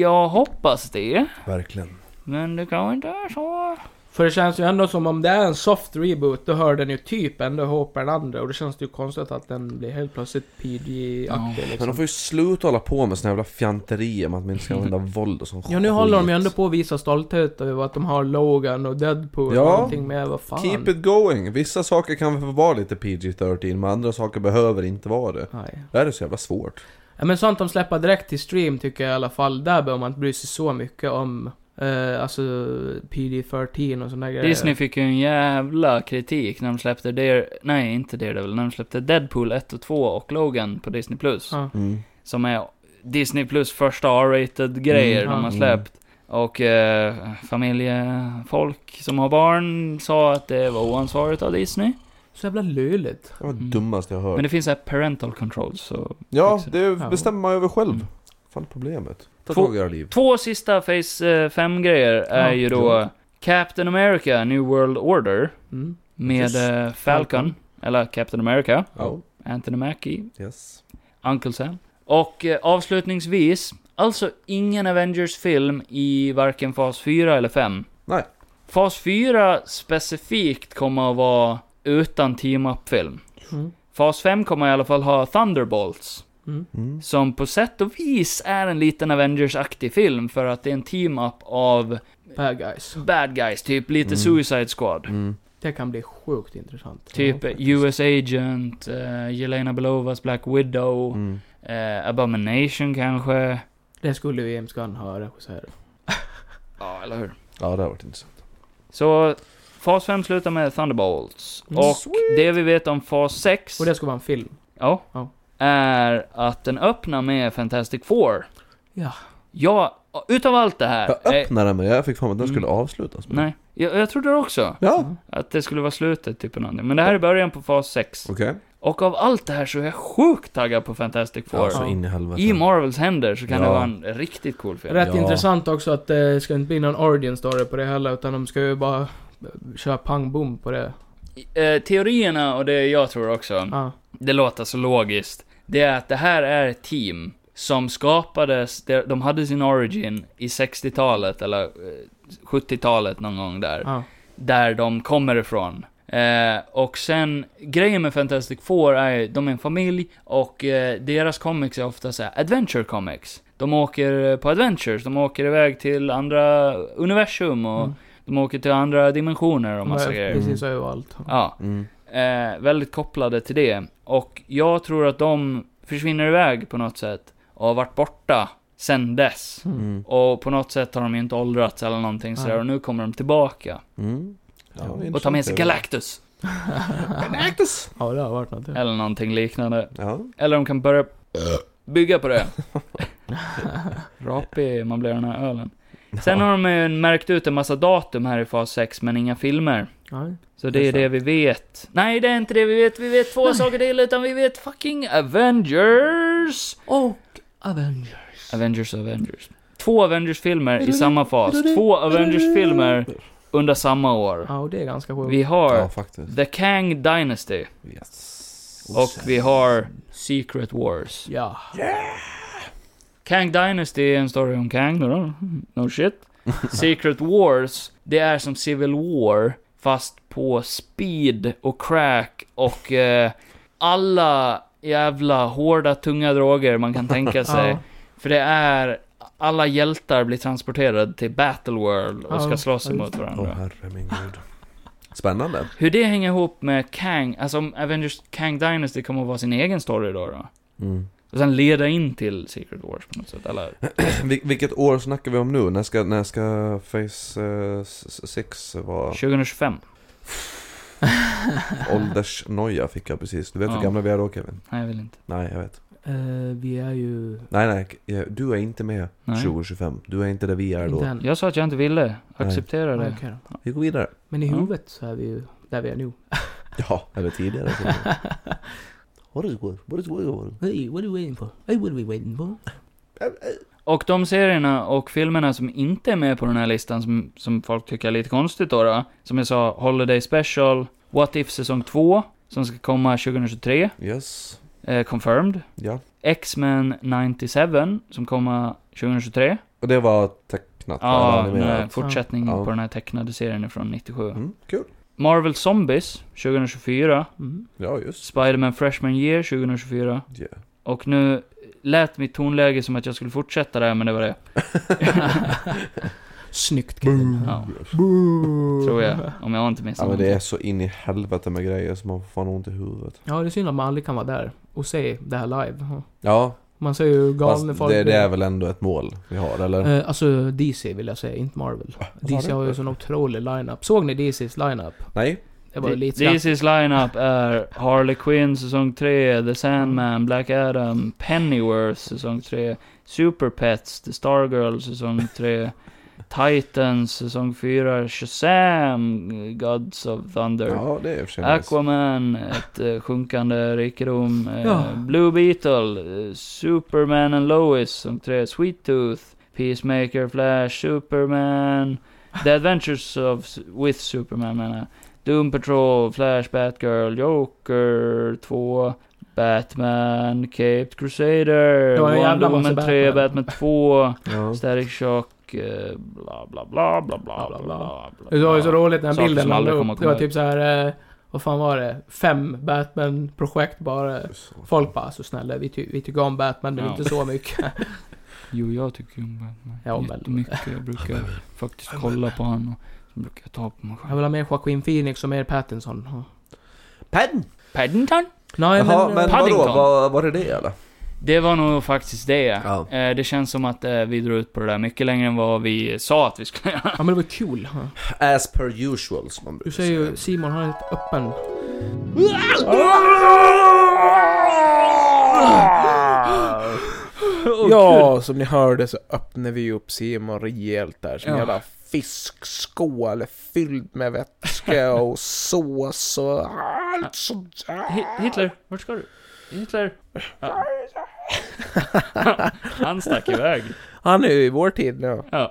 Speaker 2: jag hoppas det,
Speaker 3: Verkligen.
Speaker 2: men det kanske inte är så.
Speaker 4: För det känns ju ändå som om det är en soft reboot, då hör den ju typ ändå ihop med den andra. Och det känns ju konstigt att den blir helt plötsligt PG-aktig
Speaker 3: Men de
Speaker 4: liksom.
Speaker 3: får ju sluta hålla på med såna jävla fjanterier om att man inte ska använda våld och sånt
Speaker 4: Ja, nu håller de ju
Speaker 3: skit.
Speaker 4: ändå på att visa stolthet över att de har Logan och Deadpool
Speaker 3: Ja.
Speaker 4: och någonting med, vad fan.
Speaker 3: Keep it going! Vissa saker kan väl vara lite PG-13, men andra saker behöver inte vara det.
Speaker 4: Nej.
Speaker 3: Det här är så jävla svårt.
Speaker 4: Ja, men sånt de släpper direkt till stream tycker jag i alla fall, där behöver man inte bry sig så mycket om eh, alltså PD-13 och sådana där grejer.
Speaker 2: Disney fick ju en jävla kritik när de släppte Dare... Nej, inte Daredevil. När de släppte Deadpool 1 och 2 och Logan på Disney+. Plus.
Speaker 4: Ja.
Speaker 3: Mm.
Speaker 2: Som är Disney Plus första R-rated grejer
Speaker 4: Mm,
Speaker 2: de har
Speaker 4: ja.
Speaker 2: släppt. Och eh, familjefolk som har barn sa att det var oansvarigt av Disney.
Speaker 4: Så jävla löjligt.
Speaker 3: Det var det
Speaker 2: Mm.
Speaker 3: dummaste jag hört.
Speaker 2: Men det finns här parental controls. Så.
Speaker 3: ja,
Speaker 2: Exakt.
Speaker 3: det
Speaker 4: Ja.
Speaker 3: bestämmer man över själv.
Speaker 2: Mm.
Speaker 3: Fan problemet. Ta
Speaker 2: Två-
Speaker 3: tag i era liv.
Speaker 2: Två sista Phase 5-grejer är
Speaker 4: Ja.
Speaker 2: ju då Captain America New World Order
Speaker 4: Mm.
Speaker 2: med
Speaker 3: Just.
Speaker 2: eh, Falcon,
Speaker 4: Falcon.
Speaker 2: eller Captain America,
Speaker 3: Ja.
Speaker 2: Anthony Mackie,
Speaker 3: Yes.
Speaker 2: Uncle Sam. Och eh, avslutningsvis, alltså ingen Avengers-film i varken fas 4 eller 5.
Speaker 3: Nej.
Speaker 2: Fas 4 specifikt kommer att vara utan team-up-film.
Speaker 4: Mm.
Speaker 2: Fas 5 kommer i alla fall ha Thunderbolts,
Speaker 4: Mm.
Speaker 3: Mm.
Speaker 2: som på sätt och vis är en liten Avengers-aktig film, för att det är en team-up av
Speaker 4: Bad guys.
Speaker 2: bad guys, typ lite
Speaker 3: Mm.
Speaker 2: Suicide Squad.
Speaker 3: Mm.
Speaker 4: Det kan bli sjukt intressant.
Speaker 2: Typ
Speaker 3: Ja, faktiskt.
Speaker 2: US Agent, eh, Jelena Belovas Black Widow,
Speaker 3: Mm.
Speaker 2: eh, Abomination kanske.
Speaker 4: Det skulle ju James Gunn ha regisserat.
Speaker 2: Ja, eller hur?
Speaker 3: Ja, det har varit intressant.
Speaker 2: Så fas 5 slutar med Thunderbolts.
Speaker 4: Mm.
Speaker 2: Och det vi vet om fas 6
Speaker 4: Och det ska vara en film.
Speaker 2: ja,
Speaker 4: Ja.
Speaker 2: är att den öppnar med Fantastic Four.
Speaker 4: Ja.
Speaker 2: Ja, utav allt det här.
Speaker 3: Jag
Speaker 2: eh,
Speaker 3: öppnade den men jag fick för mig att den
Speaker 2: Mm.
Speaker 3: skulle avslutas med.
Speaker 2: nej, Mm. jag, jag trodde det också.
Speaker 3: Ja.
Speaker 2: Att det skulle vara slutet, typ någonting. Men det här är början på fas 6.
Speaker 3: Okej.
Speaker 2: Och av allt det här så är jag sjukt taggad på Fantastic Four.
Speaker 3: Ja, så in i helvete.
Speaker 2: I Marvels händer så kan det
Speaker 3: Ja.
Speaker 2: vara en riktigt cool film.
Speaker 4: Rätt
Speaker 3: Ja.
Speaker 4: intressant också att eh, det ska inte bli någon origin story på det heller, utan de ska ju bara eh, köra pang bom på det.
Speaker 2: Eh, teorierna och det jag tror också.
Speaker 3: Mm.
Speaker 4: Ja.
Speaker 2: det låter så logiskt, det är att det här är ett team som skapades, de de hade sin origin i 60-talet eller eh, 70-talet någon gång där,
Speaker 4: Ja.
Speaker 2: där de kommer ifrån. Eh, och sen, grejen med Fantastic Four är ju, de är en familj och eh, deras comics är ofta så här adventure comics. De åker eh, på adventures, de åker iväg till andra universum och
Speaker 4: Mm.
Speaker 2: de åker till andra dimensioner och
Speaker 4: De
Speaker 2: massa
Speaker 4: är
Speaker 2: grejer.
Speaker 4: Precis överallt.
Speaker 2: Ja.
Speaker 3: Mm.
Speaker 2: eh, väldigt kopplade till det. Och jag tror att de försvinner iväg på något sätt och har varit borta sen dess.
Speaker 3: Mm.
Speaker 2: Och på något sätt har de ju inte åldrats eller någonting sådär
Speaker 4: Nej.
Speaker 2: och nu kommer de tillbaka.
Speaker 3: Mm. Ja, det är
Speaker 2: Och tar med sig
Speaker 3: intressant.
Speaker 2: Galactus.
Speaker 3: Galactus!
Speaker 4: Ja, det har varit något. Ja.
Speaker 2: Eller någonting liknande.
Speaker 3: Ja.
Speaker 2: Eller de kan börja bygga på det. Rapig man blir av den här ölen. Sen har de ju märkt ut en massa datum här i fas 6 men inga filmer.
Speaker 4: Ja.
Speaker 2: Så det är
Speaker 3: Just det.
Speaker 2: det vi vet. Nej, det är inte det vi vet. Vi vet två saker till, utan vi vet fucking Avengers!
Speaker 4: Och Avenger.
Speaker 2: Avengers och Avengers. Två Avengers-filmer i samma fas. Två Avengers-filmer under samma år.
Speaker 4: Ja, och det är ganska sjukt.
Speaker 2: Vi
Speaker 3: ja,
Speaker 2: har
Speaker 3: faktiskt.
Speaker 2: The Kang Dynasty
Speaker 3: Yes.
Speaker 2: och vi har Secret Wars.
Speaker 4: Ja.
Speaker 2: Kang Dynasty är en story om Kang, då. No shit. Secret Wars, det är som Civil War, fast på speed och crack och eh, alla jävla hårda, tunga droger man kan tänka sig.
Speaker 4: Ja.
Speaker 2: För det är, alla hjältar blir transporterade till Battleworld och ska
Speaker 4: Ja,
Speaker 2: slåss
Speaker 4: ja, just
Speaker 2: emot
Speaker 3: Åh
Speaker 2: varandra.
Speaker 3: herre min gud. Spännande.
Speaker 2: Hur det hänger ihop med Kang, alltså om Avengers Kang Dynasty kommer att vara sin egen story då. då.
Speaker 3: Mm.
Speaker 2: Och sen leda in till Secret Wars på något sätt, eller?
Speaker 3: Vil- vilket år snackar vi om nu? När ska, när ska Face eh, 6 vara?
Speaker 2: 2025.
Speaker 3: Åldersnoja fick jag precis. Du vet
Speaker 2: Ja.
Speaker 3: hur gamla vi är då Kevin?
Speaker 2: Nej, jag vill inte.
Speaker 3: Nej, jag vet.
Speaker 4: Eh, vi är ju...
Speaker 3: Nej, nej. jag- Du är inte med
Speaker 2: Nej.
Speaker 3: 2025. Du är inte där vi är
Speaker 4: Inte
Speaker 3: då.
Speaker 4: än.
Speaker 2: Jag sa att jag inte ville. Acceptera
Speaker 4: Ja,
Speaker 2: det.
Speaker 4: okej då.
Speaker 3: Vi går vidare.
Speaker 4: Men i
Speaker 2: Ja.
Speaker 4: huvudet så är vi ju där vi är nu.
Speaker 3: Ja, eller tidigare. till och med. What is good? What is good?
Speaker 4: Hey, what are we waiting for? Hey, what are we waiting for?
Speaker 2: Och de serierna och filmerna som inte är med på den här listan, som, som folk tycker är lite konstigt då, då. Som jag sa, Holiday Special, What If säsong 2, som ska komma 2023,
Speaker 3: Yes.
Speaker 2: eh, confirmed.
Speaker 3: Ja.
Speaker 2: X-Men 97, som kommer 2023.
Speaker 3: Och det var tecknat?
Speaker 2: Ja,
Speaker 3: eller
Speaker 2: den här
Speaker 3: animerat?
Speaker 2: fortsättning
Speaker 3: Ja.
Speaker 2: på den här tecknade serien från 97.
Speaker 3: Mm, kul.
Speaker 2: Marvel Zombies 2024.
Speaker 4: Mm.
Speaker 3: Ja, just.
Speaker 2: Spider-Man Freshman Year 2024.
Speaker 3: Yeah.
Speaker 2: Och nu lät mitt tonläge som att jag skulle fortsätta där, men det var det.
Speaker 4: Snyggt
Speaker 3: Mm.
Speaker 4: Kevin.
Speaker 2: Ja,
Speaker 4: Boo.
Speaker 2: tror jag. Om jag inte minns
Speaker 3: Ja, men
Speaker 2: någonting.
Speaker 3: det är så in i helvete med grejer som man får fan ont i huvudet.
Speaker 4: Ja, det är synd att man aldrig kan vara där och se det här live. Ja.
Speaker 3: Ja,
Speaker 4: Man ser ju galna
Speaker 3: fast
Speaker 4: folk.
Speaker 3: det, det är väl ändå ett mål vi har, eller?
Speaker 4: Eh, alltså DC vill jag säga, inte Marvel. DC har ju sån otrolig line-up. Såg ni DC's line-up?
Speaker 3: Nej?
Speaker 4: Det var ju lite skratt.
Speaker 2: DC's lineup är Harley Quinn säsong 3, The Sandman, Black Adam, Pennyworth säsong 3, Super Pets, The Stargirl säsong 3, Titans säsong 4, Shazam, Gods of Thunder,
Speaker 3: Ja, det är i och för sig nice.
Speaker 2: Aquaman, ett eh, sjunkande rikedom, eh,
Speaker 4: Ja.
Speaker 2: Blue Beetle, eh, Superman and Lois säsong 3, Sweet Tooth, Peacemaker, Flash, Superman, The Adventures of S- with Superman menar jag. Doom Patrol, Flash, Batgirl, Joker 2, Batman, Caped Crusader,
Speaker 4: Det var en
Speaker 2: Wonder
Speaker 4: jävla
Speaker 2: Woman
Speaker 4: massa
Speaker 2: 3,
Speaker 4: Batman.
Speaker 2: Batman 2,
Speaker 3: Ja.
Speaker 2: Static Shock, eh, bla bla bla bla bla bla bla. bla.
Speaker 4: Det var ju så roligt den här
Speaker 2: Saker
Speaker 4: bilden
Speaker 2: som
Speaker 4: man
Speaker 2: aldrig
Speaker 4: la
Speaker 2: kommer
Speaker 4: upp.
Speaker 2: att
Speaker 4: Det var
Speaker 2: komma
Speaker 4: typ så här. eh, vad fan var det? Fem Batman-projekt bara. Folk bara, så snälla, vi, ty- vi tycker om Batman men
Speaker 2: Ja.
Speaker 4: inte så mycket.
Speaker 2: Jo, jag tycker ju om Batman
Speaker 4: Ja, men-
Speaker 2: jättemycket. Jag brukar faktiskt kolla på honom och så brukar jag ta på mig
Speaker 4: Jag
Speaker 2: själv.
Speaker 4: vill ha mer Joaquin Phoenix och mer Pattinson. Ja.
Speaker 3: Pen!
Speaker 2: Paddington?
Speaker 4: Nej
Speaker 3: Jaha, men
Speaker 4: men... eh,
Speaker 3: vadå?
Speaker 2: Paddington.
Speaker 3: Var, var det det eller?
Speaker 2: Det var nog faktiskt det.
Speaker 3: Ja.
Speaker 2: Eh, det känns som att eh, vi drog ut på det där mycket längre än vad vi sa att vi skulle göra.
Speaker 4: Ja men det var kul. Ja.
Speaker 3: As per usual, som man
Speaker 4: Du
Speaker 3: brukar
Speaker 4: säger ju, Simon har ett öppen...
Speaker 1: Ja, som ni hörde så öppnade vi upp Simon rejält där som
Speaker 2: Ja.
Speaker 1: en jävla fiskskål fylld med vätska och sås och allt sånt där.
Speaker 2: Hi- Hitler, vart ska du? Hitler? Ja. Han stack iväg.
Speaker 1: Han är ju i vår tid nu.
Speaker 2: Ja.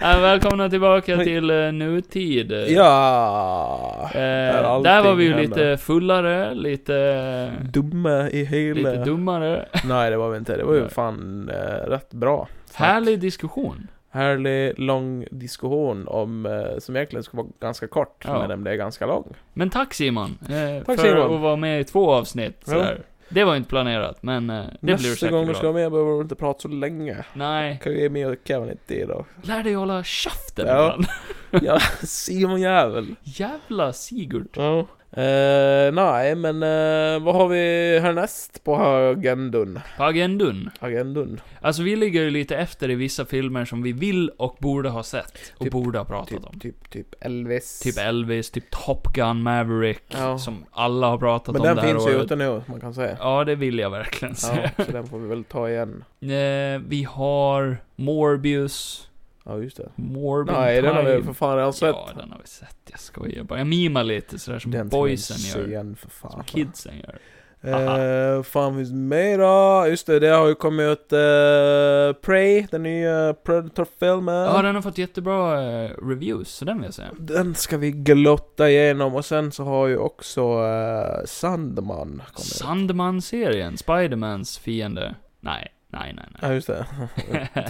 Speaker 2: Ja, välkomna tillbaka till eh, nutid.
Speaker 1: Ja.
Speaker 2: Eh,
Speaker 1: allting
Speaker 2: där var vi ju
Speaker 1: händer.
Speaker 2: lite fullare, lite...
Speaker 1: Dumma i hela...
Speaker 2: Lite dummare.
Speaker 1: Nej, det var vi inte. Det var ju
Speaker 2: Nej.
Speaker 1: fan eh, rätt bra. Snack.
Speaker 2: Härlig diskussion.
Speaker 1: härlig, lång diskussion om, eh, som egentligen skulle vara ganska kort,
Speaker 2: Ja.
Speaker 1: men den blev ganska lång.
Speaker 2: Men tack Simon! Eh,
Speaker 1: Tack,
Speaker 2: för
Speaker 1: Simon.
Speaker 2: att vara med i två avsnitt
Speaker 1: Ja.
Speaker 2: sådär. Det var inte planerat, men eh, det blir du
Speaker 1: Nästa
Speaker 2: säkert
Speaker 1: gång du
Speaker 2: glad.
Speaker 1: ska vara med behöver du inte prata så länge.
Speaker 2: Nej,
Speaker 1: Kan vi ge mig och Kevin ett det då?
Speaker 2: lär dig hålla käften
Speaker 1: Ja.
Speaker 2: ibland.
Speaker 1: Ja, Simon Jävel.
Speaker 2: Jävla Sigurd.
Speaker 1: Ja. Eh, nej, men eh, vad har vi härnäst på agendun?
Speaker 2: På agendun.
Speaker 1: Agendun?
Speaker 2: Alltså vi ligger ju lite efter i vissa filmer som vi vill och borde ha sett. Och
Speaker 1: Typ-
Speaker 2: borde ha pratat om.
Speaker 1: Typ, typ, typ Elvis.
Speaker 2: Typ Elvis, typ Top Gun, Maverick.
Speaker 1: Ja.
Speaker 2: Som alla har pratat
Speaker 1: Men
Speaker 2: om
Speaker 1: den
Speaker 2: det här
Speaker 1: finns ju
Speaker 2: året.
Speaker 1: ute nu, man kan säga.
Speaker 2: Ja, det vill jag verkligen
Speaker 1: Ja,
Speaker 2: säga.
Speaker 1: så den får vi väl ta igen.
Speaker 2: Eh, vi har Morbius.
Speaker 1: Ja, just det.
Speaker 2: Morbin
Speaker 1: Nej, den har
Speaker 2: Time.
Speaker 1: vi för fan redan sett.
Speaker 2: Ja, den har vi sett. Jag skojar bara. Jag mimar lite sådär som
Speaker 1: den
Speaker 2: boysen gör.
Speaker 1: Igen, för fan.
Speaker 2: Som kidsen gör.
Speaker 1: Eh, fan finns mer då? Just det, det har ju kommit ut eh, Prey, den nya Predator-filmen.
Speaker 2: Ja, den har fått jättebra eh, reviews, så den vill jag säga.
Speaker 1: Den ska vi glotta igenom och sen så har ju också eh, Sandman kommit.
Speaker 2: Sandman-serien, Spidermans fiende. Nej, nej, nej, nej.
Speaker 1: Ja just det.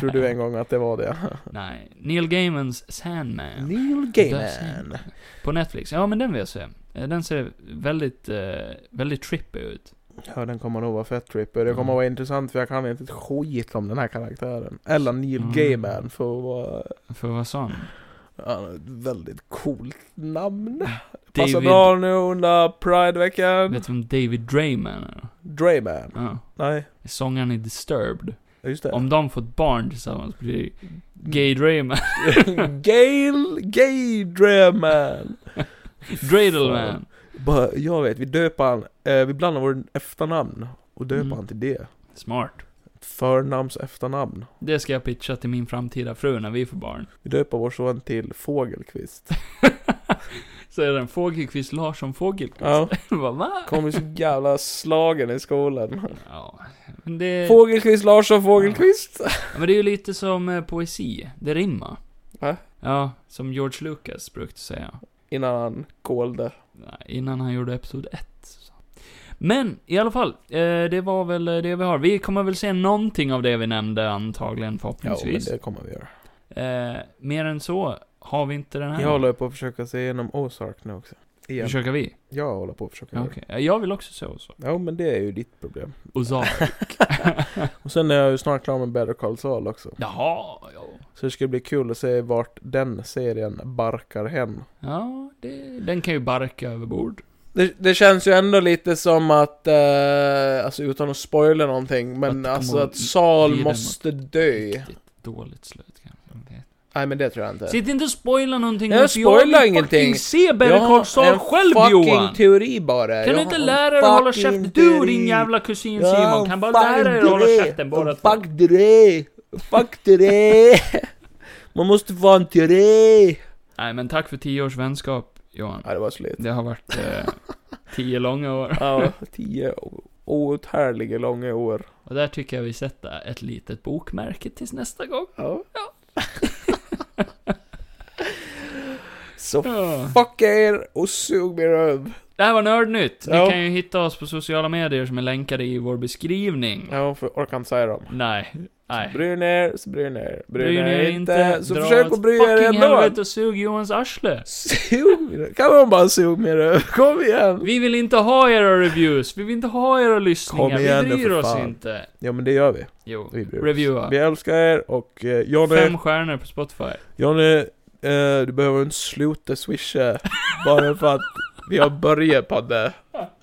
Speaker 1: Tror du en gång att det var det.
Speaker 2: Nej. Neil Gaimans Sandman.
Speaker 1: Neil
Speaker 2: Där ser
Speaker 1: Gaiman.
Speaker 2: man. På Netflix. Ja, men den vill jag se. Eh, Den ser väldigt, eh, väldigt trippy ut.
Speaker 1: Ja den kommer nog vara fett trippy. Det
Speaker 2: Mm.
Speaker 1: kommer vara intressant för jag kan inte ett skit om den här karaktären. Eller Neil
Speaker 2: Mm.
Speaker 1: Gaiman för att vara...
Speaker 2: För att vara sån.
Speaker 1: Han har ett väldigt coolt namn. Passar
Speaker 2: David...
Speaker 1: bra nu under Prideveckan.
Speaker 2: Vet du vem David Drayman är?
Speaker 1: Drayman.
Speaker 2: Ja.
Speaker 1: Nej,
Speaker 2: Sångaren i Disturbed.
Speaker 1: just det.
Speaker 2: Om de får ett barn tillsammans blir det
Speaker 1: Mm.
Speaker 2: Gay Drayman.
Speaker 1: Gail... Gay Drayman.
Speaker 2: Dreidleman.
Speaker 1: Bara, jag vet, vi döper han, eh, vi blandar vår efternamn och döper
Speaker 2: Mm.
Speaker 1: han till det.
Speaker 2: Smart.
Speaker 1: Förnamns efternamn.
Speaker 2: Det ska jag pitcha till min framtida fru när vi får barn.
Speaker 1: Vi döper vår son till Fågelqvist.
Speaker 2: Så är den Fågelqvist Larsson Fågelqvist.
Speaker 1: Ja,
Speaker 2: Vad va?
Speaker 1: kommer bli så jävla slagen i skolan.
Speaker 2: Ja. Men det,
Speaker 1: Fågelqvist Larsson Fågelqvist.
Speaker 2: ja, men det är ju lite som eh, poesi. Det rimmar.
Speaker 1: Va?
Speaker 2: Ja, som George Lucas brukade säga.
Speaker 1: Innan han kolde.
Speaker 2: Nej, Innan han gjorde Episod 1. så. Men i alla fall, eh, det var väl eh, det vi har. Vi kommer väl se någonting av det vi nämnde antagligen
Speaker 1: Ja, men
Speaker 2: förhoppningsvis.
Speaker 1: det kommer vi göra.
Speaker 2: eh, mer än så har vi inte den här.
Speaker 1: Jag håller på att försöka se igenom Ozark nu också. Igen.
Speaker 2: Försöker vi?
Speaker 1: Jag håller på att försöka
Speaker 2: Ja,
Speaker 1: göra
Speaker 2: Okej. Jag vill också se Ozark.
Speaker 1: det. Ja, men det är ju ditt problem.
Speaker 2: Ozark.
Speaker 1: Och sen är jag ju snart klar med Better Call Saul också.
Speaker 2: Jaha, ja.
Speaker 1: Så det ska bli kul att se vart den serien barkar hen.
Speaker 2: Ja, det, den kan ju barka över bord.
Speaker 1: Det, det känns ju ändå lite som att, eh, alltså utan att spoila någonting, men
Speaker 2: Att de
Speaker 1: alltså
Speaker 2: har-
Speaker 1: att Sal
Speaker 2: lider
Speaker 1: måste dö.
Speaker 2: Riktigt dåligt slut kanske.
Speaker 1: Nej men det tror jag inte.
Speaker 2: Sitt inte och spoila någonting.
Speaker 1: Jag
Speaker 2: Mats. vill
Speaker 1: spoilar
Speaker 2: fucking
Speaker 1: ingenting.
Speaker 2: se
Speaker 1: Jag
Speaker 2: Better
Speaker 1: har
Speaker 2: Call Saul
Speaker 1: en
Speaker 2: själv
Speaker 1: fucking
Speaker 2: Johan.
Speaker 1: teori bara.
Speaker 2: Kan
Speaker 1: Jag
Speaker 2: du
Speaker 1: har
Speaker 2: inte
Speaker 1: en
Speaker 2: lära dig att hålla
Speaker 1: fucking
Speaker 2: käften? Du och
Speaker 1: teori.
Speaker 2: din jävla kusin
Speaker 1: Jag har
Speaker 2: Simon
Speaker 1: en
Speaker 2: kan bara lära dig att
Speaker 1: fucking
Speaker 2: hålla
Speaker 1: teori.
Speaker 2: käften båda två.
Speaker 1: Fuck teori! Fuck teori! Man måste få en teori!
Speaker 2: Nej men tack för tio års vänskap Johan.
Speaker 1: Ja det var slut.
Speaker 2: Det har varit eh, tio långa år.
Speaker 1: Ja, tio o- outhärdliga långa år.
Speaker 2: Och där tycker jag vi sätter ett litet bokmärke tills nästa gång.
Speaker 1: Ja.
Speaker 2: Ja.
Speaker 1: Så
Speaker 2: Ja.
Speaker 1: fucka er och sug mig röv.
Speaker 2: Det här var Nördnytt. Ni
Speaker 1: Ja.
Speaker 2: kan ju hitta oss på sociala medier som är länkade i vår beskrivning.
Speaker 1: Ja, för jag orkar inte säga dem.
Speaker 2: Nej. Nej.
Speaker 1: Bryr ni er, så bryr ni er.
Speaker 2: Bry
Speaker 1: Bryr ni er inte, så försök att bry
Speaker 2: Dra åt
Speaker 1: er
Speaker 2: fucking
Speaker 1: ändå.
Speaker 2: helvete och sug Johans arsle.
Speaker 1: Sug Kan man bara sug mig röv? Kom igen!
Speaker 2: Vi vill inte ha era reviews, vi vill inte ha era lyssningar,
Speaker 1: Kom igen
Speaker 2: vi
Speaker 1: nu,
Speaker 2: bryr
Speaker 1: för
Speaker 2: oss
Speaker 1: fan.
Speaker 2: inte.
Speaker 1: Ja men det gör vi.
Speaker 2: Jo,
Speaker 1: Vi bryr oss.
Speaker 2: reviewa.
Speaker 1: Vi älskar er och eh, Johnny,
Speaker 2: Fem stjärnor på Spotify.
Speaker 1: Johnny eh, du behöver inte sluta swisha bara för att vi har börjat på det.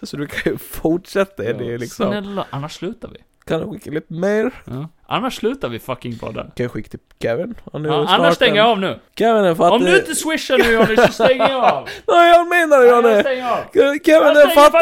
Speaker 1: Så du kan ju fortsätta i det liksom.
Speaker 2: Snälla, annars slutar vi.
Speaker 1: Kan du skicka lite mer?
Speaker 2: Ja. Annars slutar vi fucking podden.
Speaker 1: Kan jag skicka till Kevin? Han är
Speaker 2: Ja,
Speaker 1: snart
Speaker 2: annars
Speaker 1: en-
Speaker 2: stänger jag av nu.
Speaker 1: Kevin är fattig.
Speaker 2: Om du inte swishar nu Johnny, så stänger jag av.
Speaker 1: Nej jag menar
Speaker 2: Nej, jag
Speaker 1: Johnny!
Speaker 2: stänger av.
Speaker 1: Kevin
Speaker 2: Jag
Speaker 1: är
Speaker 2: stänger
Speaker 1: fattig!